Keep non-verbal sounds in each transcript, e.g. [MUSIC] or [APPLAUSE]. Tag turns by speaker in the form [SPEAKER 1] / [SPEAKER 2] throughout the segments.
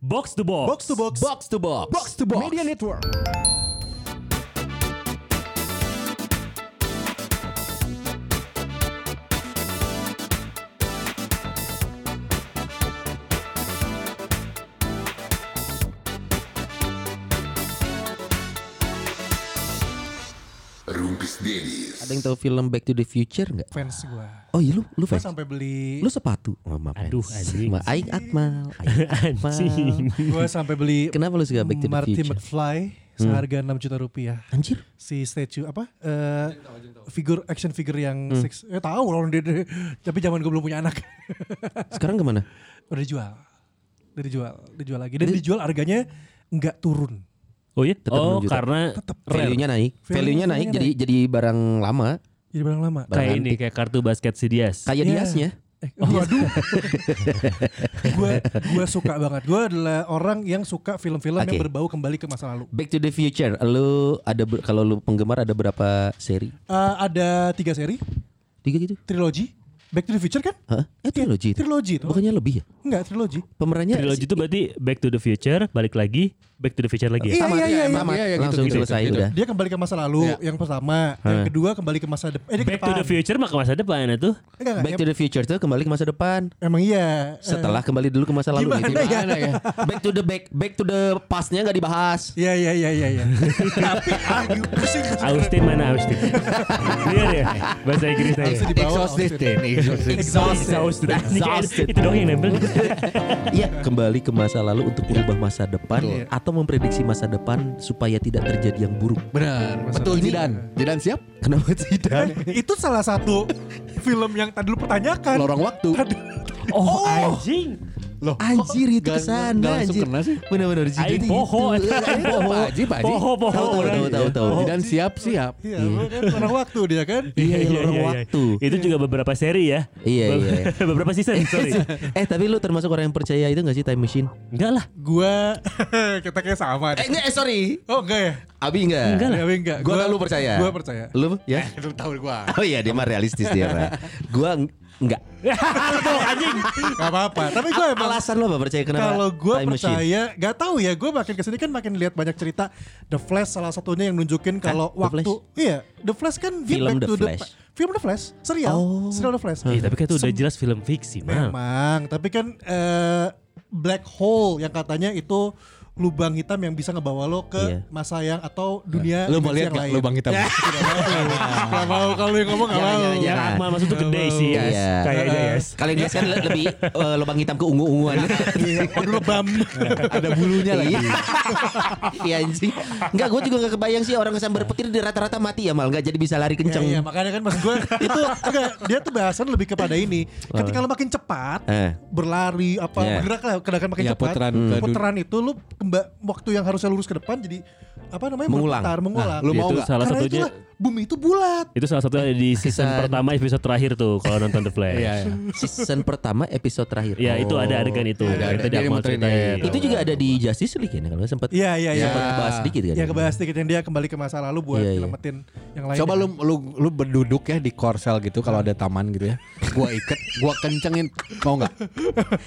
[SPEAKER 1] Box to box.
[SPEAKER 2] Box to box.
[SPEAKER 3] Box to box.
[SPEAKER 2] Box to box.
[SPEAKER 3] Media Network.
[SPEAKER 4] Rumpis Dennis.
[SPEAKER 3] Ada yang tahu film Back to the Future nggak?
[SPEAKER 2] Fans gua.
[SPEAKER 3] Oh iya lu lu
[SPEAKER 2] Gua
[SPEAKER 3] fans.
[SPEAKER 2] sampai beli
[SPEAKER 3] Lu sepatu. Oh, maaf,
[SPEAKER 1] Aduh,
[SPEAKER 3] fans.
[SPEAKER 1] anjing.
[SPEAKER 3] Ma- Aing Atmal. Aing Atmal.
[SPEAKER 1] [LAUGHS] Anjing.
[SPEAKER 2] gua sampai beli
[SPEAKER 3] [LAUGHS] Kenapa lu suka Back to the
[SPEAKER 2] Marty
[SPEAKER 3] Future? Hmm.
[SPEAKER 2] McFly seharga 6 juta rupiah.
[SPEAKER 3] Anjir.
[SPEAKER 2] Si statue apa? Eh figur action figure
[SPEAKER 3] Hmm.
[SPEAKER 2] yang six. Eh tahu orang dia, dia- tapi zaman gua belum punya anak. [LAUGHS]
[SPEAKER 3] Sekarang kemana?
[SPEAKER 2] Udah dijual. Udah dijual, dijual lagi. Dan dijual harganya nggak turun.
[SPEAKER 1] Oh iya?
[SPEAKER 3] Tetap
[SPEAKER 1] oh
[SPEAKER 3] enam juta.
[SPEAKER 1] karena
[SPEAKER 2] Tetap.
[SPEAKER 1] rare.
[SPEAKER 3] Value-nya naik.
[SPEAKER 2] Value-nya
[SPEAKER 3] Value-nya naik
[SPEAKER 2] naik.
[SPEAKER 3] jadi jadi barang lama.
[SPEAKER 2] Jadi barang lama.
[SPEAKER 3] Barang
[SPEAKER 1] kayak ini
[SPEAKER 3] antik.
[SPEAKER 1] kayak kartu basket Sidious.
[SPEAKER 3] Kayak
[SPEAKER 2] Iya.
[SPEAKER 3] diasnya.
[SPEAKER 2] Eh,
[SPEAKER 3] [LAUGHS]
[SPEAKER 2] waduh. gue gue suka banget. Gue adalah orang yang suka film-film yang
[SPEAKER 3] Oke.
[SPEAKER 2] berbau kembali ke masa lalu.
[SPEAKER 3] Back to the Future. Lu ada ber- kalau lu penggemar ada berapa seri?
[SPEAKER 2] Eh, ada tiga seri,
[SPEAKER 3] Tiga gitu.
[SPEAKER 2] trilogi. Back to the Future kan?
[SPEAKER 3] Hah? Eh trilogi. itu.
[SPEAKER 2] Trilogi itu.
[SPEAKER 3] Bukannya lebih ya?
[SPEAKER 2] Enggak, trilogi.
[SPEAKER 3] Pemerannya
[SPEAKER 1] Trilogi itu berarti Back to the Future, balik lagi Back to the Future lagi ya.
[SPEAKER 2] Iya,
[SPEAKER 3] Tamat,
[SPEAKER 2] iya, iya, iya.
[SPEAKER 3] tamat.
[SPEAKER 5] Iya, iya, gitu,
[SPEAKER 3] langsung
[SPEAKER 5] gitu,
[SPEAKER 3] selesai
[SPEAKER 5] gitu.
[SPEAKER 3] udah. Iya.
[SPEAKER 2] Dia kembali ke masa lalu yang pertama, yang kedua kembali ke masa depan. Eh, dia ke
[SPEAKER 1] Back to
[SPEAKER 2] depan.
[SPEAKER 1] the Future mah ke masa depan ya itu.
[SPEAKER 2] Enggak, enggak,
[SPEAKER 3] Back to the Future tuh kembali ke masa depan.
[SPEAKER 2] em- Emang iya. Eh,
[SPEAKER 3] Setelah kembali dulu ke masa lalu
[SPEAKER 2] gimana
[SPEAKER 3] gitu.
[SPEAKER 2] ya?
[SPEAKER 5] Gimana ya?
[SPEAKER 3] Back to the back, back to the pastnya nggak dibahas.
[SPEAKER 2] Iya, iya, iya, iya, iya. Tapi ah, yuk, pusing.
[SPEAKER 1] Austin mana
[SPEAKER 3] [LAUGHS]
[SPEAKER 1] Austin? Lihat ya bahasa Inggrisnya. ya?
[SPEAKER 2] Di bawah,
[SPEAKER 5] Exhausted.
[SPEAKER 2] Exhausted.
[SPEAKER 5] Exhausted.
[SPEAKER 1] Exhausted. Ini kayak-
[SPEAKER 3] Exhausted.
[SPEAKER 1] Itu dong yang
[SPEAKER 3] [LAUGHS]
[SPEAKER 1] nempel.
[SPEAKER 3] Iya, kembali ke masa lalu untuk
[SPEAKER 5] Iya.
[SPEAKER 3] merubah masa depan
[SPEAKER 2] Betul.
[SPEAKER 3] atau memprediksi masa depan supaya tidak terjadi yang buruk.
[SPEAKER 5] Benar. Betul Jidan. Jidan siap?
[SPEAKER 3] Kenapa tidak?
[SPEAKER 2] Itu salah satu film yang tadi lu pertanyakan.
[SPEAKER 5] Lorong waktu.
[SPEAKER 1] Oh, anjing.
[SPEAKER 5] Loh, kok
[SPEAKER 3] Anjir itu
[SPEAKER 5] nggak- nggak
[SPEAKER 3] kesana
[SPEAKER 5] langsung
[SPEAKER 3] anjir.
[SPEAKER 5] kena sih.
[SPEAKER 3] Benar-benar Jidan
[SPEAKER 1] Aing
[SPEAKER 3] itu.
[SPEAKER 1] poho. Aing poho.
[SPEAKER 5] Pak Haji, Pak Haji.
[SPEAKER 1] Poho, poho.
[SPEAKER 3] Tahu, tahu, tahu, tahu, tahu.
[SPEAKER 5] Jidan siap siap.
[SPEAKER 2] Iya, kan orang waktu dia kan.
[SPEAKER 3] Iya, iya, lorong waktu.
[SPEAKER 1] Itu juga beberapa seri ya.
[SPEAKER 3] Iya,
[SPEAKER 1] Be-
[SPEAKER 3] iya.
[SPEAKER 1] [LAUGHS] beberapa season,
[SPEAKER 3] [LAUGHS]
[SPEAKER 1] sorry.
[SPEAKER 3] Eh tapi lu termasuk orang yang percaya itu gak sih time machine?
[SPEAKER 1] Enggak lah.
[SPEAKER 2] Gua [LAUGHS] kita kayak sama. deh.
[SPEAKER 3] enggak, eh sorry.
[SPEAKER 2] Oh enggak ya?
[SPEAKER 3] Abi enggak.
[SPEAKER 1] Enggak lah.
[SPEAKER 2] Ya, tapi enggak.
[SPEAKER 3] Gua kan lu percaya.
[SPEAKER 2] Gua percaya. Eh.
[SPEAKER 3] Lu ya?
[SPEAKER 5] Lu tahu gua.
[SPEAKER 3] [LAUGHS] Oh iya dia mah realistis dia mah. Gua eng- enggak.
[SPEAKER 1] Tuh, anjing.
[SPEAKER 2] Gak apa-apa. Tapi Eh, gua emang
[SPEAKER 3] Alasan lu apa percaya kenapa?
[SPEAKER 2] kalau gue
[SPEAKER 3] time machine?
[SPEAKER 2] percaya, gak tahu ya. Gue makin kesini kan makin lihat banyak cerita. The Flash salah satunya yang nunjukin kalau
[SPEAKER 3] Kan? The
[SPEAKER 2] waktu, iya, The Flash kan dia
[SPEAKER 3] Film
[SPEAKER 2] back
[SPEAKER 3] The
[SPEAKER 2] to
[SPEAKER 3] Flash.
[SPEAKER 2] film The Flash, serial,
[SPEAKER 3] Oh.
[SPEAKER 2] serial The Flash.
[SPEAKER 1] Eh, tapi kan itu udah jelas film fiksi, Mam.
[SPEAKER 3] Nah.
[SPEAKER 2] Memang, tapi kan eh, black hole yang katanya itu lubang hitam yang bisa ngebawa lo ke
[SPEAKER 3] Iya. Nah,
[SPEAKER 2] masa yang atau dunia
[SPEAKER 5] Lu mau
[SPEAKER 2] dimensi
[SPEAKER 5] lihat
[SPEAKER 2] yang
[SPEAKER 5] nggak
[SPEAKER 2] lain. Ya,
[SPEAKER 5] lubang hitam?
[SPEAKER 2] Tidak
[SPEAKER 3] [LAUGHS]
[SPEAKER 2] mau. Gak mau kalau yang ngomong gak
[SPEAKER 3] Iya. Jangan,
[SPEAKER 2] mau.
[SPEAKER 3] jangan, jangan.
[SPEAKER 1] Akmal maksud tuh gede sih, Yas.
[SPEAKER 3] Iya.
[SPEAKER 1] Kayaknya, Yas.
[SPEAKER 3] Kalau yang jelas kan le- lebih eh, lubang hitam ke ungu-unguan.
[SPEAKER 2] Iya. Waduh lebam.
[SPEAKER 3] Ada bulunya
[SPEAKER 2] Iya.
[SPEAKER 3] lagi. Iya anjing. Enggak, gue juga gak kebayang sih orang kesambar petir dia rata-rata mati ya mal. Enggak jadi bisa lari kenceng.
[SPEAKER 2] Ya, iya, makanya kan maksud gue itu enggak, dia tuh bahasan lebih kepada ini. Ketika lo makin cepat,
[SPEAKER 3] Eh.
[SPEAKER 2] berlari apa
[SPEAKER 3] Iya.
[SPEAKER 2] bergerak lah gerakan makin
[SPEAKER 5] Iya,
[SPEAKER 2] cepat.
[SPEAKER 5] putaran
[SPEAKER 2] Hmm.
[SPEAKER 5] ke dun-
[SPEAKER 2] putaran itu lu kemba, waktu yang harusnya lurus ke depan jadi apa namanya?
[SPEAKER 3] Mengulang.
[SPEAKER 2] berputar, mengulang.
[SPEAKER 5] Lu mau
[SPEAKER 1] Itu
[SPEAKER 5] nggak?
[SPEAKER 1] salah
[SPEAKER 2] Karena
[SPEAKER 1] satunya
[SPEAKER 2] itulah bumi itu bulat.
[SPEAKER 1] itu salah satu di season
[SPEAKER 3] Kesan.
[SPEAKER 1] pertama episode terakhir tuh kalau nonton The Flash.
[SPEAKER 5] Iya. iya.
[SPEAKER 3] Season pertama episode terakhir.
[SPEAKER 1] Ya itu
[SPEAKER 3] Oh.
[SPEAKER 1] ada adegan itu.
[SPEAKER 5] Ada
[SPEAKER 1] itu
[SPEAKER 5] adegan
[SPEAKER 1] dia
[SPEAKER 5] yang
[SPEAKER 1] mau
[SPEAKER 5] muterin iya,
[SPEAKER 1] ceritain.
[SPEAKER 5] itu.
[SPEAKER 3] Itu juga ada di Justice League ya kalau sempat
[SPEAKER 2] Iya, iya, iya.
[SPEAKER 3] sempat bahas sedikit kan.
[SPEAKER 2] Ya kebahas sedikit yang dia kembali ke masa lalu buat
[SPEAKER 3] Iya, iya.
[SPEAKER 2] nyelamatin yang lain.
[SPEAKER 5] Coba lu lu lu berduduk ya di korsel gitu kalau ada taman gitu ya. Gua iket, gua kencengin mau nggak?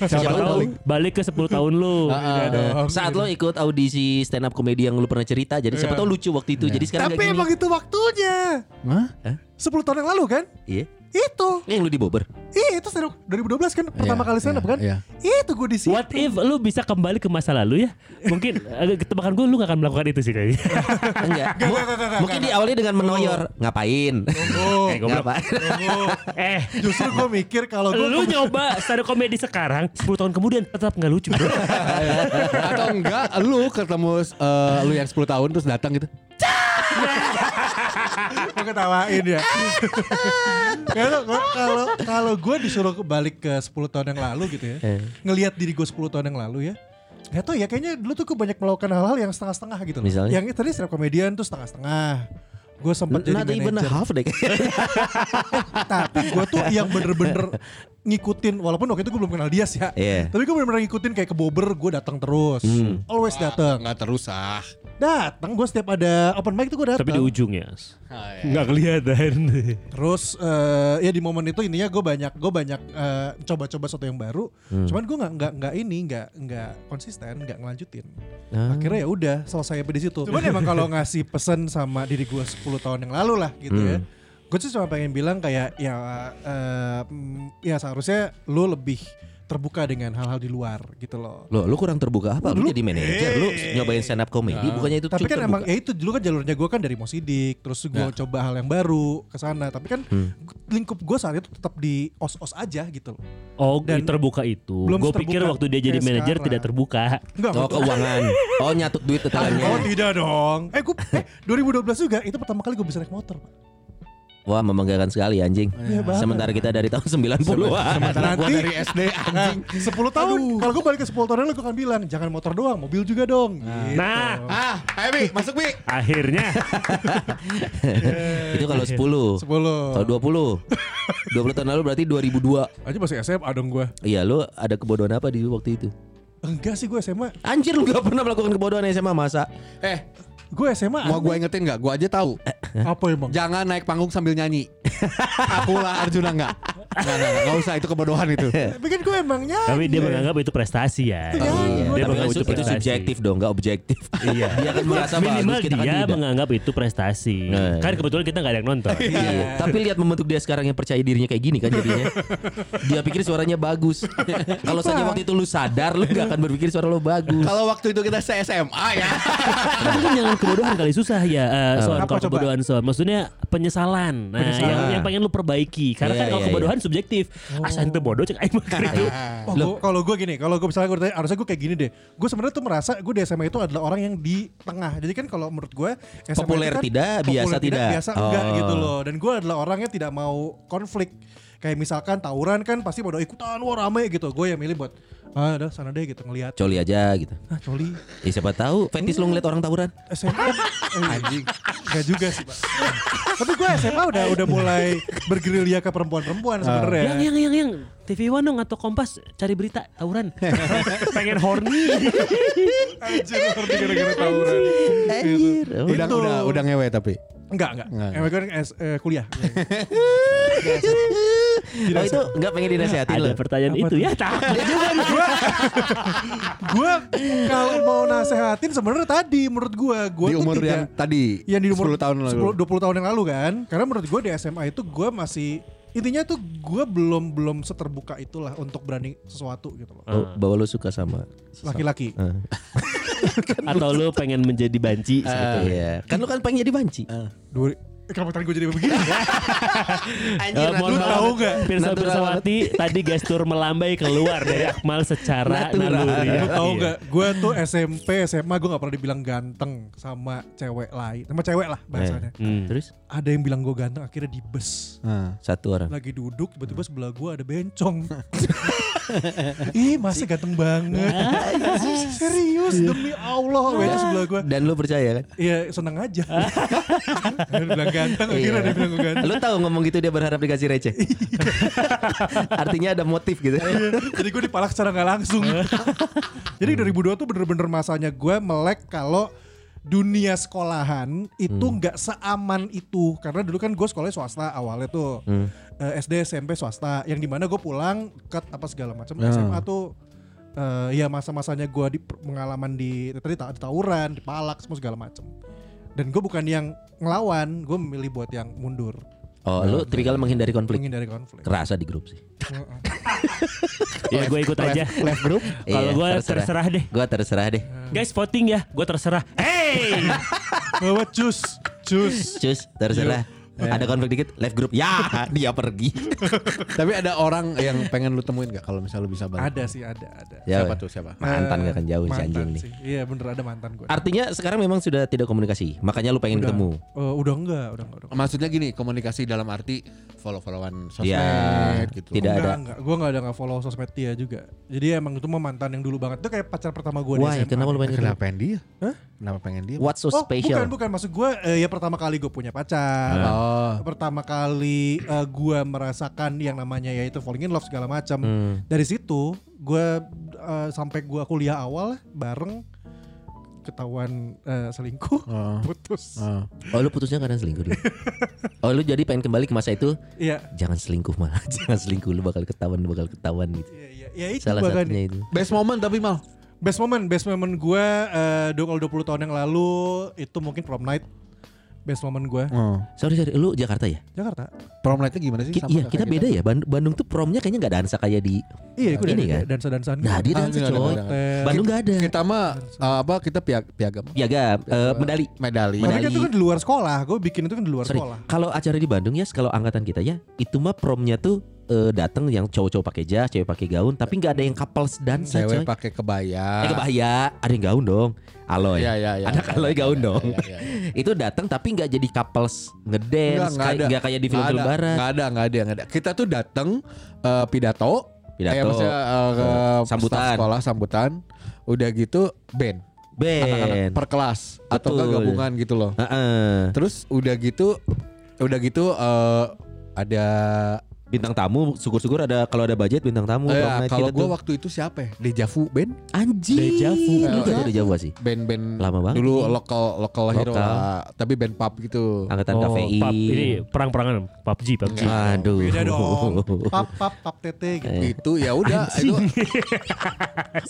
[SPEAKER 1] Siapa tahu balik ke 10 tahun lu.
[SPEAKER 5] Ah, ah.
[SPEAKER 3] Eh, Saat lo ikut audisi stand up komedi yang lo pernah cerita, jadi
[SPEAKER 2] Iya.
[SPEAKER 3] siapa tau lucu waktu itu. Jadi sekarang
[SPEAKER 2] Tapi
[SPEAKER 3] kayak gini.
[SPEAKER 2] emang itu waktunya.
[SPEAKER 5] Hah?
[SPEAKER 2] 10 tahun yang lalu kan?
[SPEAKER 3] Iya.
[SPEAKER 2] Itu.
[SPEAKER 3] Ini yang lu
[SPEAKER 2] [LAUGHS]
[SPEAKER 3] dibober.
[SPEAKER 2] Iya, itu stand up 2012 kan pertama
[SPEAKER 5] Iya,
[SPEAKER 2] kali stand up
[SPEAKER 5] iya,
[SPEAKER 2] kan?
[SPEAKER 5] iya.
[SPEAKER 2] Itu gue di situ.
[SPEAKER 1] What if lu bisa kembali ke masa lalu ya? Mungkin eh, ketebakan gue lu gak akan melakukan itu sih kayaknya.
[SPEAKER 3] Enggak.
[SPEAKER 2] Enggak,
[SPEAKER 3] Mu-
[SPEAKER 2] enggak, enggak, enggak,
[SPEAKER 3] Mungkin diawali dengan menoyor. Ngapain?
[SPEAKER 2] Oh,
[SPEAKER 1] Eh, goblok.
[SPEAKER 3] Ngapain?
[SPEAKER 1] eh,
[SPEAKER 2] justru gue mikir kalau gue
[SPEAKER 1] lu nyoba stand up comedy sekarang 10 tahun kemudian tetap nggak lucu bro.
[SPEAKER 5] [LAUGHS] Atau enggak lu ketemu eh, lu yang 10 tahun terus datang gitu.
[SPEAKER 2] gue ketawain ya. [LAUGHS] Kalau gua- kalau kalau gue disuruh balik ke 10 tahun yang lalu gitu ya.
[SPEAKER 1] Eh.
[SPEAKER 2] Ngelihat diri gue 10 tahun yang lalu ya. Gak tau ya kayaknya dulu tuh gue banyak melakukan hal-hal yang setengah-setengah gitu loh.
[SPEAKER 3] Misalnya?
[SPEAKER 2] Yang tadi stand up comedian tuh setengah-setengah. Gue sempat jadi
[SPEAKER 3] Not even a
[SPEAKER 1] [LAUGHS]
[SPEAKER 2] manager.
[SPEAKER 3] half deh. [LAUGHS]
[SPEAKER 2] Tapi gue tuh yang bener-bener ngikutin walaupun waktu itu gue belum kenal dia sih ya.
[SPEAKER 3] Iya.
[SPEAKER 1] Hmm.
[SPEAKER 2] Tapi gue bener-bener ngikutin kayak ke Bobber gue datang terus. Always datang.
[SPEAKER 5] Enggak Eh, terus ah.
[SPEAKER 2] Datang gue setiap ada open mic itu gue datang.
[SPEAKER 1] Tapi di ujung ya. Nggak kelihatan.
[SPEAKER 2] Terus eh, ya di momen itu intinya gue banyak gue banyak eh, coba-coba sesuatu yang baru.
[SPEAKER 1] Hmm.
[SPEAKER 2] Cuman gue nggak nggak nggak ini nggak nggak konsisten nggak ngelanjutin.
[SPEAKER 1] Ah.
[SPEAKER 2] Akhirnya ya udah selesai sampai di situ. [LAUGHS] Cuman emang kalau ngasih pesan sama diri gue 10 tahun yang lalu lah gitu
[SPEAKER 1] Hmm.
[SPEAKER 2] ya. Gue sih cuma pengen bilang kayak ya eh, mm, ya seharusnya lu lebih terbuka dengan hal-hal di luar gitu loh.
[SPEAKER 3] Loh, lu kurang terbuka apa? Lu jadi manajer, lu nyobain stand up comedy, bukannya itu
[SPEAKER 2] Eh. tapi
[SPEAKER 3] cukup
[SPEAKER 2] kan
[SPEAKER 3] terbuka. Ya.
[SPEAKER 2] emang ya itu dulu kan jalurnya gue kan dari Mosidik terus gue coba hal yang baru ke sana tapi kan
[SPEAKER 3] Hmm.
[SPEAKER 2] lingkup gue saat itu tetap di os os aja gitu loh
[SPEAKER 1] Oh,
[SPEAKER 2] Dan
[SPEAKER 1] terbuka itu.
[SPEAKER 2] belum
[SPEAKER 1] Gue pikir
[SPEAKER 2] terbuka
[SPEAKER 1] waktu dia jadi
[SPEAKER 2] kayak
[SPEAKER 1] manajer
[SPEAKER 2] sekarang.
[SPEAKER 1] tidak terbuka.
[SPEAKER 2] enggak
[SPEAKER 3] Oh,
[SPEAKER 2] [LAUGHS]
[SPEAKER 3] keuangan. Oh, nyatut duit
[SPEAKER 2] oh
[SPEAKER 3] tetangganya.
[SPEAKER 2] tidak dong eh gue eh 2012 juga itu pertama kali gue bisa naik motor Pak.
[SPEAKER 3] Wah, membanggakan sekali anjing.
[SPEAKER 2] Iya, banget.
[SPEAKER 3] Sementara kita dari tahun 90-an.
[SPEAKER 5] Sementara gua
[SPEAKER 2] Nanti-
[SPEAKER 5] dari SD anjing.
[SPEAKER 2] [LAUGHS] Sepuluh 10 tahun kalau gue balik ke 10 tahun lalu gue akan bilang jangan motor doang mobil juga dong gitu.
[SPEAKER 1] Nah,
[SPEAKER 5] Ah, ayo Bi, masuk Bi.
[SPEAKER 1] akhirnya
[SPEAKER 3] itu
[SPEAKER 2] Iya.
[SPEAKER 3] kalau 10.
[SPEAKER 2] 10
[SPEAKER 3] Kalau
[SPEAKER 2] [LAUGHS]
[SPEAKER 3] 20. 20 tahun lalu berarti 2002.
[SPEAKER 2] aja masih SMA dong gue
[SPEAKER 3] Iya, lu ada kebodohan apa di waktu itu?
[SPEAKER 2] enggak sih gue SMA
[SPEAKER 3] Anjir lu gak pernah melakukan kebodohan SMA masa?
[SPEAKER 5] Eh,
[SPEAKER 2] gue SMA aneh.
[SPEAKER 5] mau gue ingetin nggak? Gue aja tahu.
[SPEAKER 2] apa emang
[SPEAKER 5] Jangan naik panggung sambil nyanyi. Aku lah Arjuna nggak. Nggak, nggak, nggak. Nggak usah itu kebodohan itu.
[SPEAKER 2] tapi kan gue emangnya
[SPEAKER 1] tapi dia menganggap itu prestasi ya.
[SPEAKER 2] Iya,
[SPEAKER 3] Iya,
[SPEAKER 2] gua
[SPEAKER 1] Dia
[SPEAKER 3] tapi kan
[SPEAKER 1] menganggap
[SPEAKER 3] itu,
[SPEAKER 1] itu
[SPEAKER 3] itu
[SPEAKER 1] prestasi.
[SPEAKER 3] subjektif dong, gak
[SPEAKER 1] [LAUGHS]
[SPEAKER 3] objektif. Iya. Dia kan merasa
[SPEAKER 1] Minimal
[SPEAKER 3] bagus, kita kan
[SPEAKER 1] dia
[SPEAKER 3] tidak.
[SPEAKER 1] menganggap itu prestasi.
[SPEAKER 3] Nah,
[SPEAKER 1] Kan kebetulan kita nggak ada yang nonton.
[SPEAKER 3] Iya. Tapi lihat membentuk dia sekarang yang percaya dirinya kayak gini kan
[SPEAKER 1] [LAUGHS]
[SPEAKER 3] jadinya. Dia pikir suaranya bagus. Kalau saja waktu itu lu sadar, lu gak akan berpikir suara lu bagus.
[SPEAKER 5] Kalau waktu itu kita se SMA ya.
[SPEAKER 1] Tapi kan jangan kebodohan kali susah ya eh, soal
[SPEAKER 2] Apa
[SPEAKER 1] kalau
[SPEAKER 2] coba?
[SPEAKER 1] kebodohan soal maksudnya penyesalan. Nah,
[SPEAKER 2] Penyesalan.
[SPEAKER 1] Yang, yang pengen lu perbaiki karena
[SPEAKER 3] Iya,
[SPEAKER 1] kan kalau
[SPEAKER 3] iya, Oh.
[SPEAKER 1] kebodohan subjektif. Asal itu bodoh cek
[SPEAKER 3] [LAUGHS]
[SPEAKER 1] aing mah itu.
[SPEAKER 2] Oh, gua- kalau gue gini, kalau gue misalnya gue tanya, harusnya gue kayak gini deh. Gue sebenarnya tuh merasa gue di SMA itu adalah orang yang di tengah. Jadi kan kalau menurut gue SMA itu kan
[SPEAKER 3] Populer tidak, biasa tidak.
[SPEAKER 2] biasa enggak
[SPEAKER 3] Oh.
[SPEAKER 2] gitu loh. Dan gue adalah orangnya tidak mau konflik. Kayak misalkan tawuran kan pasti pada ikutan, wah rame gitu. Gue yang milih buat ah udah sana deh gitu ngelihat.
[SPEAKER 3] Coli aja gitu.
[SPEAKER 2] Nah, coli
[SPEAKER 3] Ya siapa tahu fetish lu ngeliat orang tawuran. [LAUGHS]
[SPEAKER 2] SMA anjing. Enggak juga sih, Pak. Tapi gue SMA udah udah mulai bergerilya ke
[SPEAKER 3] Ah.
[SPEAKER 2] perempuan-perempuan sebenarnya.
[SPEAKER 1] Yang yang yang yang TV One dong atau Kompas cari berita tawuran.
[SPEAKER 3] [LAUGHS]
[SPEAKER 1] Pengen horny.
[SPEAKER 2] Anjir, ngerti gara-gara tawuran.
[SPEAKER 3] Anjir.
[SPEAKER 5] Gitu. Udah
[SPEAKER 2] Itu.
[SPEAKER 5] udah udah ngewe tapi.
[SPEAKER 2] Enggak, enggak.
[SPEAKER 5] Enggak.
[SPEAKER 2] Emang gue kan S- eh, kuliah.
[SPEAKER 3] Oh itu gak pengen dinasehatin lu.
[SPEAKER 1] ada pertanyaan itu ya.
[SPEAKER 3] [LAUGHS]
[SPEAKER 1] Tahu.
[SPEAKER 2] gue kalau mau nasehatin sebenarnya tadi menurut gue gue
[SPEAKER 5] Di
[SPEAKER 2] tuh
[SPEAKER 5] umur
[SPEAKER 2] tidak
[SPEAKER 5] yang tadi.
[SPEAKER 2] yang di umur
[SPEAKER 5] 10 tahun lalu.
[SPEAKER 2] 10 20 tahun yang lalu kan karena menurut gue di SMA itu gue masih intinya tuh gue belum belum seterbuka itulah untuk berani sesuatu gitu loh
[SPEAKER 1] Ah.
[SPEAKER 3] Oh, bahwa lu suka sama
[SPEAKER 2] laki-laki
[SPEAKER 5] Eh.
[SPEAKER 1] atau lu pengen menjadi banci gitu.
[SPEAKER 3] Iya. Kan lu kan pengen jadi banci.
[SPEAKER 1] Ah.
[SPEAKER 2] dua eh, kenapa tadi gue jadi begini
[SPEAKER 5] [LAUGHS]
[SPEAKER 1] Eh,
[SPEAKER 3] Anjir,
[SPEAKER 1] mohon
[SPEAKER 2] Iya, lu
[SPEAKER 1] maaf,
[SPEAKER 2] tahu nggak?
[SPEAKER 1] Pirsa
[SPEAKER 3] Natural
[SPEAKER 1] Pirsawati tadi gestur melambai keluar dari Akmal secara
[SPEAKER 3] Natural.
[SPEAKER 1] naluri.
[SPEAKER 2] lu tahu
[SPEAKER 1] Iya.
[SPEAKER 2] nggak gue tuh SMP SMA gue nggak pernah dibilang ganteng sama cewek lain sama cewek lah
[SPEAKER 5] Eh.
[SPEAKER 2] bahasanya
[SPEAKER 1] Hmm.
[SPEAKER 3] Terus
[SPEAKER 2] ada yang bilang gue ganteng akhirnya di bus
[SPEAKER 5] Ah.
[SPEAKER 3] satu orang.
[SPEAKER 2] lagi duduk tiba-tiba sebelah gua ada bencong [LAUGHS] ih masa ganteng banget serius demi Allah bencong sebelah gua
[SPEAKER 3] Dan lu percaya kan?
[SPEAKER 2] Iya seneng aja Dia bilang ganteng akhirnya dia bilang gua ganteng
[SPEAKER 3] Lu tahu ngomong gitu dia berharap dikasih
[SPEAKER 2] [LAUGHS]
[SPEAKER 3] receh.
[SPEAKER 2] Iya.
[SPEAKER 3] Artinya ada motif gitu.
[SPEAKER 2] Jadi gue dipalak secara gak langsung [LAUGHS] Jadi 2002 tuh bener-bener masanya gue melek kalau dunia sekolahan itu nggak seaman itu karena dulu kan gue sekolahnya swasta awalnya tuh Eh, SD SMP swasta yang dimana gue pulang ket apa segala macam SMA tuh eh, ya masa-masanya gue di pengalaman di tadi ta- di tawuran di palak semua segala macam dan gue bukan yang ngelawan gue memilih buat yang mundur
[SPEAKER 3] Oh, lu tipikal menghindari konflik.
[SPEAKER 2] menghindari konflik [LAUGHS]
[SPEAKER 3] Kerasa di grup sih.
[SPEAKER 1] Ya
[SPEAKER 2] Iya,
[SPEAKER 1] gue ikut aja.
[SPEAKER 5] Left group. [LAUGHS]
[SPEAKER 1] Kalau gue terserah deh.
[SPEAKER 3] Gue terserah deh.
[SPEAKER 2] Hmm.
[SPEAKER 1] Guys voting ya, gue terserah. Hey,
[SPEAKER 2] bahwa cus cus
[SPEAKER 3] Cus, terserah.
[SPEAKER 2] Iya.
[SPEAKER 3] Ada konflik dikit, live group. Ya, [LAUGHS] dia pergi.
[SPEAKER 5] Tapi ada orang yang pengen lu temuin nggak kalau misalnya lu bisa balik?
[SPEAKER 2] ada sih ada ada
[SPEAKER 3] Ya,
[SPEAKER 5] Siapa
[SPEAKER 3] weh.
[SPEAKER 5] tuh siapa?
[SPEAKER 3] Mantan gak akan jauh si
[SPEAKER 2] Mantan
[SPEAKER 3] anjing nih.
[SPEAKER 2] sih. Iya bener ada mantan gue.
[SPEAKER 3] Artinya sekarang memang sudah tidak komunikasi. Makanya lu pengen ketemu.
[SPEAKER 2] Eh, udah enggak, udah enggak, udah enggak.
[SPEAKER 5] Maksudnya gini, komunikasi dalam arti follow-followan sosmed
[SPEAKER 3] Ya,
[SPEAKER 5] gitu.
[SPEAKER 3] tidak
[SPEAKER 2] enggak,
[SPEAKER 3] ada.
[SPEAKER 2] enggak. Gue enggak ada enggak follow sosmed dia juga. Jadi emang itu mah mantan yang dulu banget. Itu kayak pacar pertama gue di SMA.
[SPEAKER 3] Why? Kenapa lu pengen ketemu?
[SPEAKER 5] Eh, Kenapa pengen dia? Kenapa pengen dia?
[SPEAKER 3] What's so
[SPEAKER 2] oh, bukan,
[SPEAKER 3] special?
[SPEAKER 2] bukan. Maksud gue eh, ya pertama kali gue punya
[SPEAKER 3] Ah.
[SPEAKER 2] pacar.
[SPEAKER 5] Oh.
[SPEAKER 2] Pertama kali eh, gue merasakan yang namanya yaitu falling in love segala macam.
[SPEAKER 3] Hmm.
[SPEAKER 2] Dari situ gue eh, sampai gue kuliah awal lah, bareng ketahuan eh, selingkuh
[SPEAKER 5] Heeh.
[SPEAKER 2] [LAUGHS] putus.
[SPEAKER 5] Heeh.
[SPEAKER 3] Oh lu putusnya karena
[SPEAKER 2] [LAUGHS]
[SPEAKER 3] selingkuh dulu. Oh lu jadi pengen kembali ke masa itu
[SPEAKER 2] Iya.
[SPEAKER 3] Jangan selingkuh mah [LAUGHS] Jangan selingkuh Lu bakal ketahuan Lu bakal ketahuan gitu
[SPEAKER 2] Iya, iya, ya itu
[SPEAKER 3] Salah
[SPEAKER 2] bahkan.
[SPEAKER 3] satunya itu
[SPEAKER 5] Best moment tapi mal.
[SPEAKER 2] Best moment, best moment gue eh dua- kalau 20 tahun yang lalu itu mungkin prom night. Best moment gue.
[SPEAKER 3] Sorry sorry Lu Jakarta ya?
[SPEAKER 2] Jakarta.
[SPEAKER 5] Prom night-nya gimana sih?
[SPEAKER 3] Ki- iya kita beda
[SPEAKER 5] gitu?
[SPEAKER 3] ya Band- Bandung tuh promnya kayaknya gak dansa kayak di
[SPEAKER 2] Iya, gue
[SPEAKER 3] Ini kan?
[SPEAKER 2] dansa dansan.
[SPEAKER 3] Nah dia
[SPEAKER 5] Ah,
[SPEAKER 3] dansa
[SPEAKER 5] nggak
[SPEAKER 3] coy
[SPEAKER 5] ada, nggak ada.
[SPEAKER 2] Eh,
[SPEAKER 3] Bandung gak ada
[SPEAKER 5] Kita mah eh, apa kita piag piagam.
[SPEAKER 3] Piagam eh, Medali
[SPEAKER 5] Medali.
[SPEAKER 2] Tapi kan
[SPEAKER 3] medali.
[SPEAKER 2] itu kan di luar sekolah. Gue bikin itu kan di luar
[SPEAKER 3] Sorry
[SPEAKER 2] sekolah.
[SPEAKER 3] Kalau acara di Bandung ya Kalau angkatan kita ya Itu mah promnya tuh eh, datang yang cowok-cowok pakai jas, cewek pakai gaun, tapi nggak ada yang couples dansa coy.
[SPEAKER 5] Cewek pakai kebaya.
[SPEAKER 3] Eh kebaya, ada yang gaun dong. Aloy.
[SPEAKER 5] Iya, iya, iya.
[SPEAKER 3] Anak Aloy gaun
[SPEAKER 5] Iya,
[SPEAKER 3] dong.
[SPEAKER 5] iya, iya, iya.
[SPEAKER 3] Itu datang tapi nggak jadi couples ngedance,
[SPEAKER 5] nggak
[SPEAKER 3] kayak-
[SPEAKER 5] ada.
[SPEAKER 3] nggak kayak di film-film
[SPEAKER 5] Nggak ada,
[SPEAKER 3] barat.
[SPEAKER 5] Nggak ada, nggak ada, nggak ada. Kita tuh dateng eh, pidato,
[SPEAKER 3] Pidato.
[SPEAKER 5] Eh, maksudnya, eh, ke
[SPEAKER 3] Eh,
[SPEAKER 5] staff
[SPEAKER 3] sambutan.
[SPEAKER 5] sekolah sambutan. Udah gitu band, Anak-anak
[SPEAKER 3] Ben.
[SPEAKER 5] per kelas
[SPEAKER 3] Betul.
[SPEAKER 5] atau nggak gabungan gitu loh.
[SPEAKER 3] Heeh.
[SPEAKER 5] Terus udah gitu, udah gitu eh, ada
[SPEAKER 3] Bintang tamu, syukur-syukur ada kalau ada budget bintang tamu.
[SPEAKER 5] eh,
[SPEAKER 3] prom night
[SPEAKER 5] kalau
[SPEAKER 3] kita
[SPEAKER 5] gua
[SPEAKER 3] tuh.
[SPEAKER 5] waktu itu siapa ya? Deja Vu band,
[SPEAKER 3] anjing.
[SPEAKER 1] Deja vu.
[SPEAKER 3] Lu
[SPEAKER 5] Deja
[SPEAKER 3] tuh Deja vu sih.
[SPEAKER 5] band-band
[SPEAKER 3] Lama banget
[SPEAKER 5] dulu
[SPEAKER 3] ini.
[SPEAKER 5] lokal lokal hero
[SPEAKER 3] Lokal.
[SPEAKER 5] lah, tapi band pub gitu.
[SPEAKER 3] Angkatan kafein.
[SPEAKER 1] pub, oh, ini perang-perangan PUBG, PUBG.
[SPEAKER 3] Aduh.
[SPEAKER 2] Beda dong. Pap pap pap tete gitu.
[SPEAKER 5] Itu ya
[SPEAKER 1] [LAUGHS]
[SPEAKER 5] udah itu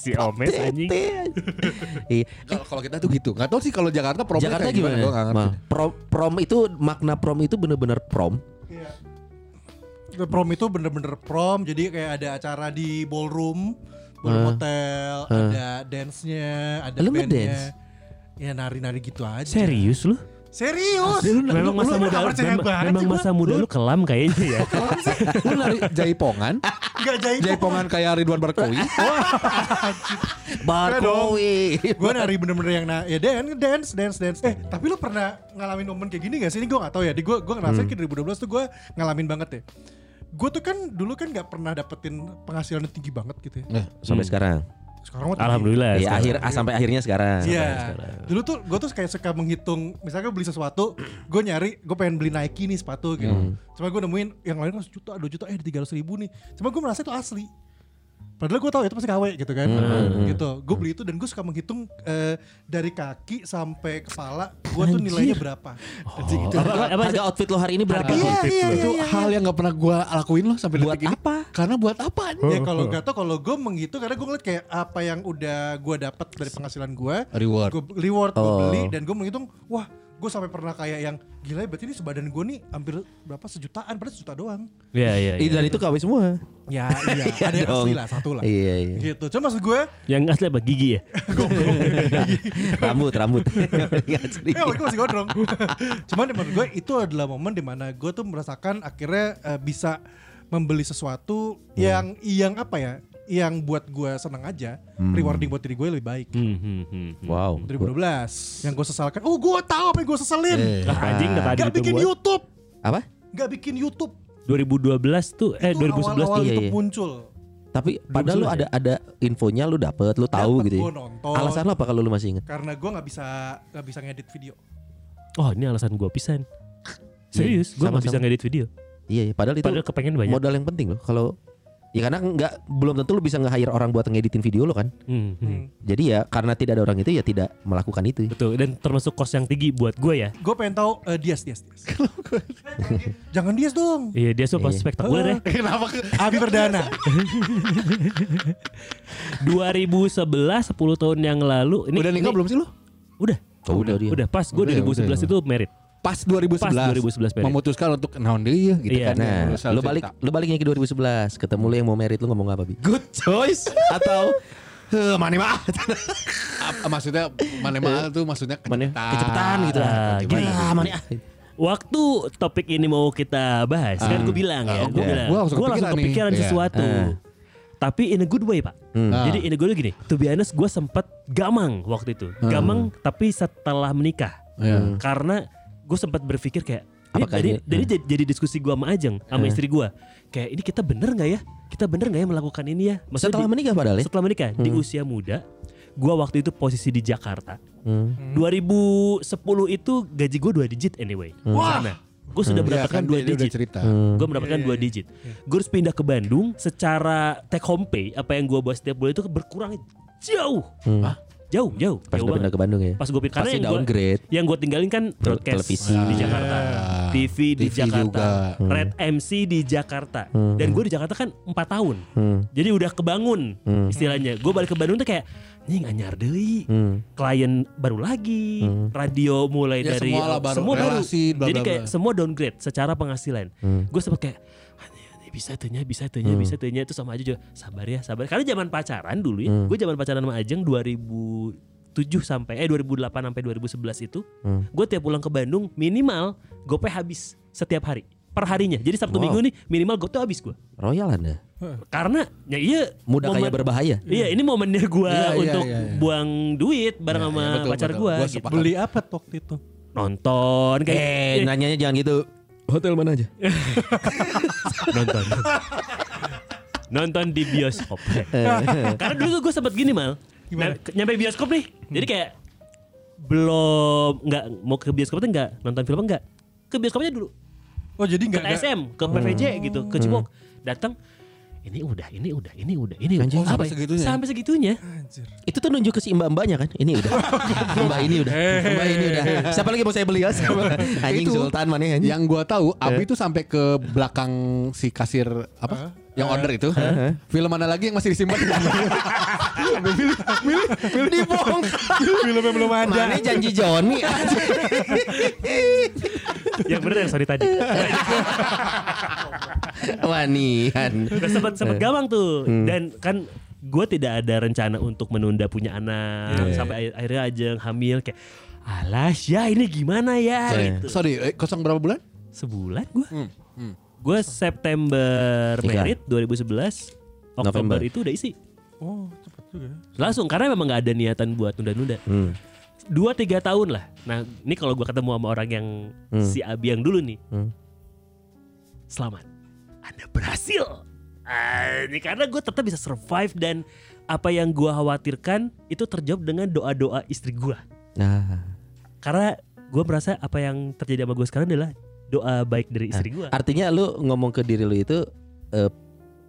[SPEAKER 1] si Omes anjing.
[SPEAKER 3] Iya.
[SPEAKER 5] kalau kalau kita tuh gitu. Nggak tahu sih kalau Jakarta promnya
[SPEAKER 3] Jakarta
[SPEAKER 5] kayak
[SPEAKER 3] gimana?
[SPEAKER 5] Gua nggak ngerti.
[SPEAKER 3] Mal? Prom, prom itu makna prom itu bener-bener prom.
[SPEAKER 2] Iya. gitu. Prom itu bener-bener prom, jadi kayak ada acara di ballroom, ballroom hotel, ada dance-nya, ada
[SPEAKER 3] Lu
[SPEAKER 2] band-nya.
[SPEAKER 3] ngedance?
[SPEAKER 2] Ya nari-nari gitu aja.
[SPEAKER 1] Serius lu?
[SPEAKER 2] Serius?
[SPEAKER 1] Memang masa muda lu,
[SPEAKER 2] percaya
[SPEAKER 1] memang,
[SPEAKER 2] banget
[SPEAKER 1] memang
[SPEAKER 2] sih gua.
[SPEAKER 1] masa muda lu kelam kayaknya ya.
[SPEAKER 2] [LAUGHS]
[SPEAKER 5] Lu nari jaipongan,
[SPEAKER 3] [LAUGHS]
[SPEAKER 2] Gak jahit
[SPEAKER 5] jaipongan kayak Ridwan Barkowi.
[SPEAKER 3] Barkowi.
[SPEAKER 2] Gue nari bener-bener yang na ya dan- dance, dance, dance. Eh tapi lu pernah ngalamin momen kayak gini gak sih? Ini gue gak tau ya. Di gue gue ngerasain ke 2012 tuh gue ngalamin banget ya. Gue tuh kan dulu kan gak pernah dapetin penghasilan yang tinggi banget gitu ya.
[SPEAKER 3] Sampai sekarang.
[SPEAKER 2] Sekarang mah tinggi.
[SPEAKER 1] Alhamdulillah.
[SPEAKER 3] Ya, akhir ah, sampai akhirnya sekarang. Sampai akhirnya
[SPEAKER 2] Iya.
[SPEAKER 3] sekarang.
[SPEAKER 2] Dulu tuh gue tuh kayak suka menghitung, misalnya gue beli sesuatu, gue nyari, gue pengen beli Nike nih sepatu gitu. Cuma gue nemuin yang lain kan sejuta, dua juta, eh tiga ratus ribu nih. Cuma gue merasa itu asli. Padahal gue tahu itu pasti KW gitu kan, gitu. Gue beli itu dan gue suka menghitung eh, dari kaki sampai kepala, gue tuh nilainya berapa. Anjing, itu.
[SPEAKER 3] Apa- apa- apa- harga outfit lo hari ini berapa?
[SPEAKER 2] Oh. Iya, iya,
[SPEAKER 5] itu
[SPEAKER 2] iya,
[SPEAKER 5] hal yang gak pernah gue lakuin loh sampai
[SPEAKER 3] Buat
[SPEAKER 5] detik ini.
[SPEAKER 3] apa?
[SPEAKER 5] Karena buat apa?
[SPEAKER 2] Ya kalau gak tau kalau gue menghitung karena gue ngeliat kayak apa yang udah gue dapat dari penghasilan gue,
[SPEAKER 5] Reward.
[SPEAKER 2] gue reward gue
[SPEAKER 3] Oh.
[SPEAKER 2] beli dan gue menghitung wah gue sampai pernah kayak yang gila ya, berarti ini sebadan gue nih hampir berapa sejutaan padahal sejuta doang
[SPEAKER 1] Iya, iya.
[SPEAKER 3] Ih,
[SPEAKER 1] iya.
[SPEAKER 3] Dan itu KW semua.
[SPEAKER 2] ya iya [LAUGHS] ada yang
[SPEAKER 3] dong.
[SPEAKER 2] asli lah satu lah
[SPEAKER 3] Iya, iya.
[SPEAKER 2] gitu cuma maksud
[SPEAKER 3] [LAUGHS]
[SPEAKER 2] gue
[SPEAKER 1] Yang asli apa gigi ya?
[SPEAKER 3] rambut, rambut. Iya,
[SPEAKER 2] eh
[SPEAKER 3] Nggak serius.
[SPEAKER 2] awalnya gue masih gondrong [LAUGHS] cuman menurut gue itu adalah momen dimana gue tuh merasakan akhirnya eh, bisa membeli sesuatu
[SPEAKER 3] Iya.
[SPEAKER 2] yang yang apa ya yang buat gue seneng aja
[SPEAKER 3] Hmm.
[SPEAKER 2] rewarding buat diri gue lebih baik
[SPEAKER 1] Hmm, hmm, hmm, hmm.
[SPEAKER 3] wow.
[SPEAKER 2] 2012 yang gue sesalkan oh gue tahu apa yang gue seselin
[SPEAKER 3] Eh,
[SPEAKER 1] Lah, anjing dah tadi
[SPEAKER 2] gak
[SPEAKER 1] itu
[SPEAKER 2] bikin
[SPEAKER 1] gua.
[SPEAKER 2] YouTube
[SPEAKER 3] Apa?
[SPEAKER 2] gak bikin YouTube
[SPEAKER 1] 2012 tuh eh
[SPEAKER 2] Itu
[SPEAKER 1] 2011
[SPEAKER 2] awal-awal
[SPEAKER 1] tuh.
[SPEAKER 3] iya,
[SPEAKER 2] YouTube
[SPEAKER 3] iya.
[SPEAKER 2] muncul
[SPEAKER 3] Tapi padahal lu ada ada infonya lu dapet, lu tahu
[SPEAKER 2] Dapet, Oh.
[SPEAKER 3] gitu. ya.
[SPEAKER 2] gua nonton.
[SPEAKER 3] Alasan lo apa kalau lu masih inget?
[SPEAKER 2] karena gue nggak bisa nggak bisa ngedit video
[SPEAKER 1] Oh, ini alasan gua pisan. Serius, gua nggak bisa
[SPEAKER 3] sama-sama.
[SPEAKER 1] ngedit video.
[SPEAKER 3] Iya, iya, padahal itu
[SPEAKER 1] Padahal kepengen banyak.
[SPEAKER 3] modal yang penting loh kalau Ya karena nggak belum tentu lu bisa nge-hire orang buat ngeditin video lo kan.
[SPEAKER 1] Hmm, hmm.
[SPEAKER 3] Jadi ya karena tidak ada orang itu ya tidak melakukan itu.
[SPEAKER 1] Betul, dan termasuk kos yang tinggi buat gua ya.
[SPEAKER 2] gue pengen tahu eh, Dias Dias
[SPEAKER 3] [LAUGHS]
[SPEAKER 2] Dias jangan Dias dong
[SPEAKER 1] Iya, dia suka
[SPEAKER 3] Iya.
[SPEAKER 1] spektakuler ya.
[SPEAKER 5] Kenapa? ke-
[SPEAKER 2] Abi Perdana
[SPEAKER 1] 2011 10 tahun yang lalu ini
[SPEAKER 5] Udah nikah
[SPEAKER 1] ini-
[SPEAKER 5] belum sih lu?
[SPEAKER 1] Udah.
[SPEAKER 3] Oh, udah dia.
[SPEAKER 1] Udah pas gue
[SPEAKER 5] Udah,
[SPEAKER 1] 2011
[SPEAKER 5] udah.
[SPEAKER 1] itu merit.
[SPEAKER 5] Pas 2011.
[SPEAKER 1] Pas 2011, Peri.
[SPEAKER 5] Memutuskan untuk naon deui gitu
[SPEAKER 1] Iya.
[SPEAKER 5] kan.
[SPEAKER 3] Nah,
[SPEAKER 5] urusan
[SPEAKER 3] lu balik
[SPEAKER 5] cinta.
[SPEAKER 3] lu baliknya ke 2011, ketemu lu yang mau merit lu ngomong apa, Bi? Good choice [LAUGHS] atau Heh, mana mah?
[SPEAKER 5] Ap- maksudnya mana mahal tuh maksudnya
[SPEAKER 3] Mana?
[SPEAKER 5] kecepetan.
[SPEAKER 3] Kecepatan gitu lah.
[SPEAKER 1] Ah, gini.
[SPEAKER 3] Ah, mana ah.
[SPEAKER 1] Waktu topik ini mau kita bahas kan gue bilang ya, gue
[SPEAKER 5] gua-
[SPEAKER 1] bilang,
[SPEAKER 5] gua langsung
[SPEAKER 1] gue langsung
[SPEAKER 5] kepikiran nih.
[SPEAKER 1] kepikiran
[SPEAKER 5] Iya.
[SPEAKER 1] sesuatu.
[SPEAKER 3] Ah. Hmm.
[SPEAKER 1] Tapi in a good way pak.
[SPEAKER 5] Ah.
[SPEAKER 1] Jadi in a good way gini, to be honest gue sempat gamang waktu itu,
[SPEAKER 3] Ah.
[SPEAKER 1] gamang tapi setelah menikah,
[SPEAKER 5] Iya.
[SPEAKER 1] karena gue sempat berpikir kayak, ini
[SPEAKER 3] Apakah Ah.
[SPEAKER 1] jadi,
[SPEAKER 3] ini-
[SPEAKER 1] jadi jadi- jadi diskusi gue sama Ajeng, sama istri gue, kayak ini kita bener nggak ya, kita bener nggak ya melakukan ini ya? Maksudnya
[SPEAKER 3] Setelah
[SPEAKER 1] di-
[SPEAKER 3] menikah padahal ya?
[SPEAKER 1] setelah menikah di usia muda gua waktu itu posisi di Jakarta
[SPEAKER 3] Hmm.
[SPEAKER 1] 2010 itu gaji gua dua digit anyway
[SPEAKER 3] Hmm.
[SPEAKER 2] Wah.
[SPEAKER 1] Sana. gua sudah
[SPEAKER 5] Iya,
[SPEAKER 1] mendapatkan
[SPEAKER 5] kan
[SPEAKER 1] dua
[SPEAKER 5] dia- dia udah
[SPEAKER 1] digit
[SPEAKER 5] cerita. Iya,
[SPEAKER 1] gua mendapatkan dua digit gua harus pindah ke Bandung secara take home pay apa yang gua bawa setiap bulan itu berkurang jauh Jauh, jauh.
[SPEAKER 3] Hmm. Pas
[SPEAKER 1] jauh
[SPEAKER 3] udah pindah
[SPEAKER 1] banget.
[SPEAKER 3] ke Bandung ya.
[SPEAKER 1] Pas gue pindah karena
[SPEAKER 3] Pasti
[SPEAKER 1] yang gua-
[SPEAKER 3] downgrade.
[SPEAKER 1] yang gue tinggalin kan
[SPEAKER 3] Tel-
[SPEAKER 1] broadcast
[SPEAKER 3] televisi. Ah.
[SPEAKER 1] di Jakarta, TV di
[SPEAKER 5] TV
[SPEAKER 1] Jakarta,
[SPEAKER 5] juga.
[SPEAKER 1] Red
[SPEAKER 3] Hmm.
[SPEAKER 1] MC di Jakarta, dan gue di Jakarta kan empat tahun,
[SPEAKER 3] Hmm.
[SPEAKER 1] jadi udah kebangun istilahnya. Gue balik ke Bandung tuh kayak nying anyar
[SPEAKER 3] Hmm.
[SPEAKER 1] deui. klien baru lagi, radio mulai
[SPEAKER 5] Ya,
[SPEAKER 1] dari
[SPEAKER 5] semua lah baru,
[SPEAKER 1] semua
[SPEAKER 5] relasi, bla,
[SPEAKER 1] jadi
[SPEAKER 5] bla,
[SPEAKER 1] kayak
[SPEAKER 5] bla.
[SPEAKER 1] semua downgrade secara penghasilan. Gue sempet kayak "Anjing, anjing, bisa tanya bisa tanya bisa tanya itu sama aja juga sabar ya sabar karena zaman pacaran dulu ya gue zaman pacaran sama Ajeng 2007 sampai eh 2008 sampai 2011 itu gue tiap pulang ke Bandung minimal gope habis setiap hari perharinya jadi sabtu
[SPEAKER 3] Wow.
[SPEAKER 1] minggu nih minimal gope habis gue
[SPEAKER 3] Royal Anda.
[SPEAKER 1] karena ya iya
[SPEAKER 3] Muda kaya
[SPEAKER 1] momen-
[SPEAKER 3] berbahaya.
[SPEAKER 1] Iya ini momennya gue
[SPEAKER 5] Iya, iya,
[SPEAKER 1] untuk
[SPEAKER 5] iya, iya.
[SPEAKER 1] buang duit bareng sama
[SPEAKER 5] betul,
[SPEAKER 1] pacar
[SPEAKER 5] betul.
[SPEAKER 1] gue
[SPEAKER 5] Gua
[SPEAKER 1] gitu.
[SPEAKER 5] sepakat.
[SPEAKER 2] Beli apa tuh waktu itu?
[SPEAKER 1] Nonton kayak
[SPEAKER 3] Eh,
[SPEAKER 1] [LAUGHS]
[SPEAKER 5] nah,
[SPEAKER 3] nanyanya jangan gitu. Hotel mana aja?
[SPEAKER 1] nonton. nonton di
[SPEAKER 5] [LAUGHS]
[SPEAKER 1] bioskop.
[SPEAKER 3] Eh,
[SPEAKER 1] Karena dulu gue sempet gini mal.
[SPEAKER 2] Gimana?
[SPEAKER 1] Nah, ke- nyampe bioskop nih.
[SPEAKER 5] Hmm.
[SPEAKER 1] Jadi kayak belum nggak mau ke bioskop tuh nggak nonton film nggak ke bioskopnya dulu
[SPEAKER 2] Oh jadi
[SPEAKER 1] ke
[SPEAKER 2] nggak ada.
[SPEAKER 1] TSM ke PVJ
[SPEAKER 5] Hmm.
[SPEAKER 1] gitu ke Cibok datang ini udah ini udah ini udah ini udah.
[SPEAKER 5] Anjing,
[SPEAKER 1] Apa
[SPEAKER 5] sampai
[SPEAKER 1] ya?
[SPEAKER 5] segitunya?
[SPEAKER 1] sampai
[SPEAKER 5] [LAUGHS]
[SPEAKER 1] segitunya
[SPEAKER 2] Anjir.
[SPEAKER 3] [LAUGHS] Itu tuh nunjuk ke si mbak-mbaknya kan. Ini udah. Mbak ini udah. Mbak ini udah. Siapa lagi mau saya beli ya? Siapa? Anjing
[SPEAKER 5] Itu.
[SPEAKER 3] Sultan mana ya, anjing?
[SPEAKER 5] Yang gua tahu Abi tuh sampai ke belakang si kasir apa? yang order itu. Film mana lagi yang masih disimpan?
[SPEAKER 3] dibongkar.
[SPEAKER 2] Filmnya belum ada.
[SPEAKER 3] Mana janji Joni?
[SPEAKER 5] Ya,
[SPEAKER 1] yang bener yang sorry tadi
[SPEAKER 3] Wanian.
[SPEAKER 1] Udah
[SPEAKER 3] [LAUGHS]
[SPEAKER 1] sempet sempet
[SPEAKER 3] Eh.
[SPEAKER 1] gawang tuh
[SPEAKER 3] Hmm.
[SPEAKER 1] dan kan gue tidak ada rencana untuk menunda punya
[SPEAKER 3] Iya,
[SPEAKER 1] anak sampai akhir- akhirnya aja hamil kayak alas ya ini gimana ya
[SPEAKER 3] Eh.
[SPEAKER 1] gitu
[SPEAKER 5] Sorry, eh, kosong berapa bulan?
[SPEAKER 1] sebulan gue gue September
[SPEAKER 3] Tiga.
[SPEAKER 1] merit 2011 Oktober
[SPEAKER 3] November.
[SPEAKER 1] itu udah isi
[SPEAKER 2] Oh cepet juga. ya.
[SPEAKER 1] langsung karena memang nggak ada niatan buat nunda-nunda
[SPEAKER 3] Hmm.
[SPEAKER 1] dua tiga tahun lah nah ini kalau gue ketemu sama orang yang si Abi yang dulu nih
[SPEAKER 3] Hmm.
[SPEAKER 1] selamat anda berhasil Ah, ini karena gue tetap bisa survive dan apa yang gue khawatirkan itu terjawab dengan doa doa istri gue
[SPEAKER 3] Nah,
[SPEAKER 1] karena gue merasa apa yang terjadi sama gue sekarang adalah doa baik dari
[SPEAKER 3] Nah,
[SPEAKER 1] istri gue
[SPEAKER 3] artinya lu ngomong ke diri lu itu eh,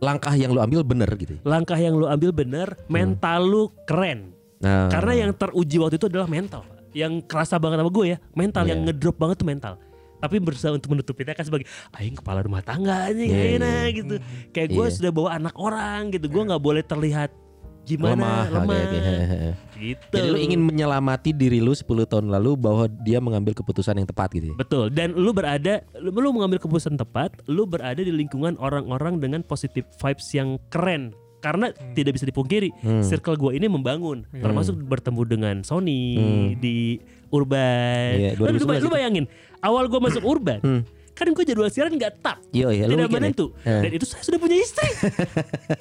[SPEAKER 3] langkah yang lu ambil bener gitu.
[SPEAKER 1] langkah yang lo ambil bener mental lu keren
[SPEAKER 3] Nah,
[SPEAKER 1] Karena yang teruji waktu itu adalah mental. Pak. Yang kerasa banget sama gue ya, mental yang
[SPEAKER 3] Iya.
[SPEAKER 1] ngedrop banget tuh mental. Tapi berusaha untuk menutupinya kan sebagai aing kepala rumah tangga aja
[SPEAKER 3] Iya, iya.
[SPEAKER 1] gitu. Kayak gue
[SPEAKER 3] Iya.
[SPEAKER 1] sudah bawa anak orang gitu. Gue nggak boleh terlihat gimana
[SPEAKER 3] Lemah,
[SPEAKER 1] lemah,
[SPEAKER 3] oke, oke.
[SPEAKER 1] gitu.
[SPEAKER 3] Jadi lu ingin menyelamati diri lu 10 tahun lalu bahwa dia mengambil keputusan yang tepat gitu. ya?
[SPEAKER 1] Betul. Dan lu berada lu, lu mengambil keputusan tepat, lu berada di lingkungan orang-orang dengan positive vibes yang keren. Karena tidak bisa dipungkiri,
[SPEAKER 3] Hmm.
[SPEAKER 1] circle gua ini membangun, termasuk bertemu dengan Sony di Urban.
[SPEAKER 3] Hmm. Iya,
[SPEAKER 1] Lu- lu,
[SPEAKER 3] 2011
[SPEAKER 1] lu bayangin, awal gua masuk Urban, kan gue jadwal siaran nggak tetap,
[SPEAKER 3] Hmm. Iya, iya,
[SPEAKER 1] tidak
[SPEAKER 3] lu mikir ya?
[SPEAKER 1] menentu.
[SPEAKER 3] Eh.
[SPEAKER 1] Dan itu saya sudah punya
[SPEAKER 3] [LAUGHS]
[SPEAKER 1] istri.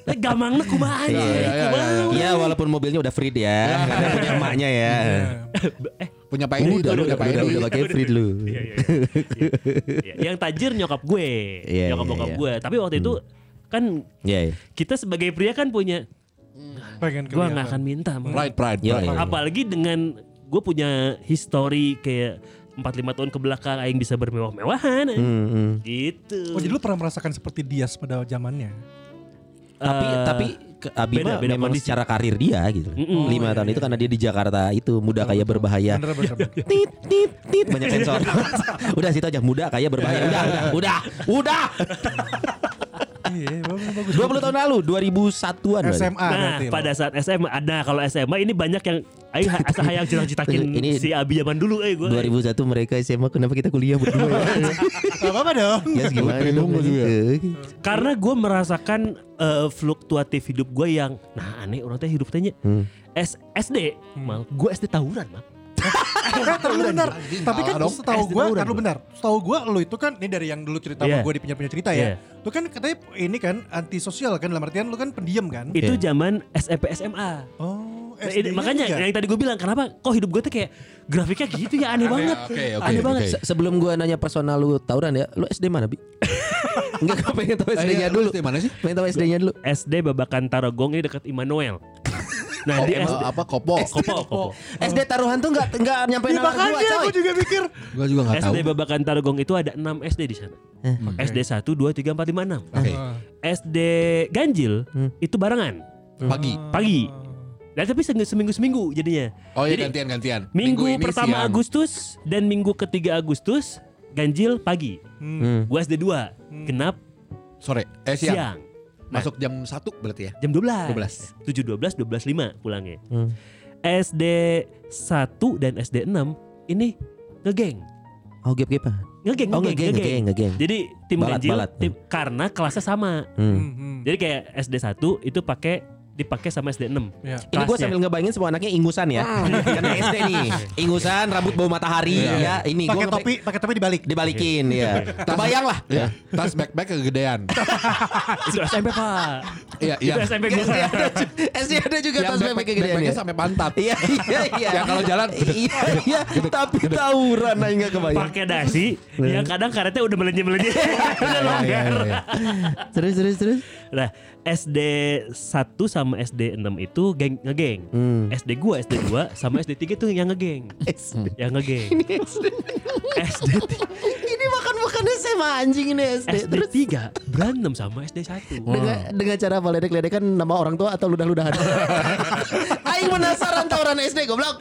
[SPEAKER 1] nah, gamangnya kumaha aja,
[SPEAKER 5] Iya, iya,
[SPEAKER 1] kumaha.
[SPEAKER 5] iya,
[SPEAKER 3] Iya, walaupun mobilnya udah free ya, karena punya emaknya ya.
[SPEAKER 5] Punya Pak Edi,
[SPEAKER 3] Udah,
[SPEAKER 5] itu,
[SPEAKER 3] udah, udah,
[SPEAKER 5] Pak
[SPEAKER 3] udah,
[SPEAKER 5] Edi.
[SPEAKER 3] udah pakai free dulu.
[SPEAKER 1] Iya, iya, iya. Iya. Yang tajir nyokap gue,
[SPEAKER 3] Iya,
[SPEAKER 1] nyokap
[SPEAKER 3] iya,
[SPEAKER 1] bokap
[SPEAKER 3] iya.
[SPEAKER 1] gue. Tapi waktu itu kan
[SPEAKER 3] Iya, iya.
[SPEAKER 1] kita sebagai pria kan punya
[SPEAKER 2] Pengen
[SPEAKER 1] gue nggak akan
[SPEAKER 2] kelihatan.
[SPEAKER 1] minta Mang.
[SPEAKER 5] Pride, pride,
[SPEAKER 3] Iya,
[SPEAKER 5] pride.
[SPEAKER 3] iya.
[SPEAKER 1] apalagi dengan gue punya history kayak 45 tahun ke belakang aing bisa bermewah-mewahan
[SPEAKER 3] Hmm, hmm.
[SPEAKER 1] gitu
[SPEAKER 2] Oh jadi lu pernah merasakan seperti Dias pada zamannya?
[SPEAKER 3] Tapi
[SPEAKER 1] Eh,
[SPEAKER 3] tapi ke- Abi
[SPEAKER 1] beda-
[SPEAKER 3] mah
[SPEAKER 1] beda
[SPEAKER 3] memang
[SPEAKER 1] kondisi.
[SPEAKER 3] secara karir dia gitu.
[SPEAKER 1] Mm-mm.
[SPEAKER 3] Lima tahun itu karena dia di Jakarta itu muda kaya berbahaya.
[SPEAKER 2] Bener bener.
[SPEAKER 3] [LAUGHS]
[SPEAKER 2] bener.
[SPEAKER 3] Tit tit tit banyak sensor. [LAUGHS] udah situ aja muda kaya berbahaya. Udah udah udah.
[SPEAKER 2] Iya bagus bagus.
[SPEAKER 3] udah. 20 tahun lalu 2001-an. berarti.
[SPEAKER 2] SMA
[SPEAKER 1] nah
[SPEAKER 2] berarti. lo.
[SPEAKER 1] pada saat SMA ada kalau SMA ini banyak yang aing ha- asa hayang cita-citakin
[SPEAKER 3] [LAUGHS] Ini-
[SPEAKER 1] si Abi zaman dulu eh gue
[SPEAKER 3] 2001 mereka SMA kenapa kita kuliah berdua ya?
[SPEAKER 2] Gak apa-apa dong.
[SPEAKER 3] Ya gimana
[SPEAKER 5] Bingung
[SPEAKER 3] dong
[SPEAKER 5] gua juga.
[SPEAKER 3] gitu.
[SPEAKER 1] karena gue merasakan eh, fluktuatif hidup gue yang nah aneh orang teh hidupnya
[SPEAKER 3] Hmm.
[SPEAKER 1] S SD mal gue SD tawuran mal
[SPEAKER 2] Kan, tapi lu benar. Tapi kan
[SPEAKER 5] Salah dong.
[SPEAKER 2] setahu
[SPEAKER 1] Eh,
[SPEAKER 2] gue,
[SPEAKER 1] tawuran
[SPEAKER 2] kan lu
[SPEAKER 1] gua.
[SPEAKER 2] benar. Setahu gue lu itu kan, ini dari yang dulu cerita sama
[SPEAKER 1] Iya.
[SPEAKER 2] gue di penyiar cerita ya. Lu kan katanya ini kan antisosial kan, dalam artian lu kan pendiam kan.
[SPEAKER 1] itu
[SPEAKER 3] Iya.
[SPEAKER 1] zaman SMP SMA
[SPEAKER 2] Oh,
[SPEAKER 1] Nah, ini-
[SPEAKER 2] SD-nya
[SPEAKER 1] makanya
[SPEAKER 2] juga.
[SPEAKER 1] yang tadi gue bilang kenapa kok hidup gue tuh kayak grafiknya gitu ya aneh banget
[SPEAKER 5] oke, oke,
[SPEAKER 1] aneh
[SPEAKER 5] oke.
[SPEAKER 1] banget
[SPEAKER 3] Se- Sebelum gua nanya personal lu tawuran ya, lu SD mana, Bi? Enggak gua pengen tahu
[SPEAKER 5] Eh,
[SPEAKER 3] SD-nya
[SPEAKER 5] iya, lu
[SPEAKER 3] dulu.
[SPEAKER 5] SD mana sih?
[SPEAKER 3] Pengen tahu SD-nya dulu.
[SPEAKER 1] SD Babakan Tarogong ini dekat
[SPEAKER 5] [LAUGHS]
[SPEAKER 1] Immanuel nah
[SPEAKER 5] Oh,
[SPEAKER 1] di
[SPEAKER 5] emang
[SPEAKER 1] SD
[SPEAKER 5] apa kopo?
[SPEAKER 1] kopo, kopo.
[SPEAKER 3] SD taruhan tuh enggak enggak nyampe
[SPEAKER 2] Iya,
[SPEAKER 3] nama gua,
[SPEAKER 2] makanya
[SPEAKER 3] coy.
[SPEAKER 2] aku juga mikir.
[SPEAKER 5] Gua juga nggak tahu. Eh.
[SPEAKER 1] SD Babakan Tarogong itu ada 6 SD di sana SD 1 2 3 4 5 6
[SPEAKER 5] Oke,
[SPEAKER 1] SD Ganjil itu barengan
[SPEAKER 5] pagi.
[SPEAKER 1] pagi Dan tapi seminggu seminggu seminggu jadinya.
[SPEAKER 5] Oh iya
[SPEAKER 1] Jadi,
[SPEAKER 5] gantian gantian.
[SPEAKER 1] Minggu,
[SPEAKER 5] ini
[SPEAKER 1] pertama
[SPEAKER 5] siang.
[SPEAKER 1] Agustus dan minggu ketiga Agustus ganjil pagi. Gua SD 2. Genap
[SPEAKER 5] sore eh siang.
[SPEAKER 1] siang.
[SPEAKER 5] Masuk jam 1 berarti ya.
[SPEAKER 1] Jam 12. 7 12 12 5 pulangnya.
[SPEAKER 3] Hmm.
[SPEAKER 1] SD 1 dan SD 6 ini ngegeng.
[SPEAKER 3] Oh gap gap
[SPEAKER 1] Ngegeng,
[SPEAKER 3] Oh ngegeng ngegeng ngegeng.
[SPEAKER 1] Jadi tim
[SPEAKER 3] Balat,
[SPEAKER 1] ganjil
[SPEAKER 3] balat.
[SPEAKER 1] tim- karena kelasnya sama.
[SPEAKER 3] Hmm.
[SPEAKER 1] Jadi kayak SD 1 itu pakai dipakai sama SD 6.
[SPEAKER 2] Ya.
[SPEAKER 3] Ini gue
[SPEAKER 1] Kelasnya.
[SPEAKER 3] sambil ngebayangin semua anaknya ingusan ya [LAUGHS] Karena SD nih Ingusan, rambut bau matahari ya Ini
[SPEAKER 2] Pakai
[SPEAKER 3] gue
[SPEAKER 2] topi, pakai topi dibalik.
[SPEAKER 3] dibalikin ya Terbayang lah
[SPEAKER 5] Ya, tas backpack kegedean.
[SPEAKER 1] itu SMP Pak.
[SPEAKER 5] Iya, iya.
[SPEAKER 1] Itu SMP
[SPEAKER 3] Iya,
[SPEAKER 1] gue.
[SPEAKER 3] SD ada ju- [LAUGHS] SD ada juga
[SPEAKER 5] Yang
[SPEAKER 3] tas bebek
[SPEAKER 5] backpack-
[SPEAKER 3] kegedean
[SPEAKER 5] backpacknya
[SPEAKER 3] ya
[SPEAKER 5] sampai pantat.
[SPEAKER 3] Iya iya iya
[SPEAKER 5] Yang kalau jalan,
[SPEAKER 3] Iya iya Tapi tawuran aja gak kebayang
[SPEAKER 1] Pakai dasi
[SPEAKER 3] Iya.
[SPEAKER 1] yang kadang karetnya udah melenje-melenje. [LAUGHS] Udah
[SPEAKER 5] Iya,
[SPEAKER 1] longgar.
[SPEAKER 5] iya,
[SPEAKER 3] Terus terus [LAUGHS] terus
[SPEAKER 1] Nah, SD 1 sama SD 6 itu geng ngegeng.
[SPEAKER 3] Hmm.
[SPEAKER 1] SD gua, SD 2 sama SD 3 itu yang ngegeng. Yang ngegeng. SD
[SPEAKER 3] Ini makan-makan SMA anjing ini SD
[SPEAKER 1] SD
[SPEAKER 3] Eh, Terus
[SPEAKER 1] 3
[SPEAKER 3] Oh.
[SPEAKER 1] berantem sama SD 1.
[SPEAKER 3] dengan, dengan cara apa ledek-ledekan nama orang tua atau ludah-ludahan Aing penasaran tawuran SD goblok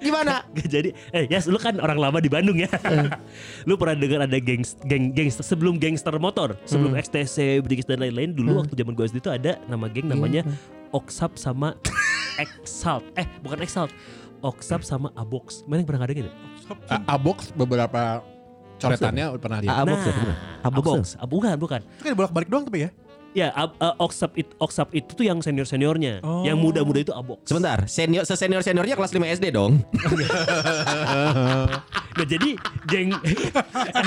[SPEAKER 3] Gimana?
[SPEAKER 1] [LAUGHS] Jadi, eh Yas, lu kan orang lama di Bandung ya.
[SPEAKER 3] Eh.
[SPEAKER 1] [LAUGHS] lu pernah dengar ada geng geng gangster sebelum gangster motor, sebelum
[SPEAKER 3] Hmm.
[SPEAKER 1] XTC, Brigis dan lain-lain dulu waktu zaman gua SD itu ada nama geng
[SPEAKER 3] Iya,
[SPEAKER 1] namanya
[SPEAKER 3] hmm.
[SPEAKER 1] Oksap sama [LAUGHS] Exalt. Eh, bukan Exalt. Oksap sama Abox. Mana yang pernah ada gitu?
[SPEAKER 5] A- Abox beberapa coretannya pernah
[SPEAKER 1] Ah.
[SPEAKER 5] lihat.
[SPEAKER 3] Abox ya, bener. Abox ya?
[SPEAKER 1] Nah, Abox. Ah, bukan, bukan.
[SPEAKER 2] Itu kan bolak-balik doang tapi ya.
[SPEAKER 1] Ya, ab, eh, Oksap it, Oksap itu tuh yang senior-seniornya.
[SPEAKER 2] Oh.
[SPEAKER 1] Yang muda-muda itu Abox.
[SPEAKER 3] Sebentar, senior senior seniornya kelas 5 SD dong.
[SPEAKER 1] Nah, jadi geng
[SPEAKER 3] [LAUGHS]
[SPEAKER 1] [LAUGHS]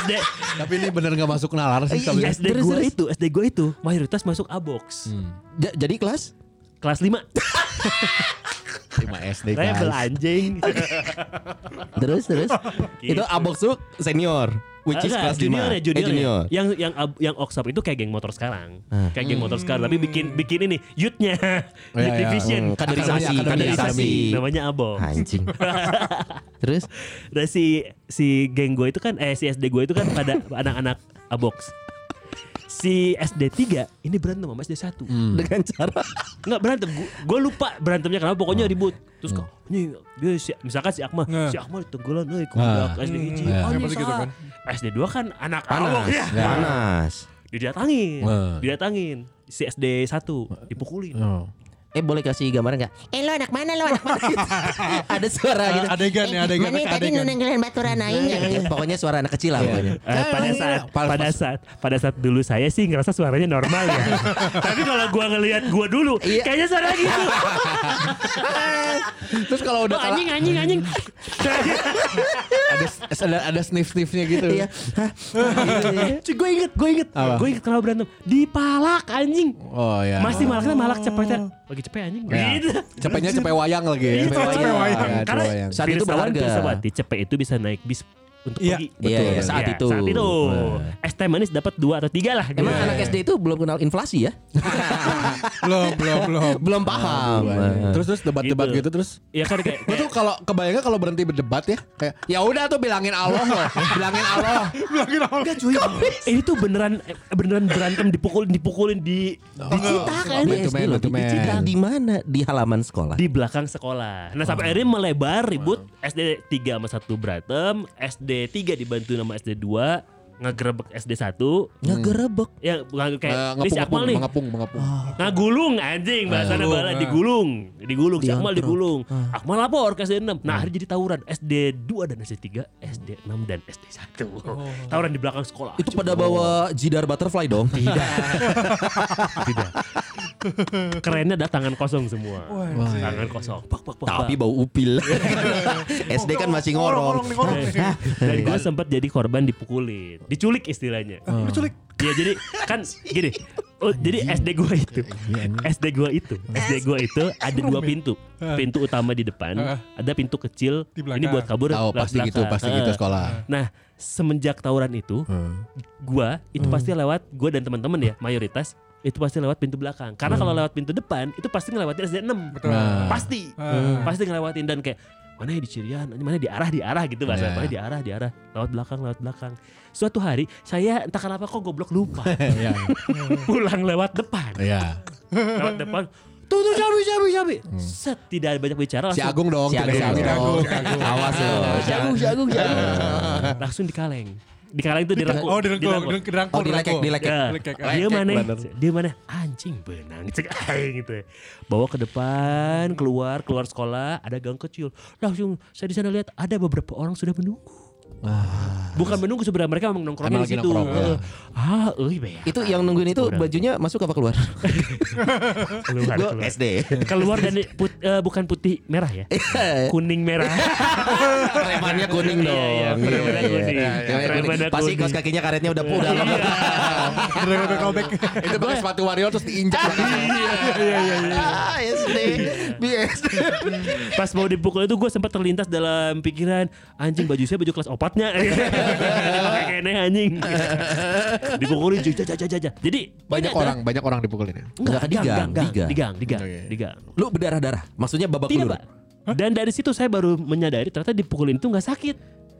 [SPEAKER 1] SD
[SPEAKER 5] Tapi ini bener gak masuk nalar sih.
[SPEAKER 3] Iya,
[SPEAKER 5] kalau
[SPEAKER 3] iya.
[SPEAKER 1] SD
[SPEAKER 3] Terus,
[SPEAKER 1] gua
[SPEAKER 3] terus.
[SPEAKER 1] itu, SD gua itu mayoritas masuk Abox.
[SPEAKER 3] Hmm. Ja- jadi kelas?
[SPEAKER 1] Kelas 5.
[SPEAKER 5] 5 SD
[SPEAKER 1] Saya
[SPEAKER 5] guys.
[SPEAKER 1] belanjing.
[SPEAKER 3] Terus terus. Itu Abox tuh senior, [LAUGHS] which is
[SPEAKER 1] Enggak,
[SPEAKER 3] kelas 5.
[SPEAKER 1] junior ya, junior,
[SPEAKER 3] eh,
[SPEAKER 1] ya.
[SPEAKER 3] junior. Ah.
[SPEAKER 1] Yang yang ab- yang Oxfam itu kayak geng motor sekarang. Kayak geng motor sekarang tapi bikin bikin ini youth-nya.
[SPEAKER 3] Oh,
[SPEAKER 1] [LAUGHS]
[SPEAKER 3] iya,
[SPEAKER 5] ya,
[SPEAKER 1] youth
[SPEAKER 5] ya.
[SPEAKER 1] division.
[SPEAKER 5] Hmm,
[SPEAKER 3] Kaderisasi,
[SPEAKER 5] Akademi, akademi,
[SPEAKER 3] kaderisasi.
[SPEAKER 1] Namanya Abox. [LAUGHS]
[SPEAKER 3] Anjing. terus
[SPEAKER 1] Dan si si geng gue itu kan eh si SD gue itu kan pada [LAUGHS] anak-anak Abox. Si SD 3 ini berantem sama SD 1.
[SPEAKER 3] dengan cara
[SPEAKER 1] Enggak berantem, gue lupa berantemnya kenapa pokoknya
[SPEAKER 5] Hmm.
[SPEAKER 1] ribut. Terus kok ini dia si, misalkan si Akmal,
[SPEAKER 2] Nah.
[SPEAKER 1] si Akmal "Eh, ditenggelan, "Euy, kudak
[SPEAKER 5] Nah.
[SPEAKER 1] SD hiji."
[SPEAKER 3] Iya.
[SPEAKER 5] Nah.
[SPEAKER 1] Oh, ini
[SPEAKER 2] Seperti gitu
[SPEAKER 1] salah.
[SPEAKER 2] kan.
[SPEAKER 1] SD 2 kan anak
[SPEAKER 3] panas,
[SPEAKER 1] awok ya.
[SPEAKER 5] Iya.
[SPEAKER 3] panas.
[SPEAKER 1] Didatangin.
[SPEAKER 5] Nah.
[SPEAKER 1] Didatangin. Si SD 1 dipukulin.
[SPEAKER 5] Oh.
[SPEAKER 3] Eh boleh kasih gambaran
[SPEAKER 1] [LAUGHS]
[SPEAKER 3] nggak? Eh lo anak mana lo anak mana? Gitu. Ada suara gitu.
[SPEAKER 2] [LAUGHS] adegan ya, adegan,
[SPEAKER 3] Mana
[SPEAKER 2] pakai
[SPEAKER 3] tadi
[SPEAKER 2] adegan. Iya.
[SPEAKER 3] nunenggelan baturan aing nggak? Eh, Pokoknya suara anak kecil lah pokoknya.
[SPEAKER 1] Eh,
[SPEAKER 5] Nah,
[SPEAKER 1] pada
[SPEAKER 5] ya.
[SPEAKER 1] saat pada saat pada saat dulu saya sih ngerasa suaranya normal
[SPEAKER 5] [LAUGHS]
[SPEAKER 1] ya. Tapi kalau gua ngelihat gua dulu,
[SPEAKER 3] Iya.
[SPEAKER 1] kayaknya suara
[SPEAKER 5] [LAUGHS]
[SPEAKER 1] gitu.
[SPEAKER 5] Terus kalau udah
[SPEAKER 1] Oh,
[SPEAKER 5] kalah
[SPEAKER 1] anjing anjing anjing.
[SPEAKER 5] ada ada, ada sniff-sniffnya gitu.
[SPEAKER 3] Iya.
[SPEAKER 1] [LAUGHS]
[SPEAKER 3] Hah?
[SPEAKER 1] Cuy, gue inget, gue inget,
[SPEAKER 5] Apa?
[SPEAKER 1] gue inget kalau berantem dipalak anjing.
[SPEAKER 5] Oh ya.
[SPEAKER 1] Masih malaknya malak cepetnya Bagi cepet anjing
[SPEAKER 5] Ya.
[SPEAKER 1] Gitu
[SPEAKER 5] Cepetnya cepet wayang lagi ya.
[SPEAKER 1] Iya,
[SPEAKER 5] Cepet
[SPEAKER 1] cepet
[SPEAKER 2] wayang.
[SPEAKER 5] Iya, cepet
[SPEAKER 1] Karena
[SPEAKER 5] wayang.
[SPEAKER 3] Saat itu
[SPEAKER 1] Pirsawan,
[SPEAKER 3] berharga.
[SPEAKER 1] Pirsawati, Cepet itu bisa naik bis Untuk
[SPEAKER 2] Iya,
[SPEAKER 1] pergi
[SPEAKER 3] Iya,
[SPEAKER 5] Betul.
[SPEAKER 3] iya, saat
[SPEAKER 1] Iya,
[SPEAKER 3] itu.
[SPEAKER 1] Saat itu
[SPEAKER 3] Nah.
[SPEAKER 1] Es teh manis dapat dua atau tiga lah gitu.
[SPEAKER 3] Emang anak SD itu belum kenal inflasi ya?
[SPEAKER 2] Belum, belum, belum.
[SPEAKER 3] belum paham.
[SPEAKER 5] Terus terus
[SPEAKER 1] Iya,
[SPEAKER 5] debat-debat
[SPEAKER 1] Gitu.
[SPEAKER 5] gitu terus
[SPEAKER 1] Iya kan
[SPEAKER 3] [LAUGHS]
[SPEAKER 1] kayak
[SPEAKER 5] Gue tuh kalau kebayangnya kalau berhenti berdebat ya kayak ya udah tuh bilangin Allah
[SPEAKER 3] [LAUGHS]
[SPEAKER 5] loh, bilangin Allah.
[SPEAKER 2] Bilangin awal.
[SPEAKER 1] Enggak cuy Ini tuh Eh, beneran Beneran berantem Dipukulin Dipukulin di
[SPEAKER 3] Dicita kan
[SPEAKER 5] Man to
[SPEAKER 3] SD
[SPEAKER 5] man,
[SPEAKER 3] loh,
[SPEAKER 5] man to man.
[SPEAKER 3] dicita. di mana? Di halaman sekolah.
[SPEAKER 1] di belakang sekolah. Nah sampai akhirnya melebar ribut SD 3 sama 1 berantem, SD 3 dibantu sama SD 2 ngegerebek SD 1
[SPEAKER 3] Hmm. Ngegerebek.
[SPEAKER 1] ya bukan kayak
[SPEAKER 5] Eh,
[SPEAKER 1] ini si Akmal nih
[SPEAKER 5] mengepung, mengepung.
[SPEAKER 1] Nah gulung anjing bahasanya
[SPEAKER 2] Gulung,
[SPEAKER 1] bala
[SPEAKER 2] ah.
[SPEAKER 1] digulung, digulung si Akmal
[SPEAKER 3] Diantrok.
[SPEAKER 1] digulung.
[SPEAKER 3] Ah.
[SPEAKER 1] Akmal lapor ke SD 6. Nah, akhirnya jadi tawuran SD 2 dan SD 3, SD 6 dan SD 1. Tawuran di belakang sekolah.
[SPEAKER 3] Oh. Itu pada bawa jidar butterfly dong. Tidak.
[SPEAKER 1] Ah, tidak. Kerennya ada tangan kosong semua. Tangan kosong. Pak pak pak.
[SPEAKER 3] Tapi bau [LAUGHS] upil. SD kan masih ngorong.
[SPEAKER 2] Ngorong, ngorong, ngorong.
[SPEAKER 1] pak. Eh, dan gue sempat jadi korban dipukulin, diculik istilahnya.
[SPEAKER 3] Ah.
[SPEAKER 2] Diculik.
[SPEAKER 1] Iya jadi
[SPEAKER 5] [LAUGHS]
[SPEAKER 1] kan gini. Oh, jadi SD gua itu. SD gua itu. SD gua
[SPEAKER 2] [LAUGHS]
[SPEAKER 1] itu ada dua pintu. Pintu utama di depan, ada pintu kecil.
[SPEAKER 2] Di belakang.
[SPEAKER 1] Ini buat kabur
[SPEAKER 5] Tahu
[SPEAKER 1] belak-
[SPEAKER 5] pasti gitu,
[SPEAKER 1] belakang.
[SPEAKER 5] pasti
[SPEAKER 1] Heeh.
[SPEAKER 5] gitu sekolah.
[SPEAKER 1] Nah, semenjak tawuran itu,
[SPEAKER 5] Hmm.
[SPEAKER 1] gua itu pasti lewat gua dan teman-teman ya, mayoritas itu pasti lewat pintu belakang. Karena
[SPEAKER 5] Hmm.
[SPEAKER 1] kalau lewat pintu depan itu pasti ngelewatin SD 6.
[SPEAKER 2] Betul.
[SPEAKER 5] Nah.
[SPEAKER 1] Pasti.
[SPEAKER 2] Hmm.
[SPEAKER 1] Pasti ngelewatin dan kayak mana ya di Cirian, mana di arah di arah gitu bahasa,
[SPEAKER 5] Ya.
[SPEAKER 1] mana di arah di arah, lewat belakang lewat belakang. Suatu hari saya entah
[SPEAKER 2] [LAUGHS]
[SPEAKER 1] kenapa kok goblok lupa
[SPEAKER 5] Iya.
[SPEAKER 1] pulang lewat depan
[SPEAKER 5] Iya.
[SPEAKER 1] lewat depan tuh tuh cabai cabai cabai set tidak banyak bicara
[SPEAKER 5] Hmm. Si
[SPEAKER 1] langsung
[SPEAKER 5] Agung dong.
[SPEAKER 3] Si
[SPEAKER 5] tidak
[SPEAKER 3] Agung,
[SPEAKER 5] salah.
[SPEAKER 3] si Agung. Awas lo.
[SPEAKER 1] jagung jagung jagung
[SPEAKER 5] Nah.
[SPEAKER 1] langsung dikaleng dikaleng itu dirangkul
[SPEAKER 2] Oh direngkul, dirangkul,
[SPEAKER 3] Oh dilekek,
[SPEAKER 2] dirangkul.
[SPEAKER 3] dilekek.
[SPEAKER 1] Ya.
[SPEAKER 2] Lekek.
[SPEAKER 1] dia mana dia mana anjing benang cek [LAUGHS] aing gitu ya. bawa ke depan keluar keluar sekolah ada gang kecil langsung saya di sana lihat ada beberapa orang sudah menunggu bukan menunggu sebenarnya mereka memang nongkrongnya
[SPEAKER 5] Ah. Emang
[SPEAKER 1] di
[SPEAKER 5] lagi
[SPEAKER 1] situ
[SPEAKER 5] nongkrong, ya.
[SPEAKER 1] ah euy beak.
[SPEAKER 3] Itu yang nungguin itu
[SPEAKER 1] Udah.
[SPEAKER 3] bajunya masuk apa keluar?
[SPEAKER 1] keluar
[SPEAKER 3] Gue
[SPEAKER 1] keluar.
[SPEAKER 3] SD.
[SPEAKER 1] keluar dan put- eh, bukan putih merah ya
[SPEAKER 3] Eh.
[SPEAKER 1] kuning merah [LAUGHS]
[SPEAKER 3] Premannya kuning
[SPEAKER 1] Iya,
[SPEAKER 3] dong.
[SPEAKER 1] iya, premannya
[SPEAKER 3] Iya,
[SPEAKER 1] kuning.
[SPEAKER 3] iya, iya.
[SPEAKER 1] Premannya
[SPEAKER 3] Kuning. Iya. Pasti
[SPEAKER 1] kuning.
[SPEAKER 3] kaos kakinya karetnya udah pudar.
[SPEAKER 2] Dirangkul callback.
[SPEAKER 5] Itu pakai sepatu warrior terus
[SPEAKER 1] [LAUGHS]
[SPEAKER 5] diinjak. [LAUGHS]
[SPEAKER 3] Ah, SD. BSD.
[SPEAKER 1] pas mau dipukul itu gue sempat terlintas dalam pikiran anjing baju saya baju kelas opatnya [LAUGHS] Dipakai kene anjing dipukulin cuy jaja jaja jaja. jadi
[SPEAKER 5] Banyak
[SPEAKER 1] ternyata-
[SPEAKER 5] orang, banyak orang dipukulin ya.
[SPEAKER 1] Enggak,
[SPEAKER 3] Enggak, digang,
[SPEAKER 1] digang, digang,
[SPEAKER 3] digang.
[SPEAKER 1] digang, digang, digang.
[SPEAKER 3] Lu berdarah-darah. Maksudnya babak
[SPEAKER 1] Tidak,
[SPEAKER 3] belur.
[SPEAKER 1] Pak. Dan dari situ saya baru menyadari ternyata dipukulin itu nggak sakit.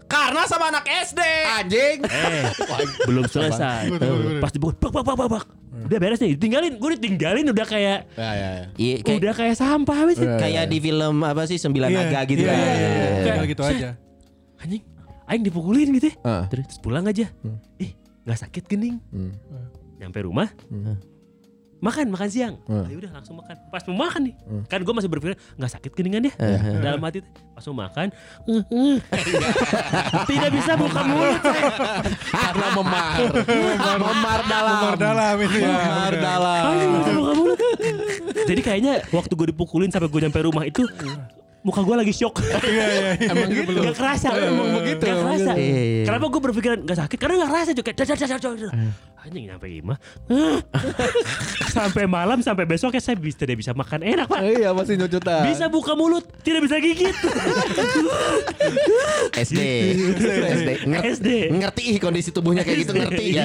[SPEAKER 3] Karena sama anak SD.
[SPEAKER 5] Anjing.
[SPEAKER 1] Eh, belum selesai. Pas dipukul, bak, bak, bak, bak, bak. Udah beres nih, ditinggalin. Gue ditinggalin udah kayak,
[SPEAKER 5] Ya, ya, ya.
[SPEAKER 3] Iya, kayak Iya.
[SPEAKER 1] udah kayak sampah habis. itu.
[SPEAKER 3] kayak di film apa sih Sembilan
[SPEAKER 2] Iya,
[SPEAKER 3] Naga gitu
[SPEAKER 2] iya,
[SPEAKER 3] kan.
[SPEAKER 2] iya, iya, iya.
[SPEAKER 1] Kayak-
[SPEAKER 2] Tinggal gitu aja.
[SPEAKER 1] Anjing, aing dipukulin gitu. ya.
[SPEAKER 5] Heeh.
[SPEAKER 1] Terus terus pulang aja. Ih, nggak sakit gening.
[SPEAKER 5] Hmm.
[SPEAKER 1] Nyampe rumah, makan makan siang
[SPEAKER 5] Hmm.
[SPEAKER 1] ya udah langsung makan pas mau makan nih kan gue masih berpikir nggak sakit keningan ya dalam hati tuh. pas mau makan eh, eh. [LAUGHS] tidak bisa buka mulut
[SPEAKER 5] Karena memar.
[SPEAKER 3] Ah, Memar dalam.
[SPEAKER 2] Umar dalam itu ya.
[SPEAKER 3] Memar
[SPEAKER 2] bener.
[SPEAKER 3] dalam.
[SPEAKER 1] Aduh, buka mulut, buka mulut. jadi kayaknya waktu gue dipukulin sampai gue nyampe rumah itu muka gue lagi shock
[SPEAKER 2] Iya, iya, iya.
[SPEAKER 5] Emang gitu belum.
[SPEAKER 1] Gak kerasa Emang begitu Gak kerasa
[SPEAKER 3] gitu. Iya, iya.
[SPEAKER 1] Kenapa gue berpikiran Gak sakit Karena gak kerasa juga Dar, dar, dar, dar, dar. Anjing nyampe imah [LAUGHS] Sampai malam Sampai besoknya Saya bisa, tidak bisa makan enak pak
[SPEAKER 5] Iya masih nyucutan.
[SPEAKER 1] Bisa buka mulut Tidak bisa
[SPEAKER 3] [LAUGHS]
[SPEAKER 1] gigit
[SPEAKER 3] SD. SD. Ngerti-
[SPEAKER 1] SD
[SPEAKER 3] [LAUGHS] Ngerti ih kondisi tubuhnya kayak gitu ngerti ya.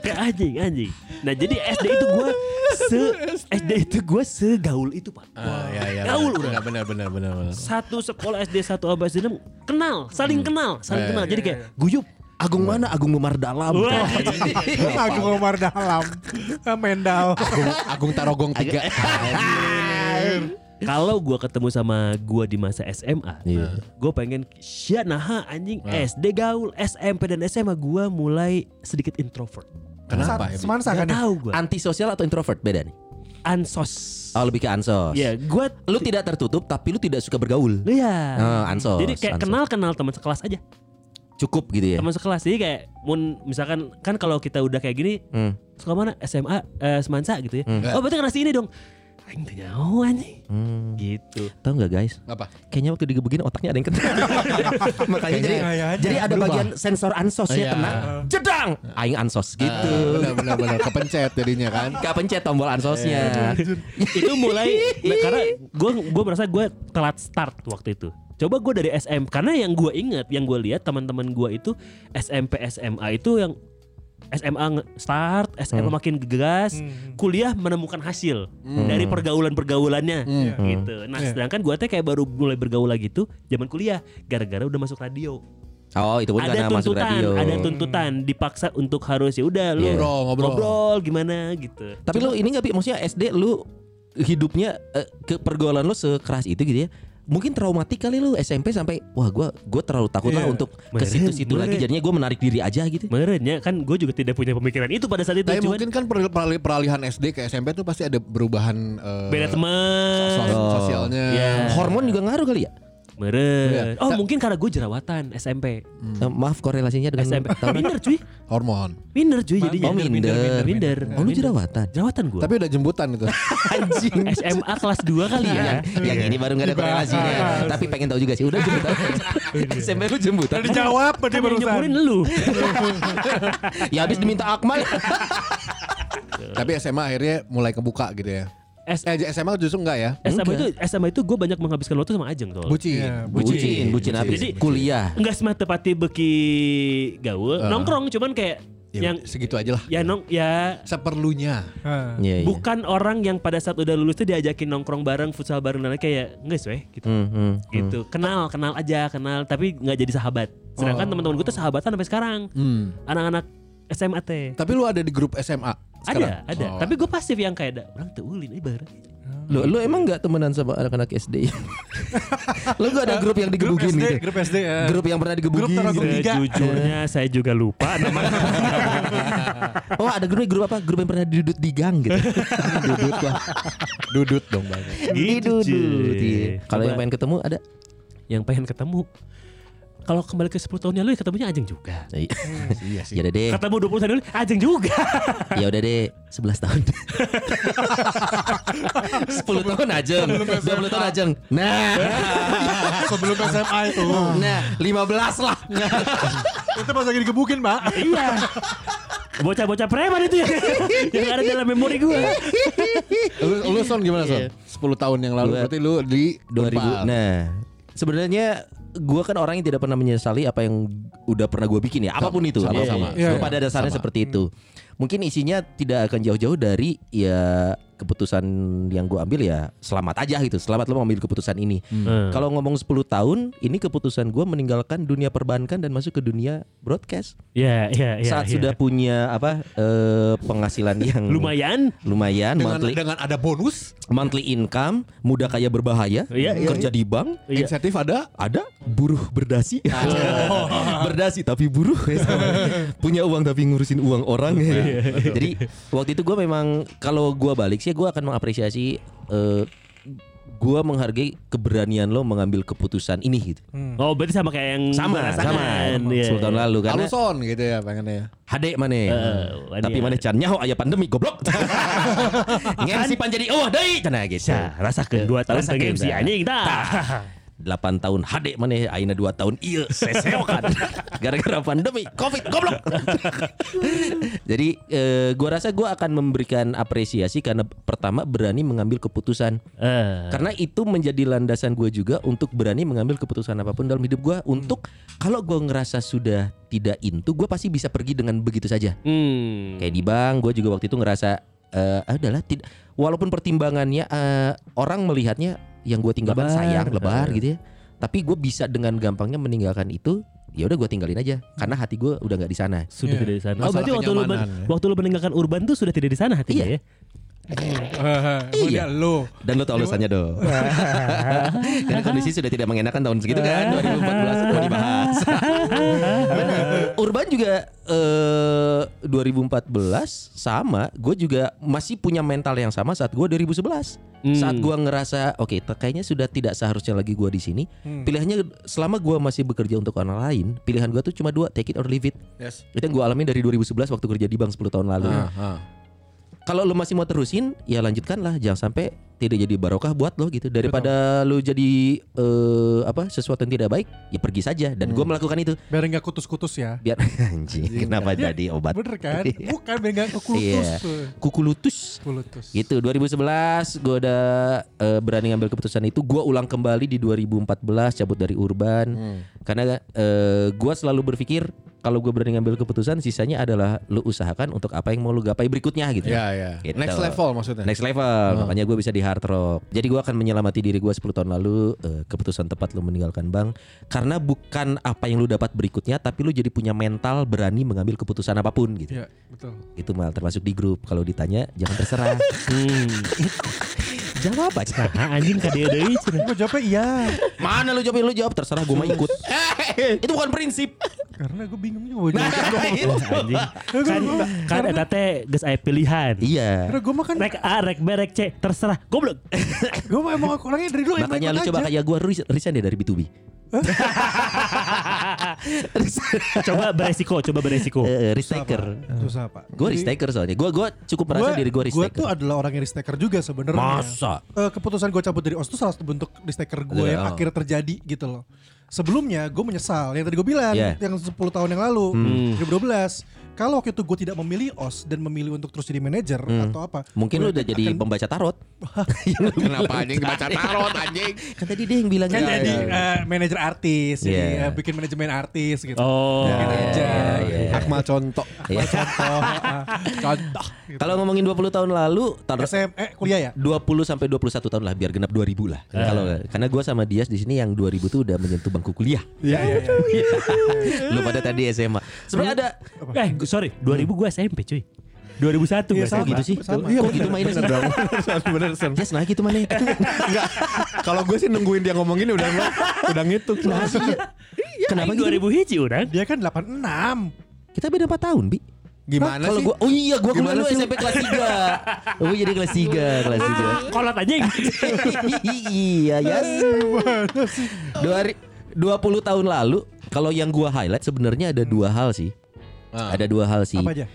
[SPEAKER 1] Kayak Ya, anjing anjing Nah jadi SD itu gue se
[SPEAKER 3] [LAUGHS]
[SPEAKER 1] SD itu gue segaul itu pak
[SPEAKER 5] Ah, ya, ya,
[SPEAKER 1] Gaul
[SPEAKER 5] benar,
[SPEAKER 1] udah
[SPEAKER 5] benar, benar, benar, benar.
[SPEAKER 1] Satu sekolah SD Satu abad SD enam, Kenal Saling
[SPEAKER 3] Hmm.
[SPEAKER 1] kenal Saling kenal Jadi
[SPEAKER 3] Eh.
[SPEAKER 1] kayak guyup
[SPEAKER 3] Agung mana? Agung Memar dalam.
[SPEAKER 1] Wah.
[SPEAKER 2] Agung Umar dalam. Ah, Mendal.
[SPEAKER 5] Agung, Agung Tarogong 3.
[SPEAKER 1] [LAUGHS] [LAUGHS] Kalau gue ketemu sama gue di masa SMA
[SPEAKER 3] Iya.
[SPEAKER 1] Gue pengen Sia naha anjing
[SPEAKER 3] Nah.
[SPEAKER 1] SD gaul SMP dan SMA gue mulai sedikit introvert
[SPEAKER 5] Kenapa ya?
[SPEAKER 2] Semansa kan
[SPEAKER 1] Gak
[SPEAKER 2] ya?
[SPEAKER 1] tau gue
[SPEAKER 3] Antisosial atau introvert beda nih?
[SPEAKER 1] Ansos
[SPEAKER 3] Oh lebih ke ansos.
[SPEAKER 1] Ya gue
[SPEAKER 3] Lu tidak tertutup tapi lu tidak suka bergaul.
[SPEAKER 1] Iya
[SPEAKER 3] Oh, ansos.
[SPEAKER 1] Jadi kayak
[SPEAKER 3] ansos.
[SPEAKER 1] kenal-kenal teman sekelas aja
[SPEAKER 3] Cukup gitu ya.
[SPEAKER 1] teman sekelas jadi kayak mun misalkan kan kalau kita udah kayak gini
[SPEAKER 3] Hmm.
[SPEAKER 1] suka mana SMA eh, semansa gitu ya oh berarti kena si ini dong Aing tanya oh anjing
[SPEAKER 3] Hmm.
[SPEAKER 1] gitu
[SPEAKER 3] Tahu nggak guys?
[SPEAKER 5] Apa?
[SPEAKER 3] Kayaknya waktu digebukin otaknya ada yang kena. Makanya jadi,
[SPEAKER 2] Kayaknya.
[SPEAKER 3] jadi ada
[SPEAKER 5] Berubah.
[SPEAKER 3] bagian sensor ansosnya
[SPEAKER 5] Iya.
[SPEAKER 3] kena. Jedang. Aing ansos gitu.
[SPEAKER 5] Ah, benar, benar, benar. Kepencet jadinya kan.
[SPEAKER 3] Kepencet tombol ansosnya.
[SPEAKER 1] itu mulai nah, karena gue gue merasa gue telat start waktu itu coba gue dari SM karena yang gue inget yang gue lihat teman-teman gue itu SMP SMA itu yang SMA nge- start SMA
[SPEAKER 3] Hmm.
[SPEAKER 1] makin gegas
[SPEAKER 2] Hmm,
[SPEAKER 1] kuliah menemukan hasil dari pergaulan-pergaulannya
[SPEAKER 5] Hmm.
[SPEAKER 3] Hmm.
[SPEAKER 1] gitu nah
[SPEAKER 2] Iya.
[SPEAKER 1] sedangkan gue teh kayak baru mulai bergaul lagi tuh zaman kuliah gara-gara udah masuk radio
[SPEAKER 3] Oh itu pun
[SPEAKER 1] ada
[SPEAKER 3] karena masuk
[SPEAKER 1] tuntutan
[SPEAKER 3] radio.
[SPEAKER 1] ada tuntutan dipaksa untuk harus ya udah lu
[SPEAKER 3] Iya.
[SPEAKER 5] Ngobrol, ngobrol.
[SPEAKER 1] ngobrol gimana gitu
[SPEAKER 3] Tapi lu ini nggak Bi? maksudnya SD lu hidupnya eh, ke pergaulan lu sekeras itu gitu ya. Mungkin traumatik kali lu SMP sampai wah gua gua terlalu takut lah
[SPEAKER 2] Iya.
[SPEAKER 3] untuk ke
[SPEAKER 1] Meren,
[SPEAKER 3] situ-situ lagi
[SPEAKER 1] meren.
[SPEAKER 3] jadinya gua menarik diri aja gitu.
[SPEAKER 1] Meren ya kan gue juga tidak punya pemikiran itu pada saat itu Iya,
[SPEAKER 5] Tapi
[SPEAKER 1] cuman
[SPEAKER 5] mungkin kan perali- perali- peralihan SD ke SMP tuh pasti ada perubahan eh,
[SPEAKER 1] beda teman
[SPEAKER 5] sos-
[SPEAKER 3] Oh.
[SPEAKER 5] sosialnya.
[SPEAKER 1] Iya.
[SPEAKER 3] Hormon juga ngaruh kali ya?
[SPEAKER 5] Iya.
[SPEAKER 1] meren oh
[SPEAKER 5] Ta-
[SPEAKER 1] mungkin karena gue jerawatan SMP
[SPEAKER 3] Eh, maaf korelasinya dengan
[SPEAKER 1] SMP
[SPEAKER 3] tahun-
[SPEAKER 1] minder cuy
[SPEAKER 5] Hormon.
[SPEAKER 1] minder cuy jadinya
[SPEAKER 3] Oh minder.
[SPEAKER 1] minder minder
[SPEAKER 3] Oh lu jerawatan.
[SPEAKER 1] jerawatan gue
[SPEAKER 5] Tapi udah jembutan itu.
[SPEAKER 3] Anjing.
[SPEAKER 1] SMA kelas 2 kali ya
[SPEAKER 3] Iya. Yang ini baru gak ada korelasinya.
[SPEAKER 2] Dibahas.
[SPEAKER 3] Tapi pengen tahu juga sih. Udah jemputan. SMP lu jemputan.
[SPEAKER 2] Udah dijawab
[SPEAKER 1] kan
[SPEAKER 2] dia
[SPEAKER 1] yang
[SPEAKER 2] barusan.
[SPEAKER 1] nyemburin
[SPEAKER 3] [LAUGHS]
[SPEAKER 1] lu
[SPEAKER 3] Ya habis diminta Akmal.
[SPEAKER 5] Tapi SMA akhirnya mulai kebuka gitu ya.
[SPEAKER 1] S-
[SPEAKER 5] Eh SMA justru enggak ya?
[SPEAKER 1] SMA itu SMA itu gue banyak menghabiskan waktu sama Ajeng soalnya
[SPEAKER 5] Bucin.
[SPEAKER 2] Iya,
[SPEAKER 3] Bucin, bucin habis.
[SPEAKER 1] Jadi-
[SPEAKER 3] Kuliah.
[SPEAKER 1] Enggak semata pati beki gaul nongkrong cuman kayak
[SPEAKER 5] Ya,
[SPEAKER 1] yang
[SPEAKER 5] segitu aja lah.
[SPEAKER 1] ya nong
[SPEAKER 5] Iya,
[SPEAKER 1] ya
[SPEAKER 5] Seperlunya.
[SPEAKER 2] Ah.
[SPEAKER 3] Iya, iya.
[SPEAKER 1] bukan orang yang pada saat udah lulus tuh diajakin nongkrong bareng futsal bareng dan lain-lain, kayak enggak sih gitu
[SPEAKER 3] Hmm, hmm.
[SPEAKER 1] gitu kenal kenal aja kenal tapi nggak jadi sahabat sedangkan teman-teman gue tuh sahabatan sampai sekarang
[SPEAKER 5] Oh. Hmm.
[SPEAKER 1] anak-anak SMA teh
[SPEAKER 5] Tapi lu ada di grup SMA
[SPEAKER 1] ada
[SPEAKER 5] sekarang?
[SPEAKER 1] ada
[SPEAKER 5] Oh. [LAUGHS] Iya,
[SPEAKER 1] tapi gue pasif yang kayak ada orang tuh ulin eh bareng
[SPEAKER 3] Lu lu emang nggak temenan sama anak-anak [LAUGHS] SD? lu gak ada grup yang
[SPEAKER 2] Grup
[SPEAKER 3] digebukin
[SPEAKER 2] SD,
[SPEAKER 3] gitu?
[SPEAKER 2] grup SD. eh.
[SPEAKER 3] Grup yang pernah
[SPEAKER 2] Grup
[SPEAKER 3] digebukin
[SPEAKER 2] taruh
[SPEAKER 3] gitu.
[SPEAKER 2] Tiga.
[SPEAKER 1] Sejujurnya [LAUGHS] saya juga lupa namanya.
[SPEAKER 3] Oh ada grup grup apa? Grup yang pernah didudut di gang gitu. dudut lah.
[SPEAKER 5] Dudut dong banget.
[SPEAKER 1] Gitu,
[SPEAKER 3] Didudut.
[SPEAKER 1] cuy.
[SPEAKER 3] iya. Kalau
[SPEAKER 1] Coba
[SPEAKER 3] yang pengen ketemu ada?
[SPEAKER 1] yang pengen ketemu. Kalau kembali ke 10 tahun yang lalu ya ketemunya Ajeng juga.
[SPEAKER 5] Iya sih.
[SPEAKER 3] [LAUGHS] Ya udah deh.
[SPEAKER 1] Ketemu 20 tahun yang lalu Ajeng juga.
[SPEAKER 3] Ya udah deh. 11 tahun. 10 tahun aja. 20 tahun aja. Nah.
[SPEAKER 2] Sebelum SMA
[SPEAKER 3] [LAUGHS]
[SPEAKER 2] itu.
[SPEAKER 3] Nah, 15 lah.
[SPEAKER 2] itu pas lagi digebukin, Pak.
[SPEAKER 1] iya. Bocah-bocah preman [LAUGHS] itu ya. yang ada dalam memori gue.
[SPEAKER 5] Lu, lu son gimana son? 10 tahun yang lalu
[SPEAKER 3] Gua-
[SPEAKER 5] berarti lu di
[SPEAKER 3] 2000. Nah, sebenarnya gua kan orang yang tidak pernah menyesali apa yang udah pernah gua bikin ya, apapun itu.
[SPEAKER 5] sama,
[SPEAKER 3] Iya,
[SPEAKER 5] sama.
[SPEAKER 3] iya,
[SPEAKER 2] Iya,
[SPEAKER 3] iya. Pada dasarnya
[SPEAKER 5] sama.
[SPEAKER 3] seperti itu. Mungkin isinya tidak akan jauh-jauh dari ya keputusan yang gua ambil ya selamat aja gitu. Selamat lo mengambil keputusan ini. Kalau ngomong 10 tahun, ini keputusan gua meninggalkan dunia perbankan dan masuk ke dunia broadcast.
[SPEAKER 1] ya, ya, ya.
[SPEAKER 3] Saat
[SPEAKER 1] ya.
[SPEAKER 3] sudah punya apa eh, penghasilan yang
[SPEAKER 1] lumayan
[SPEAKER 3] lumayan
[SPEAKER 5] dengan,
[SPEAKER 3] monthly
[SPEAKER 5] dengan ada bonus,
[SPEAKER 3] monthly income, muda kaya berbahaya,
[SPEAKER 1] Iya, iya,
[SPEAKER 3] kerja di bank,
[SPEAKER 1] Iya. Oh.
[SPEAKER 5] insentif ada
[SPEAKER 3] ada buruh berdasi [LAUGHS] berdasi tapi buruh [LAUGHS] ya sama. punya uang tapi ngurusin uang orang ya.
[SPEAKER 1] Iya.
[SPEAKER 3] jadi waktu itu gue memang kalau gue balik sih gue akan mengapresiasi eh, gue menghargai keberanian lo mengambil keputusan ini gitu
[SPEAKER 1] Oh berarti sama kayak yang
[SPEAKER 3] sama
[SPEAKER 1] balasangan.
[SPEAKER 3] sama
[SPEAKER 1] Iya,
[SPEAKER 3] 10 tahun
[SPEAKER 1] iya.
[SPEAKER 3] lalu
[SPEAKER 5] Kalau
[SPEAKER 3] karena
[SPEAKER 5] son gitu ya pengennya.
[SPEAKER 3] Hade mana Hmm.
[SPEAKER 1] waduh.
[SPEAKER 3] Tapi mana can nyaho aya pandemi goblok Ngemsi pan jadi oh deui cenah geus
[SPEAKER 1] Sa, rasa ke dua tahun
[SPEAKER 3] Rasa
[SPEAKER 1] pengen
[SPEAKER 3] ke-
[SPEAKER 1] si anjing dah.
[SPEAKER 3] 8 tahun HD mana aina 2 tahun iya seseokan gara-gara pandemi covid goblok [LAUGHS] jadi eh, gua rasa gua akan memberikan apresiasi karena pertama berani mengambil keputusan
[SPEAKER 1] [LAUGHS] Eh,
[SPEAKER 3] karena itu menjadi landasan gue juga untuk berani mengambil keputusan apapun dalam hidup gue untuk kalau gue ngerasa sudah tidak into gue pasti bisa pergi dengan begitu saja
[SPEAKER 1] Hmm.
[SPEAKER 3] kayak di bank gue juga waktu itu ngerasa eh adalah tidak walaupun pertimbangannya eh, orang melihatnya yang gue tinggalkan
[SPEAKER 1] Lebar.
[SPEAKER 3] sayang lebar gitu ya tapi gue bisa dengan gampangnya meninggalkan itu ya udah gue tinggalin aja karena hati gue udah nggak di sana
[SPEAKER 1] sudah
[SPEAKER 2] Iya.
[SPEAKER 1] tidak di sana. Oh,
[SPEAKER 5] Masalah
[SPEAKER 1] berarti waktu lu, men-
[SPEAKER 5] kenyamanan, ya.
[SPEAKER 1] waktu lu meninggalkan urban tuh sudah tidak di sana hatinya
[SPEAKER 3] Iya.
[SPEAKER 1] ya.
[SPEAKER 2] Iya. Lo.
[SPEAKER 3] dan lo tau alasannya dong karena kondisi sudah tidak mengenakan tahun segitu kan 2014 mau dibahas Benar. Urban juga eh, 2014 sama gue juga masih punya mental yang sama saat gue 2011
[SPEAKER 1] Hmm.
[SPEAKER 3] saat gue ngerasa oke te- kayaknya sudah tidak seharusnya lagi gue di sini pilihannya selama gue masih bekerja untuk orang lain pilihan gue tuh cuma dua take it or leave it
[SPEAKER 5] Yes.
[SPEAKER 3] itu yang gue alami dari 2011 waktu kerja di bank 10 tahun lalu
[SPEAKER 5] Ah.
[SPEAKER 3] kalau lu masih mau terusin ya lanjutkanlah jangan sampai tidak jadi barokah buat lo gitu daripada lu jadi eh, apa sesuatu yang tidak baik ya pergi saja dan gua melakukan itu
[SPEAKER 2] Biar nggak kutus-kutus ya.
[SPEAKER 3] biar [LAUGHS] anjing kenapa jadi obat
[SPEAKER 2] Bener kan?
[SPEAKER 3] [LAUGHS] Iya.
[SPEAKER 2] Bukan biar nggak kutus.
[SPEAKER 3] Iya. kukulutus
[SPEAKER 2] Kutus.
[SPEAKER 3] gitu 2011 gua udah eh, berani ngambil keputusan itu gua ulang kembali di 2014 cabut dari urban
[SPEAKER 5] Hmm.
[SPEAKER 3] karena eh, gua selalu berpikir kalau gue berani ngambil keputusan sisanya adalah lu usahakan untuk apa yang mau lu gapai berikutnya gitu
[SPEAKER 5] Ya ya.
[SPEAKER 3] Gitu.
[SPEAKER 5] Next level
[SPEAKER 2] Nah.
[SPEAKER 5] maksudnya. [LAUGHS]
[SPEAKER 3] Next level,
[SPEAKER 2] Ah.
[SPEAKER 3] makanya gue bisa di hard rock. Jadi gue akan menyelamati diri gue 10 tahun lalu eh, keputusan tepat lu meninggalkan bank karena bukan apa yang lu dapat berikutnya tapi lu jadi punya mental berani mengambil keputusan apapun gitu.
[SPEAKER 2] Iya, betul.
[SPEAKER 3] Itu mal termasuk di grup kalau ditanya jangan
[SPEAKER 2] [LAUGHS]
[SPEAKER 3] terserah.
[SPEAKER 1] Hmm.
[SPEAKER 3] Jawab aja.
[SPEAKER 1] Nah, anjing kadeu deui cenah.
[SPEAKER 2] Gue jawabnya iya.
[SPEAKER 3] Mana lu jawab lu jawab terserah gue mau
[SPEAKER 2] [LAUGHS]
[SPEAKER 3] ikut. Eh, itu bukan prinsip.
[SPEAKER 2] Karena gue bingung juga. gua
[SPEAKER 3] Nah,
[SPEAKER 2] jawab.
[SPEAKER 3] itu.
[SPEAKER 1] Anjing. Kan kan eta teh geus aya pilihan.
[SPEAKER 3] Iya.
[SPEAKER 2] Karena gue mah kan,
[SPEAKER 1] Rek A, rek B, rek C, terserah. Goblok. [LAUGHS]
[SPEAKER 2] gue mah emang orangnya dari dulu
[SPEAKER 3] Makanya lu
[SPEAKER 2] ikut-ikut
[SPEAKER 3] coba
[SPEAKER 2] aja.
[SPEAKER 3] kayak gue resign deh dari B2B.
[SPEAKER 2] [LAUGHS]
[SPEAKER 1] coba beresiko, coba
[SPEAKER 2] Oh,
[SPEAKER 1] beresiko.
[SPEAKER 3] Eh, risk taker.
[SPEAKER 2] Susah pak.
[SPEAKER 3] Gue risk taker soalnya. Gue gua cukup merasa diri gue risk
[SPEAKER 2] Gue
[SPEAKER 3] taker.
[SPEAKER 2] tuh adalah orang yang risk taker juga sebenarnya.
[SPEAKER 3] Masa?
[SPEAKER 2] Eh, keputusan gue cabut dari OS itu salah satu bentuk risk taker gue yang
[SPEAKER 3] Iya, oh.
[SPEAKER 2] akhirnya terjadi gitu loh. Sebelumnya gue menyesal yang tadi gue bilang
[SPEAKER 3] Iya. Hmm.
[SPEAKER 2] yang 10 tahun yang lalu 2012. Kalau waktu itu gue tidak memilih OS dan memilih untuk terus jadi manajer atau apa?
[SPEAKER 3] Hmm. Mungkin lu
[SPEAKER 2] gua
[SPEAKER 3] udah jadi pembaca tarot.
[SPEAKER 5] Kenapa anjing dibaca tarot anjing?
[SPEAKER 3] Kan tadi dia yang bilang
[SPEAKER 5] Iya,
[SPEAKER 2] kan
[SPEAKER 3] gitu.
[SPEAKER 2] jadi eh, manajer artis, jadi
[SPEAKER 3] Iya.
[SPEAKER 2] eh, bikin manajemen artis gitu.
[SPEAKER 1] Oh.
[SPEAKER 2] Bikin
[SPEAKER 5] Ya,
[SPEAKER 2] aja. gitu.
[SPEAKER 3] iya.
[SPEAKER 5] Akmal contoh.
[SPEAKER 3] Iya.
[SPEAKER 2] Contoh, eh, contoh. gitu.
[SPEAKER 3] Kalau ngomongin 20 tahun lalu, tahun
[SPEAKER 2] SM, eh kuliah ya?
[SPEAKER 3] 20 sampai 21 tahun lah biar genap 2000 lah.
[SPEAKER 5] Iya.
[SPEAKER 3] Kalau karena gua sama Dias di sini yang 2000 tuh udah menyentuh bangku
[SPEAKER 5] [LAUGHS]
[SPEAKER 3] kuliah.
[SPEAKER 2] Iya, iya, iya.
[SPEAKER 3] Lu pada tadi SMA. Sebenarnya ada
[SPEAKER 1] Eh, gu- sorry, 2000 gue SMP cuy. 2001
[SPEAKER 2] Iya,
[SPEAKER 1] nggak sih?
[SPEAKER 2] sama.
[SPEAKER 1] gitu sih.
[SPEAKER 2] Sama.
[SPEAKER 3] Iya, kok gitu mainnya sih?
[SPEAKER 5] [LAUGHS] bener Sam.
[SPEAKER 3] Yes, nah gitu mana?
[SPEAKER 5] [LAUGHS] Enggak. Kalau gue sih nungguin dia ngomong gini udah udah ngitung.
[SPEAKER 1] Kenapa
[SPEAKER 3] Kenapa gitu?
[SPEAKER 1] 2000 hiji udah?
[SPEAKER 2] Dia kan 86.
[SPEAKER 3] Kita beda 4 tahun, Bi.
[SPEAKER 5] Gimana
[SPEAKER 3] Kalau
[SPEAKER 5] sih?
[SPEAKER 3] gua oh iya gua kuliah
[SPEAKER 5] Gimana
[SPEAKER 3] lu
[SPEAKER 5] sih? Ah.
[SPEAKER 3] SMP kelas 3. Gua jadi kelas 3, kelas
[SPEAKER 1] Kolot aja. gitu.
[SPEAKER 3] 3. iya, yes. Dua hari- 20 tahun lalu kalau yang gua highlight sebenarnya ada dua hal sih.
[SPEAKER 5] Ah.
[SPEAKER 3] Ada dua hal sih.
[SPEAKER 2] Apa aja?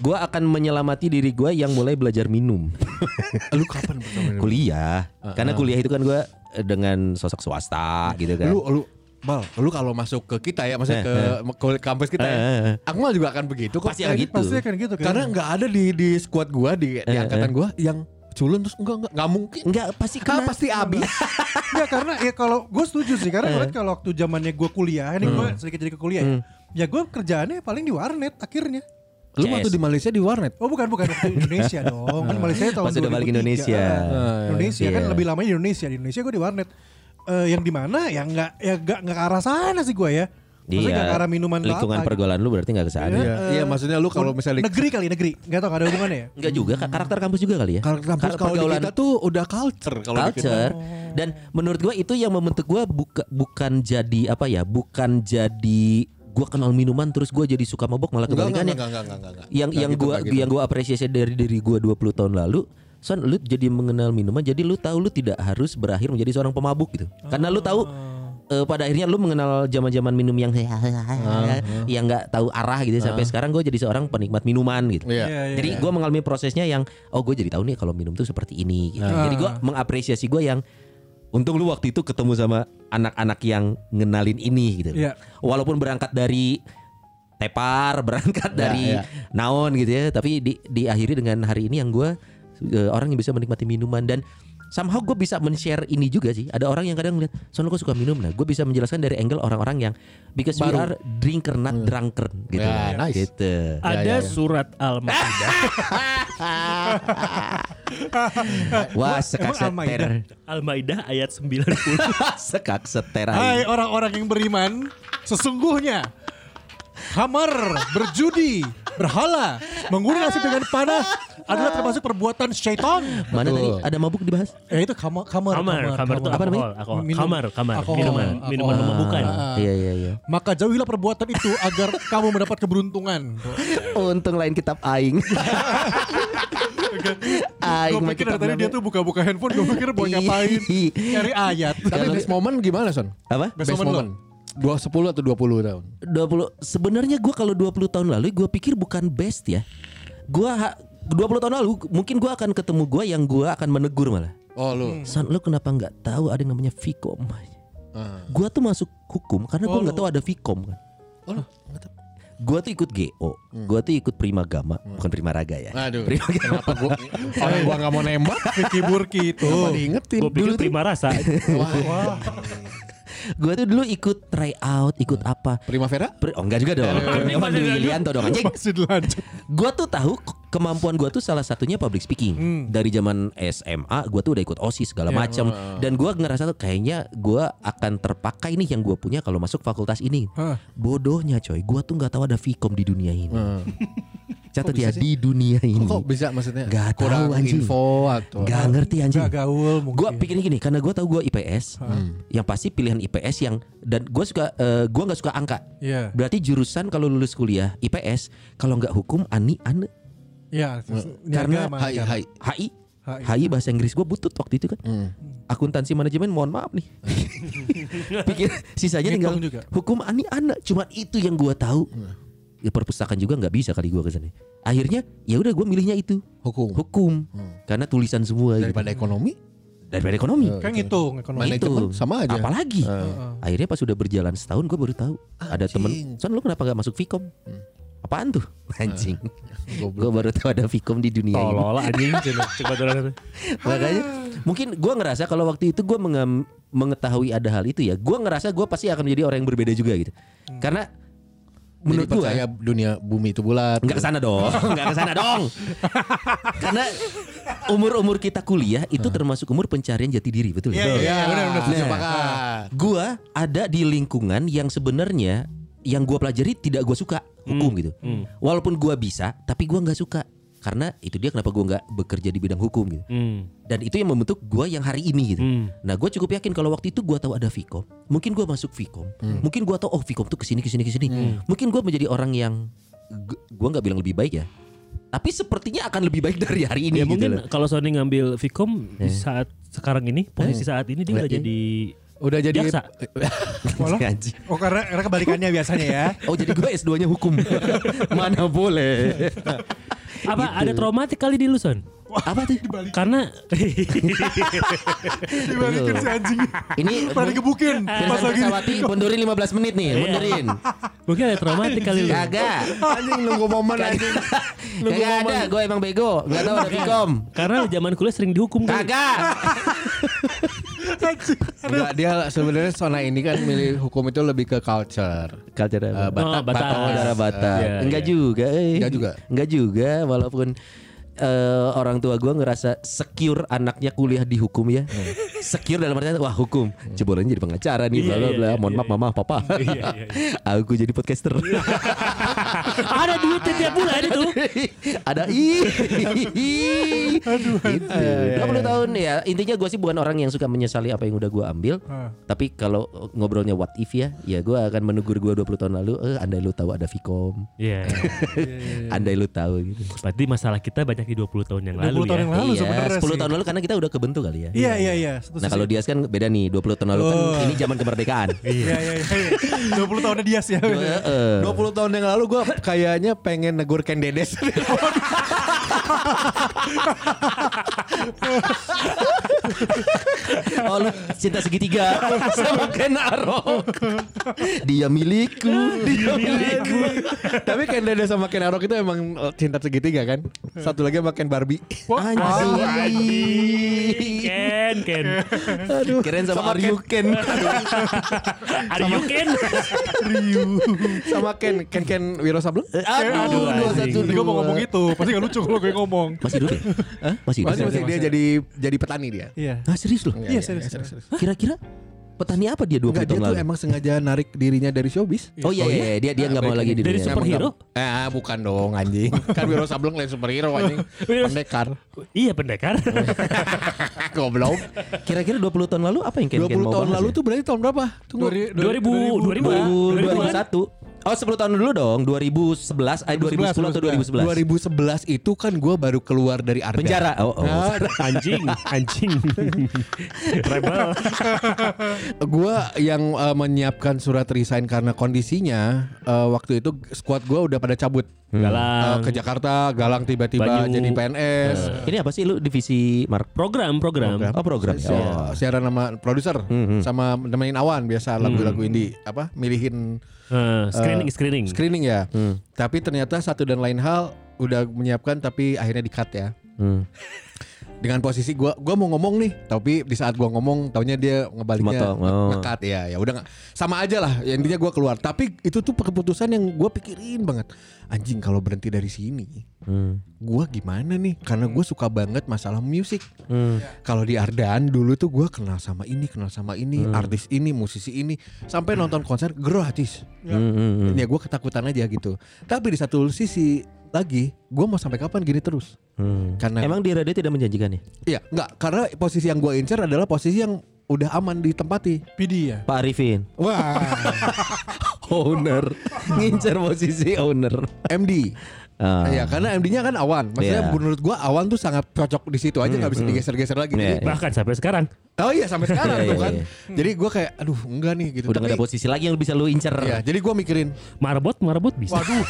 [SPEAKER 3] Gua akan menyelamati diri gua yang mulai belajar minum.
[SPEAKER 5] Lu kapan pertama minum?
[SPEAKER 3] kuliah. Karena kuliah itu kan gua eh, dengan sosok swasta gitu kan.
[SPEAKER 5] Lu lu Bal, lu kalau masuk ke kita ya, maksudnya ke, ke kampus kita ya.
[SPEAKER 3] Eh, eh, eh.
[SPEAKER 5] Aku malah juga akan begitu kok.
[SPEAKER 3] Pasti akan
[SPEAKER 5] Kayak-
[SPEAKER 3] gitu.
[SPEAKER 2] Pasti akan gitu kan.
[SPEAKER 5] Karena nggak ada di di squad gua di, di
[SPEAKER 3] Eh,
[SPEAKER 5] angkatan gua yang culun terus enggak enggak nggak mungkin.
[SPEAKER 3] Enggak pasti
[SPEAKER 5] Kan
[SPEAKER 3] kena.
[SPEAKER 5] pasti abis.
[SPEAKER 2] ya karena ya kalau gue setuju sih
[SPEAKER 3] Eh.
[SPEAKER 2] karena kemarin kalau waktu zamannya gue kuliah ini
[SPEAKER 3] Hmm.
[SPEAKER 2] gue sedikit jadi ke kuliah ya. Ya gue kerjaannya paling di warnet akhirnya.
[SPEAKER 5] Lu waktu
[SPEAKER 3] CS.
[SPEAKER 5] di Malaysia di warnet.
[SPEAKER 2] Oh bukan bukan waktu
[SPEAKER 3] [LAUGHS]
[SPEAKER 2] Indonesia dong. Kan Malaysia tahun
[SPEAKER 3] Pas udah balik
[SPEAKER 2] 2003.
[SPEAKER 3] Indonesia.
[SPEAKER 2] Ah, Indonesia kan
[SPEAKER 3] Iya.
[SPEAKER 2] lebih lama di Indonesia. Di Indonesia gue di warnet. Eh, yang di mana ya nggak ya nggak nggak ke arah sana sih gue ya. Maksudnya nggak ke arah minuman atau
[SPEAKER 3] Iya, lingkungan
[SPEAKER 2] apa gitu.
[SPEAKER 3] pergaulan lu berarti nggak kesana.
[SPEAKER 5] Iya, iya, maksudnya lu kalau misalnya
[SPEAKER 2] negeri kali negeri nggak tau nggak ada hubungannya ya.
[SPEAKER 3] Enggak juga ka- karakter kampus juga kali ya.
[SPEAKER 5] Kalau kampus
[SPEAKER 3] Kar-
[SPEAKER 5] kalau di
[SPEAKER 3] pergaulan
[SPEAKER 5] kita tuh udah culture kalau di kita.
[SPEAKER 3] culture Oh. dan menurut gua itu yang membentuk gua buka, bukan jadi apa ya, bukan jadi gua kenal minuman terus gua jadi suka mabok malah
[SPEAKER 5] Enggak, enggak,
[SPEAKER 3] kebalikannya.
[SPEAKER 5] enggak, enggak, enggak, enggak, enggak.
[SPEAKER 3] Yang
[SPEAKER 5] Enggak
[SPEAKER 3] yang
[SPEAKER 5] gitu,
[SPEAKER 3] gua
[SPEAKER 5] enggak gitu.
[SPEAKER 3] yang gua apresiasi dari diri gua 20 tahun lalu Son, lu jadi mengenal minuman, jadi lu tahu lu tidak harus berakhir menjadi seorang pemabuk gitu. Karena lu tahu
[SPEAKER 5] Oh.
[SPEAKER 3] eh, pada akhirnya lu mengenal zaman-zaman minum yang [LAUGHS]
[SPEAKER 5] Ah,
[SPEAKER 3] yang nggak tahu arah gitu. Sampai sekarang gue jadi seorang penikmat minuman gitu.
[SPEAKER 5] Iya.
[SPEAKER 2] Iya, iya.
[SPEAKER 3] Jadi gue mengalami prosesnya yang oh gue jadi tahu nih kalau minum tuh seperti ini. Gitu.
[SPEAKER 5] Ah.
[SPEAKER 3] Jadi gue mengapresiasi gue yang untung lu waktu itu ketemu sama anak-anak yang ngenalin ini gitu.
[SPEAKER 2] Iya.
[SPEAKER 3] Walaupun berangkat dari tepar, [LAUGHS] berangkat dari
[SPEAKER 5] iya.
[SPEAKER 3] naon gitu ya, tapi di diakhiri dengan hari ini yang gue orang yang bisa menikmati minuman dan somehow gue bisa men-share ini juga sih. Ada orang yang kadang ngeliat, soalnya gue suka minum, nah gue bisa menjelaskan dari angle orang-orang yang because we are drinker not drunker gitu.
[SPEAKER 5] Hmm. Ya, nice.
[SPEAKER 3] Gitu.
[SPEAKER 1] Ada surat
[SPEAKER 3] [LAUGHS]
[SPEAKER 1] Al-Maidah.
[SPEAKER 5] Eh,
[SPEAKER 3] Wah,
[SPEAKER 2] Emang-
[SPEAKER 3] sekak
[SPEAKER 2] emang Al-Maidah?
[SPEAKER 3] seter.
[SPEAKER 1] Al-Maidah ayat 90.
[SPEAKER 3] [LAUGHS] sekak seter.
[SPEAKER 2] Hai
[SPEAKER 3] aing.
[SPEAKER 2] orang-orang yang beriman, sesungguhnya hamar, berjudi, berhala, mengurung nasib dengan panah adalah termasuk perbuatan syaitan.
[SPEAKER 3] Mana tadi ada mabuk dibahas?
[SPEAKER 2] Ya itu kamar, kamar,
[SPEAKER 1] Kamar, kamar itu
[SPEAKER 3] Apa namanya?
[SPEAKER 1] alkohol, alkohol.
[SPEAKER 2] Minum.
[SPEAKER 1] Kamar, kamar,
[SPEAKER 2] Alkohol,
[SPEAKER 1] minuman,
[SPEAKER 2] alkohol.
[SPEAKER 1] minuman
[SPEAKER 2] Ah.
[SPEAKER 1] memabukkan.
[SPEAKER 2] Ah.
[SPEAKER 3] Iya iya iya.
[SPEAKER 2] Maka jauhilah perbuatan itu agar kamu mendapat keberuntungan.
[SPEAKER 3] Untung lain kitab [LAUGHS] aing. aing
[SPEAKER 2] Gue
[SPEAKER 3] mah
[SPEAKER 2] pikir dari
[SPEAKER 3] kitab
[SPEAKER 2] tadi dia
[SPEAKER 3] namanya.
[SPEAKER 2] tuh buka-buka handphone, gue pikir mau ngapain.
[SPEAKER 3] Ih.
[SPEAKER 2] Cari ayat.
[SPEAKER 5] Tapi
[SPEAKER 3] Kalau-
[SPEAKER 5] best moment gimana, Son?
[SPEAKER 3] apa?
[SPEAKER 2] Best moment lo?
[SPEAKER 5] Dua sepuluh atau dua puluh tahun?
[SPEAKER 3] 20 sebenarnya gua kalau 20 tahun lalu gua pikir bukan best ya. Gua ha- 20 tahun lalu mungkin gua akan ketemu gua yang gua akan menegur malah.
[SPEAKER 5] Oh lu.
[SPEAKER 3] Son, lu kenapa nggak tahu ada yang namanya Vicom?
[SPEAKER 5] Ah.
[SPEAKER 3] Gua tuh masuk hukum karena gua nggak tahu ada Vicom kan.
[SPEAKER 5] Oh lu.
[SPEAKER 3] Gua tuh ikut GO, gua tuh ikut Prima Gama, bukan Prima Raga ya.
[SPEAKER 5] Aduh.
[SPEAKER 3] Prima Gama.
[SPEAKER 5] Kenapa gua orang gua nggak mau nembak?
[SPEAKER 2] Vicky Burki itu.
[SPEAKER 5] Kenapa diingetin?
[SPEAKER 1] Gue pikir
[SPEAKER 5] tuh-
[SPEAKER 1] terima rasa.
[SPEAKER 3] Iya,
[SPEAKER 5] Wah,
[SPEAKER 3] Gua tuh dulu ikut tryout, ikut apa?
[SPEAKER 5] Primavera?
[SPEAKER 3] Pri- Oh enggak juga dong. Emang Dwi Ilianto dong anjing.
[SPEAKER 2] Masih dilanjut.
[SPEAKER 3] Gua tuh tahu k- kemampuan gua tuh salah satunya public speaking.
[SPEAKER 2] Hmm.
[SPEAKER 3] Dari zaman SMA gua tuh udah ikut OSIS
[SPEAKER 2] Ya,
[SPEAKER 3] segala macam dan gua ngerasa tuh kayaknya gua akan terpakai nih yang gua punya kalau masuk fakultas ini.
[SPEAKER 2] Hah.
[SPEAKER 3] Bodohnya coy, gua tuh nggak tahu ada Vkom di dunia ini. Catat ya di dunia ini.
[SPEAKER 5] Kok bisa maksudnya?
[SPEAKER 3] Nggak tahu,
[SPEAKER 5] kurang
[SPEAKER 3] anjing.
[SPEAKER 5] info atau
[SPEAKER 3] Gak ngerti anjing.
[SPEAKER 2] Gak gaul
[SPEAKER 3] Gue
[SPEAKER 2] mungkin. ya.
[SPEAKER 3] pikirnya gini karena gue tahu gue IPS, yang pasti pilihan IPS yang dan gue suka eh, gua nggak suka angka.
[SPEAKER 2] Iya.
[SPEAKER 3] Berarti jurusan kalau lulus kuliah IPS, kalau nggak hukum ani ane
[SPEAKER 2] Iya. niaga
[SPEAKER 3] Karena
[SPEAKER 2] sama
[SPEAKER 5] Hai
[SPEAKER 2] anggar.
[SPEAKER 5] hai.
[SPEAKER 3] HI.
[SPEAKER 2] HI.
[SPEAKER 3] HI bahasa Inggris gue butut waktu itu kan.
[SPEAKER 5] Hmm.
[SPEAKER 3] Akuntansi manajemen mohon maaf nih. Pikir sisanya tinggal
[SPEAKER 2] Ngitung juga.
[SPEAKER 3] hukum ani ane cuman itu yang gue tahu.
[SPEAKER 5] Hmm.
[SPEAKER 3] Ya, perpustakaan juga nggak bisa kali gue kesana. Akhirnya ya udah gue milihnya itu
[SPEAKER 5] Hukum. Hmm.
[SPEAKER 3] hukum karena tulisan semua gitu.
[SPEAKER 5] Daripada ekonomi?
[SPEAKER 3] daripada ekonomi.
[SPEAKER 2] Kan ngitung ekonomi.
[SPEAKER 5] Mana- Manajemen
[SPEAKER 3] Itu.
[SPEAKER 5] sama aja. Hmm.
[SPEAKER 3] Apalagi akhirnya pas sudah berjalan setahun gue baru tahu
[SPEAKER 5] Ah,
[SPEAKER 3] ada temen. Son lu kenapa gak masuk Vicom?
[SPEAKER 5] Hmm.
[SPEAKER 3] Apaan tuh? Anjing. gue baru tahu ada Vicom di dunia ini.
[SPEAKER 1] Tolol anjing. Coba tolong.
[SPEAKER 3] Makanya mungkin gue ngerasa kalau waktu itu gue mengetahui ada hal itu ya, gue ngerasa gue pasti akan menjadi orang yang berbeda juga gitu. Karena menurut
[SPEAKER 5] Jadi
[SPEAKER 3] gue
[SPEAKER 5] percaya dunia bumi itu bulat.
[SPEAKER 3] nggak kesana dong, [LAUGHS] nggak kesana dong. Karena umur-umur kita kuliah itu termasuk umur pencarian jati diri, betul?
[SPEAKER 2] Iya,
[SPEAKER 3] Betul.
[SPEAKER 2] iya, benar, benar, setuju,
[SPEAKER 5] Nah,
[SPEAKER 3] gua ada di lingkungan yang sebenarnya yang gua pelajari tidak gua suka hukum gitu. Walaupun gua bisa, tapi gua nggak suka. karena itu dia kenapa gue nggak bekerja di bidang hukum gitu dan itu yang membentuk gue yang hari ini gitu
[SPEAKER 1] Hmm.
[SPEAKER 3] nah gue cukup yakin kalau waktu itu gue tahu ada Vicom mungkin gue masuk Vicom
[SPEAKER 2] Hmm.
[SPEAKER 3] mungkin gue tahu oh Vicom tuh kesini kesini kesini mungkin gue menjadi orang yang gue nggak bilang lebih baik ya tapi sepertinya akan lebih baik dari hari
[SPEAKER 1] Ya
[SPEAKER 3] ini gitu
[SPEAKER 1] mungkin
[SPEAKER 3] loh. Iya. Eh,
[SPEAKER 1] kalau Sony ngambil Vicom di saat sekarang ini, posisi saat ini dia
[SPEAKER 3] Nggak,
[SPEAKER 1] udah
[SPEAKER 3] iya.
[SPEAKER 1] jadi
[SPEAKER 5] Udah jadi
[SPEAKER 1] jaksa.
[SPEAKER 3] eh,
[SPEAKER 2] Walah.
[SPEAKER 3] Anjing.
[SPEAKER 2] Oh karena, karena kebalikannya biasanya ya.
[SPEAKER 3] Oh jadi gue S2 nya
[SPEAKER 1] [LAUGHS]
[SPEAKER 3] hukum Mana boleh
[SPEAKER 1] Apa
[SPEAKER 3] gitu.
[SPEAKER 1] ada traumatik kali di Luson?
[SPEAKER 3] Apa tuh? [LAUGHS]
[SPEAKER 1] Karena
[SPEAKER 2] Dibalikin si anjing.
[SPEAKER 3] Ini
[SPEAKER 2] Pada
[SPEAKER 5] [LAUGHS]
[SPEAKER 2] digebukin pas
[SPEAKER 3] Pirsan
[SPEAKER 2] lagi.
[SPEAKER 3] Sawati mundurin 15 menit
[SPEAKER 1] Iya.
[SPEAKER 3] nih Mundurin
[SPEAKER 1] mungkin ada traumatik kali lu.
[SPEAKER 3] Kagak
[SPEAKER 5] anjing nunggu momen anjing.
[SPEAKER 3] Kagak ada Gue emang bego Gak tau ada Vicom
[SPEAKER 1] Karena zaman kuliah sering dihukum kan.
[SPEAKER 3] Kagak
[SPEAKER 5] Enggak, dia sebenarnya zona ini kan milih hukum itu lebih ke culture.
[SPEAKER 3] Culture
[SPEAKER 5] Eh, Batak,
[SPEAKER 1] Oh, Batak.
[SPEAKER 5] Batak.
[SPEAKER 3] Negara Batak
[SPEAKER 1] Iya,
[SPEAKER 3] Enggak
[SPEAKER 1] iya.
[SPEAKER 3] juga eh.
[SPEAKER 5] Enggak juga.
[SPEAKER 3] Enggak juga Walaupun eh, orang tua gue ngerasa secure anaknya kuliah di hukum ya
[SPEAKER 1] Hmm.
[SPEAKER 3] secure dalam artian wah hukum cebolanya jadi pengacara nih
[SPEAKER 1] Iya,
[SPEAKER 3] bla bla
[SPEAKER 1] Hmm. iya,
[SPEAKER 3] bla
[SPEAKER 1] iya,
[SPEAKER 3] mohon
[SPEAKER 1] iya,
[SPEAKER 3] maaf mama papa
[SPEAKER 1] Iya, iya,
[SPEAKER 3] [LAUGHS] aku jadi podcaster
[SPEAKER 1] ada duit tiap bulan itu.
[SPEAKER 3] ada
[SPEAKER 1] [LAUGHS]
[SPEAKER 3] i aduh gitu.
[SPEAKER 1] Iya,
[SPEAKER 3] 20 tahun ya intinya gue sih bukan orang yang suka menyesali apa yang udah gue ambil
[SPEAKER 2] Ah.
[SPEAKER 3] tapi kalau ngobrolnya what if ya ya gue akan menegur gue 20 tahun lalu eh andai lu tahu ada Vicom
[SPEAKER 1] Iya.
[SPEAKER 3] andai lu tahu gitu
[SPEAKER 1] Berarti masalah kita banyak di 20 tahun yang
[SPEAKER 2] 20
[SPEAKER 1] lalu
[SPEAKER 2] tahun
[SPEAKER 1] ya.
[SPEAKER 2] yang lalu sebenarnya
[SPEAKER 3] iya, 10
[SPEAKER 2] sih.
[SPEAKER 3] tahun lalu karena kita udah kebentuk kali ya
[SPEAKER 2] Iya iya iya. setuju
[SPEAKER 3] Nah
[SPEAKER 2] sih.
[SPEAKER 3] kalau Dias kan beda nih 20 tahun lalu kan
[SPEAKER 2] Oh.
[SPEAKER 3] ini zaman kemerdekaan.
[SPEAKER 2] Iya iya iya. 20 tahunnya dia sih. Oh,
[SPEAKER 3] Heeh.
[SPEAKER 5] 20 tahun yang lalu gue kayaknya pengen negur Ken Dedes.
[SPEAKER 3] Oh lu cinta segitiga sama Ken Arok. Dia milikku, dia milikku.
[SPEAKER 5] Tapi Ken Dedes sama Ken Arok itu emang eh, cinta segitiga kan? Satu lagi sama Ken Barbie.
[SPEAKER 3] Anjing.
[SPEAKER 1] Iya. Ken, Ken.
[SPEAKER 3] Aduh. Keren sama, Aryu Ken.
[SPEAKER 1] Are you Ken?
[SPEAKER 5] sama Ken Ken Ken Wiro Sableng.
[SPEAKER 3] Aduh, dua satu
[SPEAKER 2] Tadi gue mau ngomong
[SPEAKER 3] dua.
[SPEAKER 2] itu, pasti gak lucu kalau gue ngomong.
[SPEAKER 3] Masih hidup ya? Hah? Masih hidup.
[SPEAKER 5] Masih,
[SPEAKER 3] ya?
[SPEAKER 5] masih, dia jadi jadi petani dia.
[SPEAKER 2] Iya.
[SPEAKER 3] Ah serius loh.
[SPEAKER 2] Iya serius. serius.
[SPEAKER 3] Kira-kira petani apa dia 20
[SPEAKER 5] Enggak dia
[SPEAKER 3] tahun
[SPEAKER 5] tuh
[SPEAKER 3] lalu?
[SPEAKER 5] emang sengaja narik dirinya dari showbiz.
[SPEAKER 3] Oh iya, iya, iya. dia dia nggak mau lagi di
[SPEAKER 1] Dari
[SPEAKER 3] dunia.
[SPEAKER 1] superhero?
[SPEAKER 5] Eh bukan dong anjing. kan Wiro Sableng lain superhero anjing.
[SPEAKER 1] Wiro-
[SPEAKER 5] Pendekar. [LAUGHS]
[SPEAKER 1] Iya [LAUGHS] pendekar.
[SPEAKER 5] Goblok.
[SPEAKER 3] Kira-kira 20 tahun lalu apa yang Ken
[SPEAKER 5] 20
[SPEAKER 3] Ken mau
[SPEAKER 5] tahun
[SPEAKER 3] bahas
[SPEAKER 5] lalu
[SPEAKER 3] ya?
[SPEAKER 5] tuh berarti tahun berapa? Tunggu.
[SPEAKER 1] 2000 2000 2000
[SPEAKER 3] 2001. Oh 10 tahun dulu dong 2011 eh 2010 atau 2011
[SPEAKER 5] 2011 itu kan gue baru keluar dari Arda.
[SPEAKER 3] Penjara oh, oh.
[SPEAKER 5] Nah,
[SPEAKER 1] anjing, [LAUGHS] anjing. Rebel.
[SPEAKER 5] gue yang eh, menyiapkan surat resign karena kondisinya eh, waktu itu squad gue udah pada cabut
[SPEAKER 3] Hmm.
[SPEAKER 5] Eh,
[SPEAKER 1] Galang.
[SPEAKER 5] ke Jakarta, Galang tiba-tiba
[SPEAKER 1] Banyu. Eh.
[SPEAKER 5] jadi PNS.
[SPEAKER 3] Ini apa sih lu divisi mark
[SPEAKER 1] Program, program.
[SPEAKER 3] Oh program ya Hmm, oh.
[SPEAKER 5] Siar- Kan? Siaran sama produser sama nemenin awan biasa
[SPEAKER 3] Hmm.
[SPEAKER 5] lagu-lagu indie apa milihin
[SPEAKER 1] Eh, screening,
[SPEAKER 5] eh,
[SPEAKER 1] screening.
[SPEAKER 5] screening ya.
[SPEAKER 3] Hmm.
[SPEAKER 5] Tapi ternyata satu dan lain hal udah menyiapkan tapi akhirnya di cut ya.
[SPEAKER 3] Hmm.
[SPEAKER 5] Dengan posisi gua gua mau ngomong nih, tapi di saat gua ngomong taunya dia ngebaliknya
[SPEAKER 3] Motong, oh.
[SPEAKER 5] ngekat ya. Ya udah nggak- sama aja lah. Ya, intinya gua keluar. Tapi itu tuh keputusan yang gua pikirin banget. Anjing kalau berhenti dari sini
[SPEAKER 3] Hmm.
[SPEAKER 5] gua gimana nih karena gue suka banget masalah musik
[SPEAKER 3] Hmm.
[SPEAKER 5] kalau di Ardaan dulu tuh gua kenal sama ini kenal sama ini
[SPEAKER 3] Hmm.
[SPEAKER 5] artis ini musisi ini sampai nonton konser gratis
[SPEAKER 3] Hmm, hmm, hmm.
[SPEAKER 5] ya gua ketakutan aja gitu tapi di satu sisi lagi gua mau sampai kapan gini terus
[SPEAKER 3] Hmm.
[SPEAKER 5] karena
[SPEAKER 3] Emang di radio tidak menjanjikan ya
[SPEAKER 5] iya nggak karena posisi yang gua incer adalah posisi yang udah aman ditempati
[SPEAKER 2] PD ya.
[SPEAKER 3] Pak
[SPEAKER 5] [LAUGHS]
[SPEAKER 3] Arifin
[SPEAKER 5] wah
[SPEAKER 3] Owner Ngincer posisi owner
[SPEAKER 5] MD
[SPEAKER 3] Ah.
[SPEAKER 5] Iya karena MD-nya kan Awan, maksudnya
[SPEAKER 3] Iya.
[SPEAKER 5] menurut gua Awan tuh sangat cocok di situ aja nggak bisa digeser-geser lagi.
[SPEAKER 3] Iya,
[SPEAKER 5] Jadi
[SPEAKER 3] iya.
[SPEAKER 1] Bahkan sampai sekarang.
[SPEAKER 5] Oh iya sampai sekarang
[SPEAKER 3] Iya,
[SPEAKER 5] tuh
[SPEAKER 3] iya,
[SPEAKER 5] kan.
[SPEAKER 3] iya.
[SPEAKER 5] Jadi gue kayak aduh enggak nih gitu.
[SPEAKER 3] Udah nggak ada posisi lagi yang bisa lu incer
[SPEAKER 5] Iya, jadi gue mikirin
[SPEAKER 1] Marbot, marbot bisa.
[SPEAKER 3] [LAUGHS]
[SPEAKER 5] waduh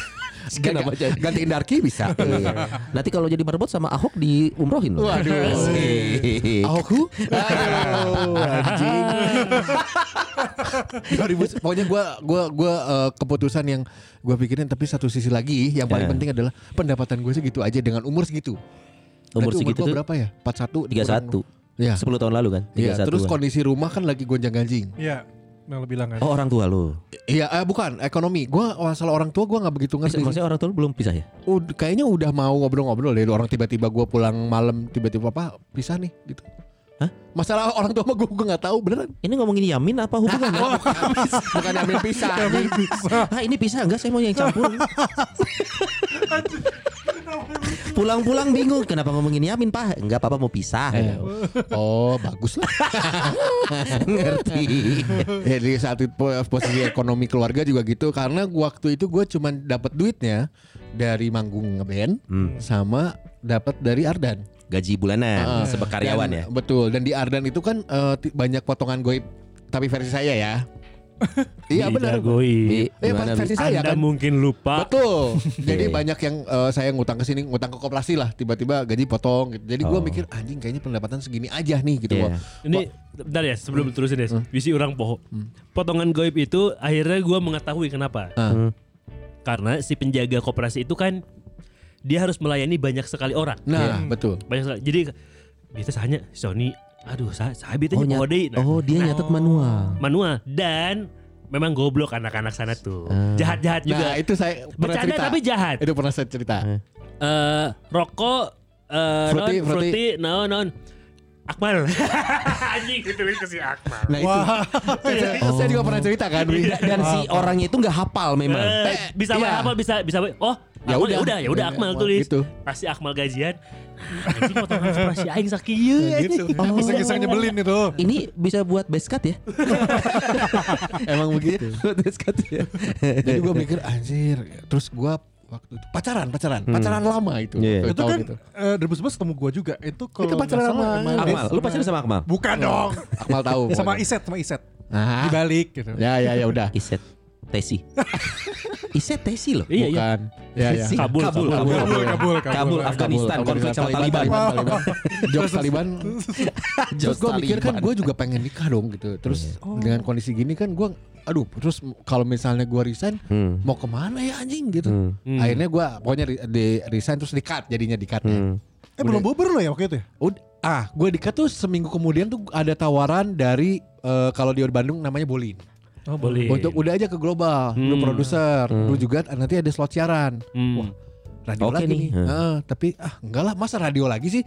[SPEAKER 3] Kenapa
[SPEAKER 5] ganti- gantiin Darky
[SPEAKER 3] [LAUGHS]
[SPEAKER 5] bisa.
[SPEAKER 3] Iya. Nanti kalau jadi marbot sama Ahok di umrohin loh. Iya.
[SPEAKER 5] Waduh.
[SPEAKER 3] Asik.
[SPEAKER 5] Ahoku? Aduh, [LAUGHS] anjing. 2000 pokoknya gue gua gua eh, keputusan yang gue pikirin tapi satu sisi lagi yang paling
[SPEAKER 3] Iya.
[SPEAKER 5] penting adalah pendapatan gue segitu aja dengan umur segitu.
[SPEAKER 3] Umur
[SPEAKER 5] Berarti
[SPEAKER 3] segitu
[SPEAKER 5] gua
[SPEAKER 3] tuh
[SPEAKER 5] berapa ya?
[SPEAKER 3] 31.
[SPEAKER 5] 41 Iya.
[SPEAKER 3] 10 tahun lalu kan?
[SPEAKER 5] Iya,
[SPEAKER 3] 31.
[SPEAKER 5] terus kondisi rumah kan lagi gonjang-ganjing.
[SPEAKER 2] Iya. Yang lebih bilang kan.
[SPEAKER 3] Oh orang tua lu.
[SPEAKER 5] Iya, eh, bukan ekonomi. Gua masalah orang tua gua nggak begitu
[SPEAKER 3] Maksud-
[SPEAKER 5] ngerti. sih.
[SPEAKER 3] Maksudnya orang tua lu belum pisah ya?
[SPEAKER 5] Ud- kayaknya udah mau ngobrol-ngobrol deh orang tiba-tiba gue pulang malam tiba-tiba apa pisah nih gitu
[SPEAKER 3] Hah?
[SPEAKER 5] masalah orang tua mah gue gue nggak tahu beneran
[SPEAKER 3] Ini ngomongin Yamin apa hubungannya?
[SPEAKER 5] Ah, oh. [LAUGHS] bukan ambil pisah anjing.
[SPEAKER 3] ah ini pisah enggak saya mau yang campur. Pulang-pulang bingung kenapa ngomongin Yamin, Pak? Enggak apa-apa mau pisah.
[SPEAKER 5] Oh bagus [LAUGHS] lah
[SPEAKER 3] [LAUGHS] Ngerti.
[SPEAKER 5] ya, Di saat itu po- posisi ekonomi keluarga juga gitu Karena waktu itu gue cuman dapat duitnya Dari manggung ngeband
[SPEAKER 3] Hmm.
[SPEAKER 5] Sama dapat dari Ardan
[SPEAKER 3] Gaji bulanan
[SPEAKER 5] Heeh.
[SPEAKER 3] sebekaryawan
[SPEAKER 5] Dan-
[SPEAKER 3] ya.
[SPEAKER 5] Betul. Dan di Ardan itu kan eh, ti- banyak potongan goib tapi versi saya
[SPEAKER 3] [LAUGHS]
[SPEAKER 5] ya. iya benar.
[SPEAKER 1] Dijagoin.
[SPEAKER 3] Di-
[SPEAKER 5] Iya
[SPEAKER 3] gimana,
[SPEAKER 5] versi
[SPEAKER 3] Bi?
[SPEAKER 5] saya
[SPEAKER 1] Anda
[SPEAKER 5] kan.
[SPEAKER 1] mungkin lupa.
[SPEAKER 5] Betul.
[SPEAKER 3] [LAUGHS] Iya.
[SPEAKER 5] Jadi banyak yang eh, saya ngutang ke sini, ngutang ke koperasi lah, tiba-tiba gaji potong gitu. Jadi gua
[SPEAKER 3] Oh.
[SPEAKER 5] mikir anjing kayaknya pendapatan segini aja nih gitu
[SPEAKER 3] Iya.
[SPEAKER 5] gua.
[SPEAKER 1] Ini bentar ya
[SPEAKER 5] Hmm.
[SPEAKER 1] sebelum terusin ya. Bisi orang poho. Potongan goib itu akhirnya gue mengetahui kenapa.
[SPEAKER 5] Ah.
[SPEAKER 1] Karena si penjaga koperasi itu kan dia harus melayani banyak sekali orang.
[SPEAKER 5] Nah, betul.
[SPEAKER 1] Banyak sekali. Jadi biasa hanya Sony. Aduh, saya saya bete
[SPEAKER 3] Oh,
[SPEAKER 1] oh,
[SPEAKER 3] nyat- oh, dia nyatet manual.
[SPEAKER 1] manual dan memang goblok anak-anak sana tuh. Jahat-jahat juga.
[SPEAKER 5] Nah, itu saya pernah
[SPEAKER 1] Bercanda
[SPEAKER 5] cerita.
[SPEAKER 1] tapi jahat.
[SPEAKER 5] Itu pernah saya cerita.
[SPEAKER 1] eh rokok eh
[SPEAKER 5] Fruity,
[SPEAKER 1] non
[SPEAKER 5] fruity.
[SPEAKER 1] fruity, non non Akmal. [LAUGHS] Anjing ditulis ke si Akmal.
[SPEAKER 5] Nah, itu.
[SPEAKER 2] Wah.
[SPEAKER 1] iya.
[SPEAKER 5] Saya- Saya
[SPEAKER 1] Oh.
[SPEAKER 5] juga pernah cerita kan. Wi?
[SPEAKER 3] Dan si orangnya itu nggak hafal memang.
[SPEAKER 1] Eh, bisa
[SPEAKER 5] iya.
[SPEAKER 1] apa Akmal bisa bisa apa? Oh, ya
[SPEAKER 5] Ya udah.
[SPEAKER 1] udah, udah, ya udah
[SPEAKER 5] Ya,
[SPEAKER 1] Akmal
[SPEAKER 5] ya,
[SPEAKER 1] tulis.
[SPEAKER 5] gitu.
[SPEAKER 1] Pasti Akmal gajian. Nah, Anjing potongan koperasi aing sakieu.
[SPEAKER 5] Gitu.
[SPEAKER 1] anjing.
[SPEAKER 2] Oh. Iseng-iseng nyebelin itu.
[SPEAKER 3] Ini bisa buat base cut ya?
[SPEAKER 5] Emang begitu.
[SPEAKER 1] Iya.
[SPEAKER 3] buat base cut [LAUGHS] ya.
[SPEAKER 5] Jadi gue mikir anjir. Terus gue waktu itu pacaran, pacaran,
[SPEAKER 3] Hmm.
[SPEAKER 5] pacaran lama itu. gitu.
[SPEAKER 3] Iya.
[SPEAKER 5] Satu
[SPEAKER 2] Itu
[SPEAKER 5] tahun
[SPEAKER 2] kan eh, 2011 ketemu gue juga. Itu kalau
[SPEAKER 5] Itu pacaran
[SPEAKER 2] nggak salah
[SPEAKER 5] sama
[SPEAKER 2] emang-
[SPEAKER 3] Akmal, lu pacaran sama Akmal?
[SPEAKER 2] Bukan dong.
[SPEAKER 5] Akmal tahu.
[SPEAKER 2] sama
[SPEAKER 5] pokoknya.
[SPEAKER 2] Iset, sama Iset.
[SPEAKER 5] Oh, Ah.
[SPEAKER 2] Dibalik gitu.
[SPEAKER 5] Ya ya ya udah.
[SPEAKER 3] Iset Tesi. Iset Tesi loh.
[SPEAKER 1] Iya, iya.
[SPEAKER 5] Bukan. Ya ya.
[SPEAKER 3] Tesi.
[SPEAKER 1] Kabul,
[SPEAKER 3] Kabul,
[SPEAKER 1] Kabul,
[SPEAKER 3] Kabul,
[SPEAKER 2] Kabul, Kabul,
[SPEAKER 3] Kabul, Afghanistan, konflik sama Taliban.
[SPEAKER 5] Jokes
[SPEAKER 1] [LAUGHS]
[SPEAKER 5] Taliban. Terus gue mikir kan gue juga pengen nikah dong gitu. Terus
[SPEAKER 1] Iya.
[SPEAKER 5] dengan kondisi gini kan gue aduh terus kalau misalnya gue resign
[SPEAKER 3] Hmm.
[SPEAKER 5] mau kemana ya anjing gitu.
[SPEAKER 1] Hmm. Hmm.
[SPEAKER 5] Akhirnya gue pokoknya re- di resign terus di cut jadinya ya. di cut.
[SPEAKER 2] Eh belum bubar lo ya waktu itu ya?
[SPEAKER 5] Ud- ah gue di cut tuh seminggu kemudian tuh ada tawaran dari eh, kalau di Bandung namanya Bolin.
[SPEAKER 1] Oh,
[SPEAKER 3] Iya,
[SPEAKER 1] boleh.
[SPEAKER 5] Untuk udah aja ke global, lu
[SPEAKER 1] Hmm.
[SPEAKER 5] produser, lu juga nanti ada slot siaran.
[SPEAKER 1] Hmm.
[SPEAKER 5] Wah, radio
[SPEAKER 3] Oke
[SPEAKER 5] lagi
[SPEAKER 3] nih.
[SPEAKER 5] nih.
[SPEAKER 3] Hmm.
[SPEAKER 5] Heeh, tapi ah enggak lah, masa radio lagi sih?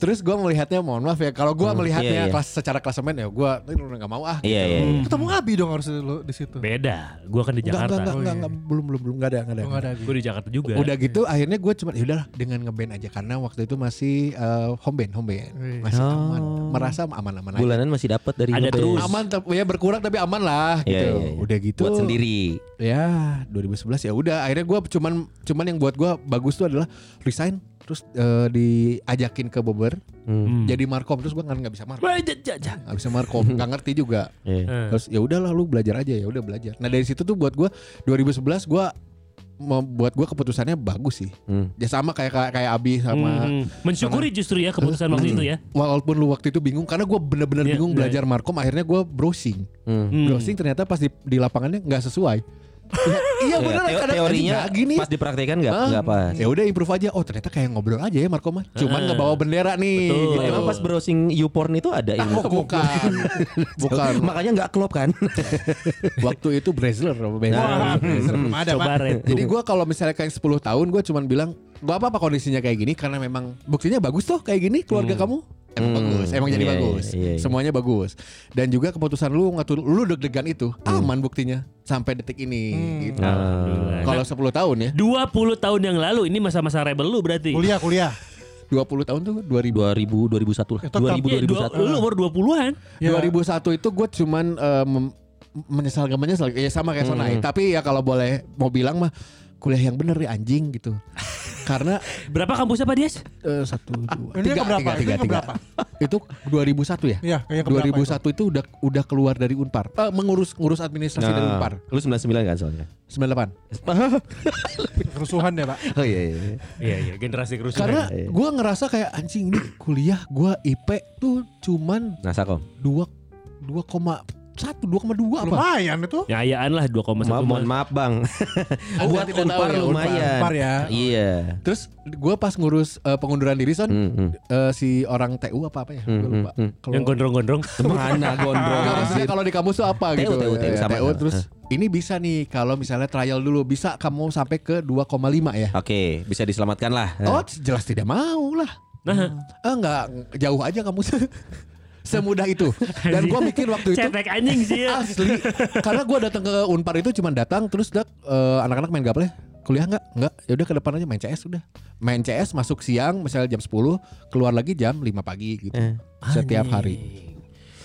[SPEAKER 5] Terus gua melihatnya mohon maaf ya, kalau
[SPEAKER 3] Hmm,
[SPEAKER 5] gua
[SPEAKER 3] iya,
[SPEAKER 5] melihatnya
[SPEAKER 3] iya.
[SPEAKER 5] kelas secara klasemen ya gua ini udah enggak mau ah.
[SPEAKER 3] Iya, iya.
[SPEAKER 1] Hmm.
[SPEAKER 3] iya.
[SPEAKER 2] Ketemu Abi dong harus lo di situ.
[SPEAKER 1] Beda. Gua kan di
[SPEAKER 3] Oh,
[SPEAKER 5] Enggak, enggak, enggak,
[SPEAKER 1] Jakarta.
[SPEAKER 5] enggak,
[SPEAKER 3] iya.
[SPEAKER 5] enggak, belum belum belum enggak ada, enggak ada.
[SPEAKER 2] Oh, nggak ada Abi.
[SPEAKER 1] Gua di Jakarta juga.
[SPEAKER 5] Udah gitu akhirnya gue cuma ya udahlah dengan ngeband aja karena waktu itu masih eh, home band, home band.
[SPEAKER 2] Wih.
[SPEAKER 5] Masih
[SPEAKER 3] Oh.
[SPEAKER 5] aman, merasa aman-aman aja.
[SPEAKER 3] Bulanan masih dapat dari
[SPEAKER 1] Ada
[SPEAKER 3] ngeband.
[SPEAKER 1] terus.
[SPEAKER 5] Aman tapi ya berkurang tapi aman lah gitu.
[SPEAKER 3] Iya, iya, iya.
[SPEAKER 5] Udah gitu.
[SPEAKER 3] Buat sendiri.
[SPEAKER 5] ya 2011 ya udah akhirnya gua cuman cuman yang buat gua bagus tuh adalah resign terus eh, diajakin ke Bobber
[SPEAKER 1] Hmm.
[SPEAKER 5] jadi markom terus gua kan nggak bisa markom
[SPEAKER 1] Wah, ja- ja- ja.
[SPEAKER 5] nggak bisa
[SPEAKER 3] [LAUGHS]
[SPEAKER 5] markom nggak ngerti juga
[SPEAKER 3] Iya.
[SPEAKER 1] Eh,
[SPEAKER 5] terus ya udahlah lu belajar aja ya udah belajar nah dari situ tuh buat gua 2011 gua membuat gua keputusannya bagus sih
[SPEAKER 3] Hmm.
[SPEAKER 5] ya sama kayak kayak, kayak Abi sama
[SPEAKER 1] hmm. Mensyukuri justru ya keputusan waktu itu ya.
[SPEAKER 5] walaupun lu waktu itu bingung karena gua bener-bener
[SPEAKER 1] Iya,
[SPEAKER 5] bingung
[SPEAKER 1] iya,
[SPEAKER 5] belajar markom akhirnya gua browsing
[SPEAKER 3] Hmm.
[SPEAKER 1] Hmm.
[SPEAKER 5] browsing ternyata pas di, di lapangannya nggak sesuai Ya, iya bener
[SPEAKER 3] Teo-
[SPEAKER 5] kadang-
[SPEAKER 3] teorinya
[SPEAKER 5] nggak gini
[SPEAKER 3] pas dipraktekkan nggak
[SPEAKER 5] Ah,
[SPEAKER 3] nggak pas.
[SPEAKER 5] Ya udah improve aja. Oh ternyata kayak ngobrol aja ya Marco mah. Cuman nggak bawa bendera
[SPEAKER 1] Ah.
[SPEAKER 5] nih.
[SPEAKER 1] Betul.
[SPEAKER 5] Gitu.
[SPEAKER 3] Emang pas browsing YouPorn itu ada ilmu.
[SPEAKER 5] Oh, [LAUGHS] bukan.
[SPEAKER 3] Iya.
[SPEAKER 5] bukan.
[SPEAKER 3] [LAUGHS] Makanya nggak klop kan?
[SPEAKER 5] Waktu itu Brazler
[SPEAKER 3] Nah,
[SPEAKER 2] Wah, serem ada
[SPEAKER 1] Coba
[SPEAKER 2] Pak.
[SPEAKER 1] red.
[SPEAKER 5] Hmm. Jadi gua kalau misalnya kayak 10 tahun gua cuman bilang gua apa-apa kondisinya kayak gini karena memang buktinya bagus tuh kayak gini keluarga kamu. Emang
[SPEAKER 3] Hmm.
[SPEAKER 5] bagus, emang jadi
[SPEAKER 3] Iya, iya,
[SPEAKER 5] bagus.
[SPEAKER 3] iya, iya.
[SPEAKER 5] Semuanya bagus. Dan juga keputusan lu ngatur lu deg-degan itu
[SPEAKER 3] Hmm.
[SPEAKER 5] aman buktinya sampai detik ini
[SPEAKER 2] Hmm.
[SPEAKER 5] gitu.
[SPEAKER 3] Nah.
[SPEAKER 1] Alhamdulillah.
[SPEAKER 5] Kalau 10 tahun ya,
[SPEAKER 1] 20 Nah, tahun yang lalu ini masa-masa rebel lu berarti.
[SPEAKER 2] Kuliah, kuliah.
[SPEAKER 5] 20 tahun tuh 2000
[SPEAKER 3] 2000 2001 lah.
[SPEAKER 2] tetap.
[SPEAKER 3] 2000
[SPEAKER 1] Iya, dua- Lu
[SPEAKER 3] 2001.
[SPEAKER 1] umur 20-an.
[SPEAKER 2] Ya.
[SPEAKER 5] 2001 itu gue cuman eh, mem- menyesal gak menyesal ya sama kayak
[SPEAKER 3] Hmm.
[SPEAKER 5] Sonai tapi ya kalau boleh mau bilang mah kuliah yang bener ya anjing gitu
[SPEAKER 3] [LAUGHS]
[SPEAKER 5] karena
[SPEAKER 1] Berapa kampusnya Pak Dias?
[SPEAKER 5] eh, satu dua
[SPEAKER 2] Ini yang
[SPEAKER 5] tiga
[SPEAKER 2] keberapa?
[SPEAKER 5] tiga
[SPEAKER 2] Ini
[SPEAKER 5] tiga
[SPEAKER 2] yang
[SPEAKER 5] tiga
[SPEAKER 2] keberapa?
[SPEAKER 5] itu 2001 ya
[SPEAKER 2] Iya, kayak keberapa
[SPEAKER 5] 2001 itu? udah udah keluar dari Unpar Eh, mengurus ngurus administrasi dari
[SPEAKER 3] Nah,
[SPEAKER 5] Unpar
[SPEAKER 3] lu 99 kan soalnya.
[SPEAKER 5] 98
[SPEAKER 2] Kerusuhan ya Pak.
[SPEAKER 3] Oh iya iya.
[SPEAKER 1] Iya iya generasi kerusuhan.
[SPEAKER 5] karena gue ngerasa kayak anjing ini kuliah gue IP tuh cuman
[SPEAKER 3] Nah, Sakom.
[SPEAKER 5] dua dua koma satu dua koma dua apa
[SPEAKER 2] Lumayan itu.
[SPEAKER 1] Nyayaan Ya, lah 2,1
[SPEAKER 3] Maaf, mohon maaf Bang. [LAUGHS] Buat
[SPEAKER 5] tidak tahu
[SPEAKER 3] Unpar
[SPEAKER 5] ya, Unpar.
[SPEAKER 3] lumayan.
[SPEAKER 2] Unpar ya.
[SPEAKER 3] Iya.
[SPEAKER 5] terus gue pas ngurus eh, pengunduran diri son
[SPEAKER 3] Hmm, hmm.
[SPEAKER 5] eh, si orang TU apa apa ya? Gue lupa.
[SPEAKER 3] hmm, hmm.
[SPEAKER 5] Kalau
[SPEAKER 1] Yang gondrong-gondrong.
[SPEAKER 3] Mana [LAUGHS] gondrong?
[SPEAKER 5] Nggak, maksudnya kalau di kampus tuh apa
[SPEAKER 3] TU,
[SPEAKER 5] gitu?
[SPEAKER 3] TU,
[SPEAKER 5] Ya,
[SPEAKER 3] sama, sama.
[SPEAKER 5] terus ini bisa nih kalau misalnya trial dulu bisa kamu sampai ke 2,5 ya?
[SPEAKER 3] Oke, bisa diselamatkan lah.
[SPEAKER 5] Oh jelas tidak mau lah.
[SPEAKER 1] Nah,
[SPEAKER 5] Eh, nggak jauh aja kamu [LAUGHS] semudah itu. Dan gue mikir waktu itu
[SPEAKER 1] cetek anjing sih. ya.
[SPEAKER 5] asli karena gue datang ke Unpar itu cuma datang terus dak eh, anak-anak main gaple kuliah nggak nggak ya udah ke depan aja main CS udah main CS masuk siang misalnya jam 10 keluar lagi jam 5 pagi gitu
[SPEAKER 3] Eh.
[SPEAKER 5] setiap hari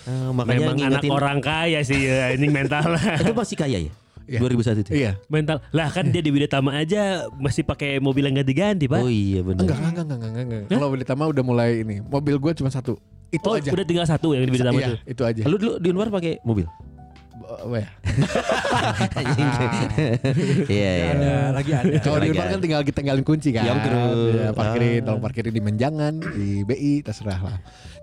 [SPEAKER 3] Eh, makanya
[SPEAKER 1] Memang anak
[SPEAKER 3] ngingetin-
[SPEAKER 1] orang kaya sih ya, ini mental.
[SPEAKER 3] itu masih kaya ya?
[SPEAKER 5] Iya.
[SPEAKER 3] 2001 itu.
[SPEAKER 5] iya
[SPEAKER 1] mental. Lah kan dia di Widatama aja masih pakai mobil yang ganti-ganti, Pak.
[SPEAKER 3] Oh iya benar.
[SPEAKER 5] enggak enggak enggak enggak, enggak, enggak. kalau di Tama udah mulai ini mobil gue cuma satu itu
[SPEAKER 1] Oh,
[SPEAKER 5] aja
[SPEAKER 1] udah tinggal satu yang di Widatama
[SPEAKER 5] iya,
[SPEAKER 1] tuh.
[SPEAKER 5] itu aja
[SPEAKER 3] Lu dulu di luar pakai mobil.
[SPEAKER 5] B- ya.
[SPEAKER 3] [LAUGHS] Iya iya.
[SPEAKER 2] Ada lagi ada.
[SPEAKER 3] [LAUGHS]
[SPEAKER 5] Kalau di
[SPEAKER 3] Lagi
[SPEAKER 5] rumah
[SPEAKER 3] ada.
[SPEAKER 5] kan tinggal kita tinggalin kunci kan.
[SPEAKER 3] Iya, betul.
[SPEAKER 5] Ya, parkirin,
[SPEAKER 3] Ah.
[SPEAKER 5] tolong parkirin di Menjangan, di BI, terserah lah.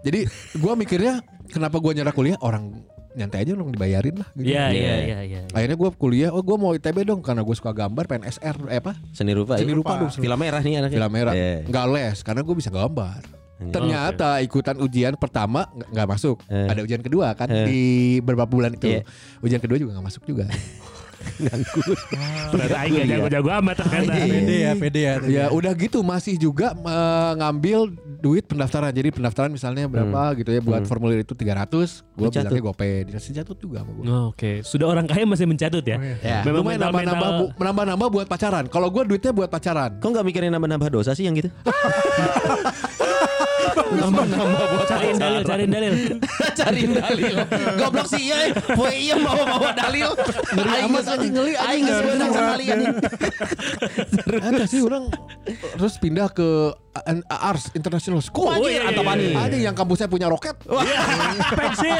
[SPEAKER 5] Jadi gua mikirnya kenapa gua nyerah kuliah orang nyantai aja dong dibayarin lah. gitu.
[SPEAKER 1] Iya,
[SPEAKER 3] Iya.
[SPEAKER 1] iya, iya, iya.
[SPEAKER 5] Akhirnya gua kuliah, oh gua mau ITB dong karena gua suka gambar, pengen SR, eh apa?
[SPEAKER 3] Seni rupa.
[SPEAKER 5] Seni
[SPEAKER 3] ya?
[SPEAKER 5] rupa dong.
[SPEAKER 3] Film merah nih anaknya.
[SPEAKER 5] Film merah.
[SPEAKER 3] Iya.
[SPEAKER 5] Nggak les karena gua bisa gambar. Ternyata ikutan ujian pertama nggak- nggak masuk.
[SPEAKER 3] Eh.
[SPEAKER 5] Ada ujian kedua kan
[SPEAKER 3] Eh.
[SPEAKER 5] di beberapa bulan itu.
[SPEAKER 3] Iya.
[SPEAKER 5] Ujian kedua juga nggak masuk juga.
[SPEAKER 1] Ternyata aing gak
[SPEAKER 3] Iya.
[SPEAKER 1] jago-jago amat ternyata.
[SPEAKER 2] Pede ya, pede ya.
[SPEAKER 5] Ya udah gitu masih juga eh, ngambil duit pendaftaran. Jadi pendaftaran
[SPEAKER 3] Hmm.
[SPEAKER 5] misalnya berapa gitu ya buat formulir itu 300, gua
[SPEAKER 3] Dicatut.
[SPEAKER 5] bilangnya GoPay. Dikasih jatut juga sama gua.
[SPEAKER 1] Oh, Oke, sudah orang kaya masih mencatut ya.
[SPEAKER 5] Ya,
[SPEAKER 1] Memang
[SPEAKER 5] lumayan
[SPEAKER 1] mental-
[SPEAKER 5] nambah-nambah
[SPEAKER 1] [LAUGHS] mental-
[SPEAKER 5] bu- nambah-nambah buat pacaran. Kalau gua duitnya buat pacaran.
[SPEAKER 3] Kok nggak mikirin nambah-nambah dosa sih yang gitu? nambah-nambah buat
[SPEAKER 1] Cariin dalil, cariin dalil.
[SPEAKER 5] Iya.
[SPEAKER 3] cariin dalil. Goblok sih iya, poe iya bawa-bawa dalil. Ngeri amat anjing ngeli aing geus menang sama Ali anjing.
[SPEAKER 5] Ada sih orang terus pindah ke A- A- ARS International School.
[SPEAKER 3] Oh, iya, iya,
[SPEAKER 5] Atau
[SPEAKER 3] iya, iya.
[SPEAKER 5] Ada yang kampusnya punya roket. Iya.
[SPEAKER 1] Pensil,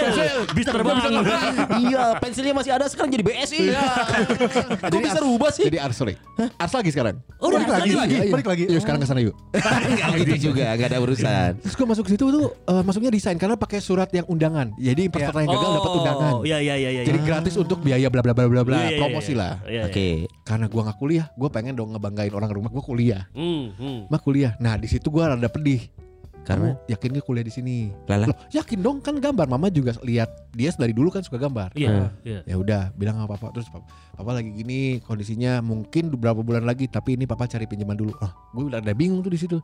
[SPEAKER 1] bisa terbang. [LAUGHS]
[SPEAKER 3] Iya, pensilnya masih ada sekarang jadi BSI.
[SPEAKER 5] Iya.
[SPEAKER 3] Iya. Kok bisa
[SPEAKER 5] Ars-
[SPEAKER 3] rubah sih?
[SPEAKER 5] Jadi ARS sorry. ARS lagi sekarang.
[SPEAKER 3] Oh, udah
[SPEAKER 2] Balik lagi,
[SPEAKER 3] lagi.
[SPEAKER 5] Iya, iya.
[SPEAKER 2] balik lagi.
[SPEAKER 5] Yuk sekarang ke sana yuk.
[SPEAKER 3] Enggak gitu juga, enggak ada urusan.
[SPEAKER 5] Terus gue masuk ke situ tuh eh, masuknya desain karena pakai surat yang undangan. Jadi peserta yang Eh, gagal dapat undangan.
[SPEAKER 1] Iya, iya, iya, iya.
[SPEAKER 5] Jadi gratis untuk biaya bla bla bla bla bla
[SPEAKER 1] Iya, iya, iya.
[SPEAKER 5] promosi lah.
[SPEAKER 1] Iya, iya.
[SPEAKER 3] Oke.
[SPEAKER 5] Karena gua nggak kuliah, gua pengen dong ngebanggain orang rumah gua kuliah.
[SPEAKER 1] Hmm, hmm.
[SPEAKER 5] Mah kuliah. Nah, di situ gua rada pedih.
[SPEAKER 3] Karena?
[SPEAKER 5] Kamu yakin gak kuliah di sini?
[SPEAKER 3] Lala.
[SPEAKER 5] Loh, yakin dong kan gambar. Mama juga lihat dia dari dulu kan suka gambar.
[SPEAKER 1] Iya, iya.
[SPEAKER 5] Ya udah, bilang sama papa terus papa, papa lagi gini kondisinya mungkin beberapa bulan lagi tapi ini papa cari pinjaman dulu. Oh, gue udah bingung tuh di situ.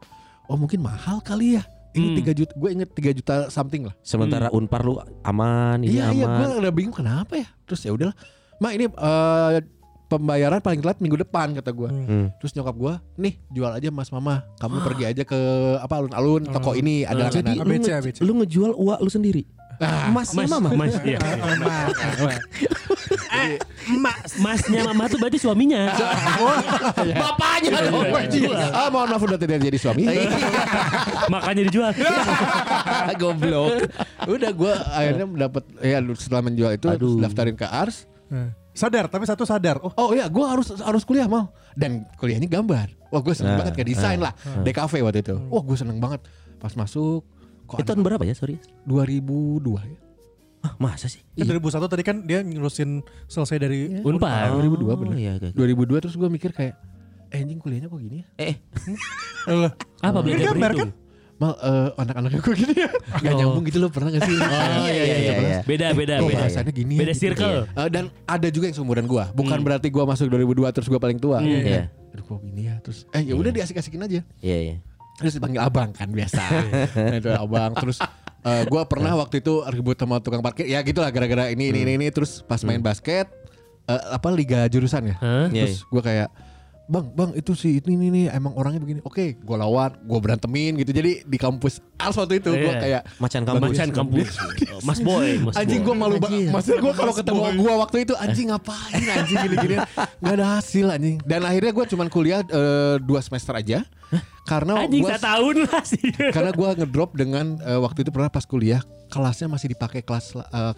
[SPEAKER 5] Oh, mungkin mahal kali ya.
[SPEAKER 1] Hmm.
[SPEAKER 5] Ini 3 juta, gue inget 3 juta something lah.
[SPEAKER 3] Sementara Unpar lu aman, ini
[SPEAKER 5] Iya iya gue
[SPEAKER 3] aman.
[SPEAKER 5] udah bingung kenapa ya Terus ya udahlah Ma ini eh, pembayaran paling telat minggu depan kata gue
[SPEAKER 3] Hmm.
[SPEAKER 5] Terus nyokap gue Nih jual aja mas mama
[SPEAKER 3] [GASPS]
[SPEAKER 5] Kamu pergi aja ke apa alun-alun toko ini
[SPEAKER 3] Hmm. Nah,
[SPEAKER 5] ada Nah,
[SPEAKER 3] Jadi
[SPEAKER 5] langganan
[SPEAKER 3] lu,
[SPEAKER 2] ABC,
[SPEAKER 3] nge-
[SPEAKER 2] ABC.
[SPEAKER 3] lu ngejual uak lu sendiri. Masnya
[SPEAKER 1] Mas,
[SPEAKER 3] mama.
[SPEAKER 1] mas,
[SPEAKER 2] [LAUGHS]
[SPEAKER 1] iya. Eh, Mas, masnya mama tuh berarti suaminya.
[SPEAKER 3] [LAUGHS] Bapaknya dong.
[SPEAKER 5] Ah mohon maaf udah tidak jadi suami
[SPEAKER 3] Iya.
[SPEAKER 5] [LAUGHS]
[SPEAKER 1] Makanya dijual. Iya.
[SPEAKER 3] Goblok.
[SPEAKER 5] Udah gue akhirnya dapat Ya setelah menjual itu terus
[SPEAKER 3] Iya. Aduh.
[SPEAKER 5] Daftarin ke ARS
[SPEAKER 2] Eh, Sadar, tapi satu sadar. Oh,
[SPEAKER 5] Oh iya gue harus harus kuliah mal Dan kuliahnya gambar Wah gue
[SPEAKER 3] Ah,
[SPEAKER 5] seneng banget ke desain lah
[SPEAKER 3] Nah.
[SPEAKER 5] DKV waktu itu Wah gue seneng banget Pas masuk Kok
[SPEAKER 3] Hmm. Itu
[SPEAKER 5] ada
[SPEAKER 3] tahun berapa ya, sorry?
[SPEAKER 5] 2002 ya
[SPEAKER 3] Hah, Ah, masa sih?
[SPEAKER 2] kan 2001 tadi kan dia ngurusin selesai dari
[SPEAKER 1] Iya.
[SPEAKER 5] Nah,
[SPEAKER 1] Unpar.
[SPEAKER 5] 2002 bener.
[SPEAKER 3] Oh, iya, oke, oke.
[SPEAKER 5] 2002 terus gue mikir kayak eh, anjing kuliahnya kok gini ya? Kan,
[SPEAKER 3] Eh,
[SPEAKER 2] Alah.
[SPEAKER 1] Apa Iya, belajar
[SPEAKER 2] Eh, Gambar
[SPEAKER 3] Iya.
[SPEAKER 1] berhitung?
[SPEAKER 5] Mal eh, anak-anaknya kok gini
[SPEAKER 3] [LAUGHS]
[SPEAKER 5] ya? Gak
[SPEAKER 1] Oh.
[SPEAKER 5] nyambung gitu loh pernah gak sih?
[SPEAKER 3] iya, iya, iya,
[SPEAKER 5] Coba
[SPEAKER 3] iya.
[SPEAKER 5] lah.
[SPEAKER 1] Beda, beda,
[SPEAKER 5] Kok
[SPEAKER 1] beda.
[SPEAKER 5] bahasanya gini ya?
[SPEAKER 1] Beda
[SPEAKER 5] Gitu.
[SPEAKER 1] circle. Hmm.
[SPEAKER 5] Eh, dan ada juga yang seumuran gue. Bukan berarti gue masuk 2002 terus gue paling tua.
[SPEAKER 3] Iya.
[SPEAKER 5] Aduh kok gini ya? Terus eh ya udah diasik-asikin aja.
[SPEAKER 3] iya, iya.
[SPEAKER 5] Terus dipanggil abang kan biasa.
[SPEAKER 3] [LAUGHS]
[SPEAKER 5] Nah, itu abang terus eh, gue pernah waktu itu ribut sama tukang parkir ya gitulah gara-gara ini ini
[SPEAKER 3] Hmm.
[SPEAKER 5] ini, ini terus pas main basket eh, apa liga jurusan ya
[SPEAKER 1] Hah?
[SPEAKER 3] Iya,
[SPEAKER 5] Terus gue kayak Bang, bang itu si ini ini nih emang orangnya begini. Oke, gue lawan, gue berantemin gitu. Jadi di kampus Ars waktu itu gue
[SPEAKER 1] Iya.
[SPEAKER 5] kayak
[SPEAKER 3] Macan kampus.
[SPEAKER 1] Macan kampus. Mas Boy, Mas
[SPEAKER 5] anjing gue
[SPEAKER 1] Boy.
[SPEAKER 5] malu banget. Maksudnya gue kalau ketemu gue waktu itu anjing ngapain anjing gini-gini. Gak ada hasil anjing. Dan akhirnya gue cuman kuliah eh, dua semester aja. Karena
[SPEAKER 1] Anjing
[SPEAKER 5] gue
[SPEAKER 1] tak tahun lah [LAUGHS] sih.
[SPEAKER 5] karena gue ngedrop dengan eh, waktu itu pernah pas kuliah kelasnya masih dipakai kelas eh,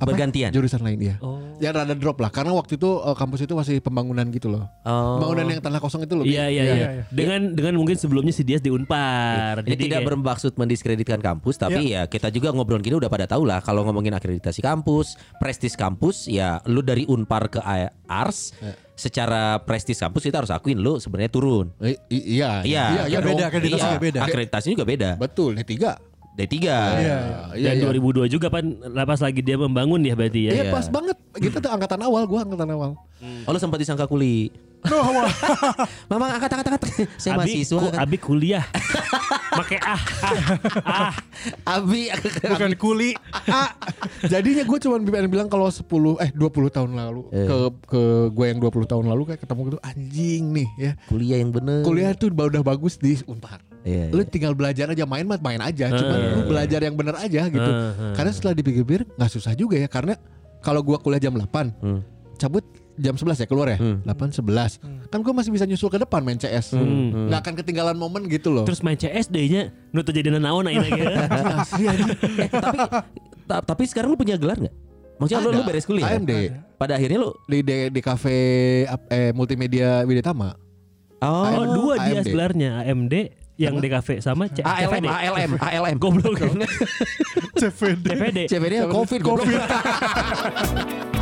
[SPEAKER 5] apa?
[SPEAKER 3] Bergantian.
[SPEAKER 5] jurusan lain ya.
[SPEAKER 1] Oh.
[SPEAKER 5] Ya rada drop lah karena waktu itu eh, kampus itu masih pembangunan gitu loh.
[SPEAKER 3] Oh.
[SPEAKER 5] Bangunan yang tanah kosong itu loh.
[SPEAKER 1] Iya, iya,
[SPEAKER 2] Iya,
[SPEAKER 1] iya.
[SPEAKER 2] iya.
[SPEAKER 1] Dengan dengan mungkin sebelumnya si Dias di Unpar.
[SPEAKER 3] Eh, Iya. Ini tidak
[SPEAKER 1] kayak-
[SPEAKER 3] bermaksud mendiskreditkan kampus, tapi ya kita juga ngobrol gini udah pada tahu lah kalau ngomongin akreditasi kampus, prestis kampus, ya lu dari Unpar ke A- Ars, secara prestis kampus kita harus akuin lu sebenarnya turun.
[SPEAKER 5] Eh, i- iya,
[SPEAKER 3] Iya,
[SPEAKER 2] iya, beda, akreditasinya beda.
[SPEAKER 3] Akreditasinya juga beda.
[SPEAKER 5] Betul, D3.
[SPEAKER 3] D3.
[SPEAKER 5] Iya, iya,
[SPEAKER 1] dan
[SPEAKER 5] iya.
[SPEAKER 1] 2002 juga pan lapas lagi dia membangun ya berarti ya.
[SPEAKER 5] Iya, pas banget. Kita tuh angkatan awal, gua angkatan awal.
[SPEAKER 3] Oh, lu sempat disangka kuli.
[SPEAKER 2] Loh, wah.
[SPEAKER 3] [LAUGHS] Mamang angkat angkat angkat. Saya
[SPEAKER 1] Abi,
[SPEAKER 3] mahasiswa.
[SPEAKER 1] ku,
[SPEAKER 3] angkat.
[SPEAKER 1] Abi kuliah. Pakai ah, ah, ah.
[SPEAKER 3] Abi.
[SPEAKER 2] bukan kuli.
[SPEAKER 5] Jadinya gue cuma pengen bilang kalau 10 eh 20 tahun lalu
[SPEAKER 3] Eh.
[SPEAKER 5] ke ke gue yang 20 tahun lalu kayak ketemu gitu anjing nih ya.
[SPEAKER 3] Kuliah yang bener.
[SPEAKER 5] Kuliah tuh ba- udah bagus di Unpar.
[SPEAKER 3] Iya.
[SPEAKER 5] Lu tinggal belajar aja main mah main aja, cuman
[SPEAKER 1] Eh.
[SPEAKER 5] lu belajar yang bener aja gitu.
[SPEAKER 1] Eh, eh.
[SPEAKER 5] Karena setelah dipikir-pikir nggak susah juga ya karena kalau gua kuliah jam 8
[SPEAKER 3] Hmm.
[SPEAKER 5] cabut jam 11 ya keluar ya. 8 11. Kan gua masih bisa nyusul ke depan main CS.
[SPEAKER 1] Hmm.
[SPEAKER 5] nggak akan ketinggalan momen gitu loh.
[SPEAKER 1] Terus main CS deh-nya nu terjadi naon ayeuna ge.
[SPEAKER 5] asli anjing.
[SPEAKER 3] Eh, tapi ta- tapi sekarang lu punya gelar nggak? Maksudnya lu,
[SPEAKER 5] Ada.
[SPEAKER 3] lu beres kuliah. kan?
[SPEAKER 5] AMD.
[SPEAKER 3] Pada akhirnya lu
[SPEAKER 5] di di, di kafe ap- eh, multimedia Widetama.
[SPEAKER 1] Oh,
[SPEAKER 5] AMD.
[SPEAKER 1] dua dia
[SPEAKER 5] AMD.
[SPEAKER 1] sebelarnya AMD yang DKV sama C
[SPEAKER 3] ALM ALM ALM. [LAUGHS]
[SPEAKER 1] Goblok.
[SPEAKER 2] CVD.
[SPEAKER 1] CPD.
[SPEAKER 3] CVD COVID. goblok.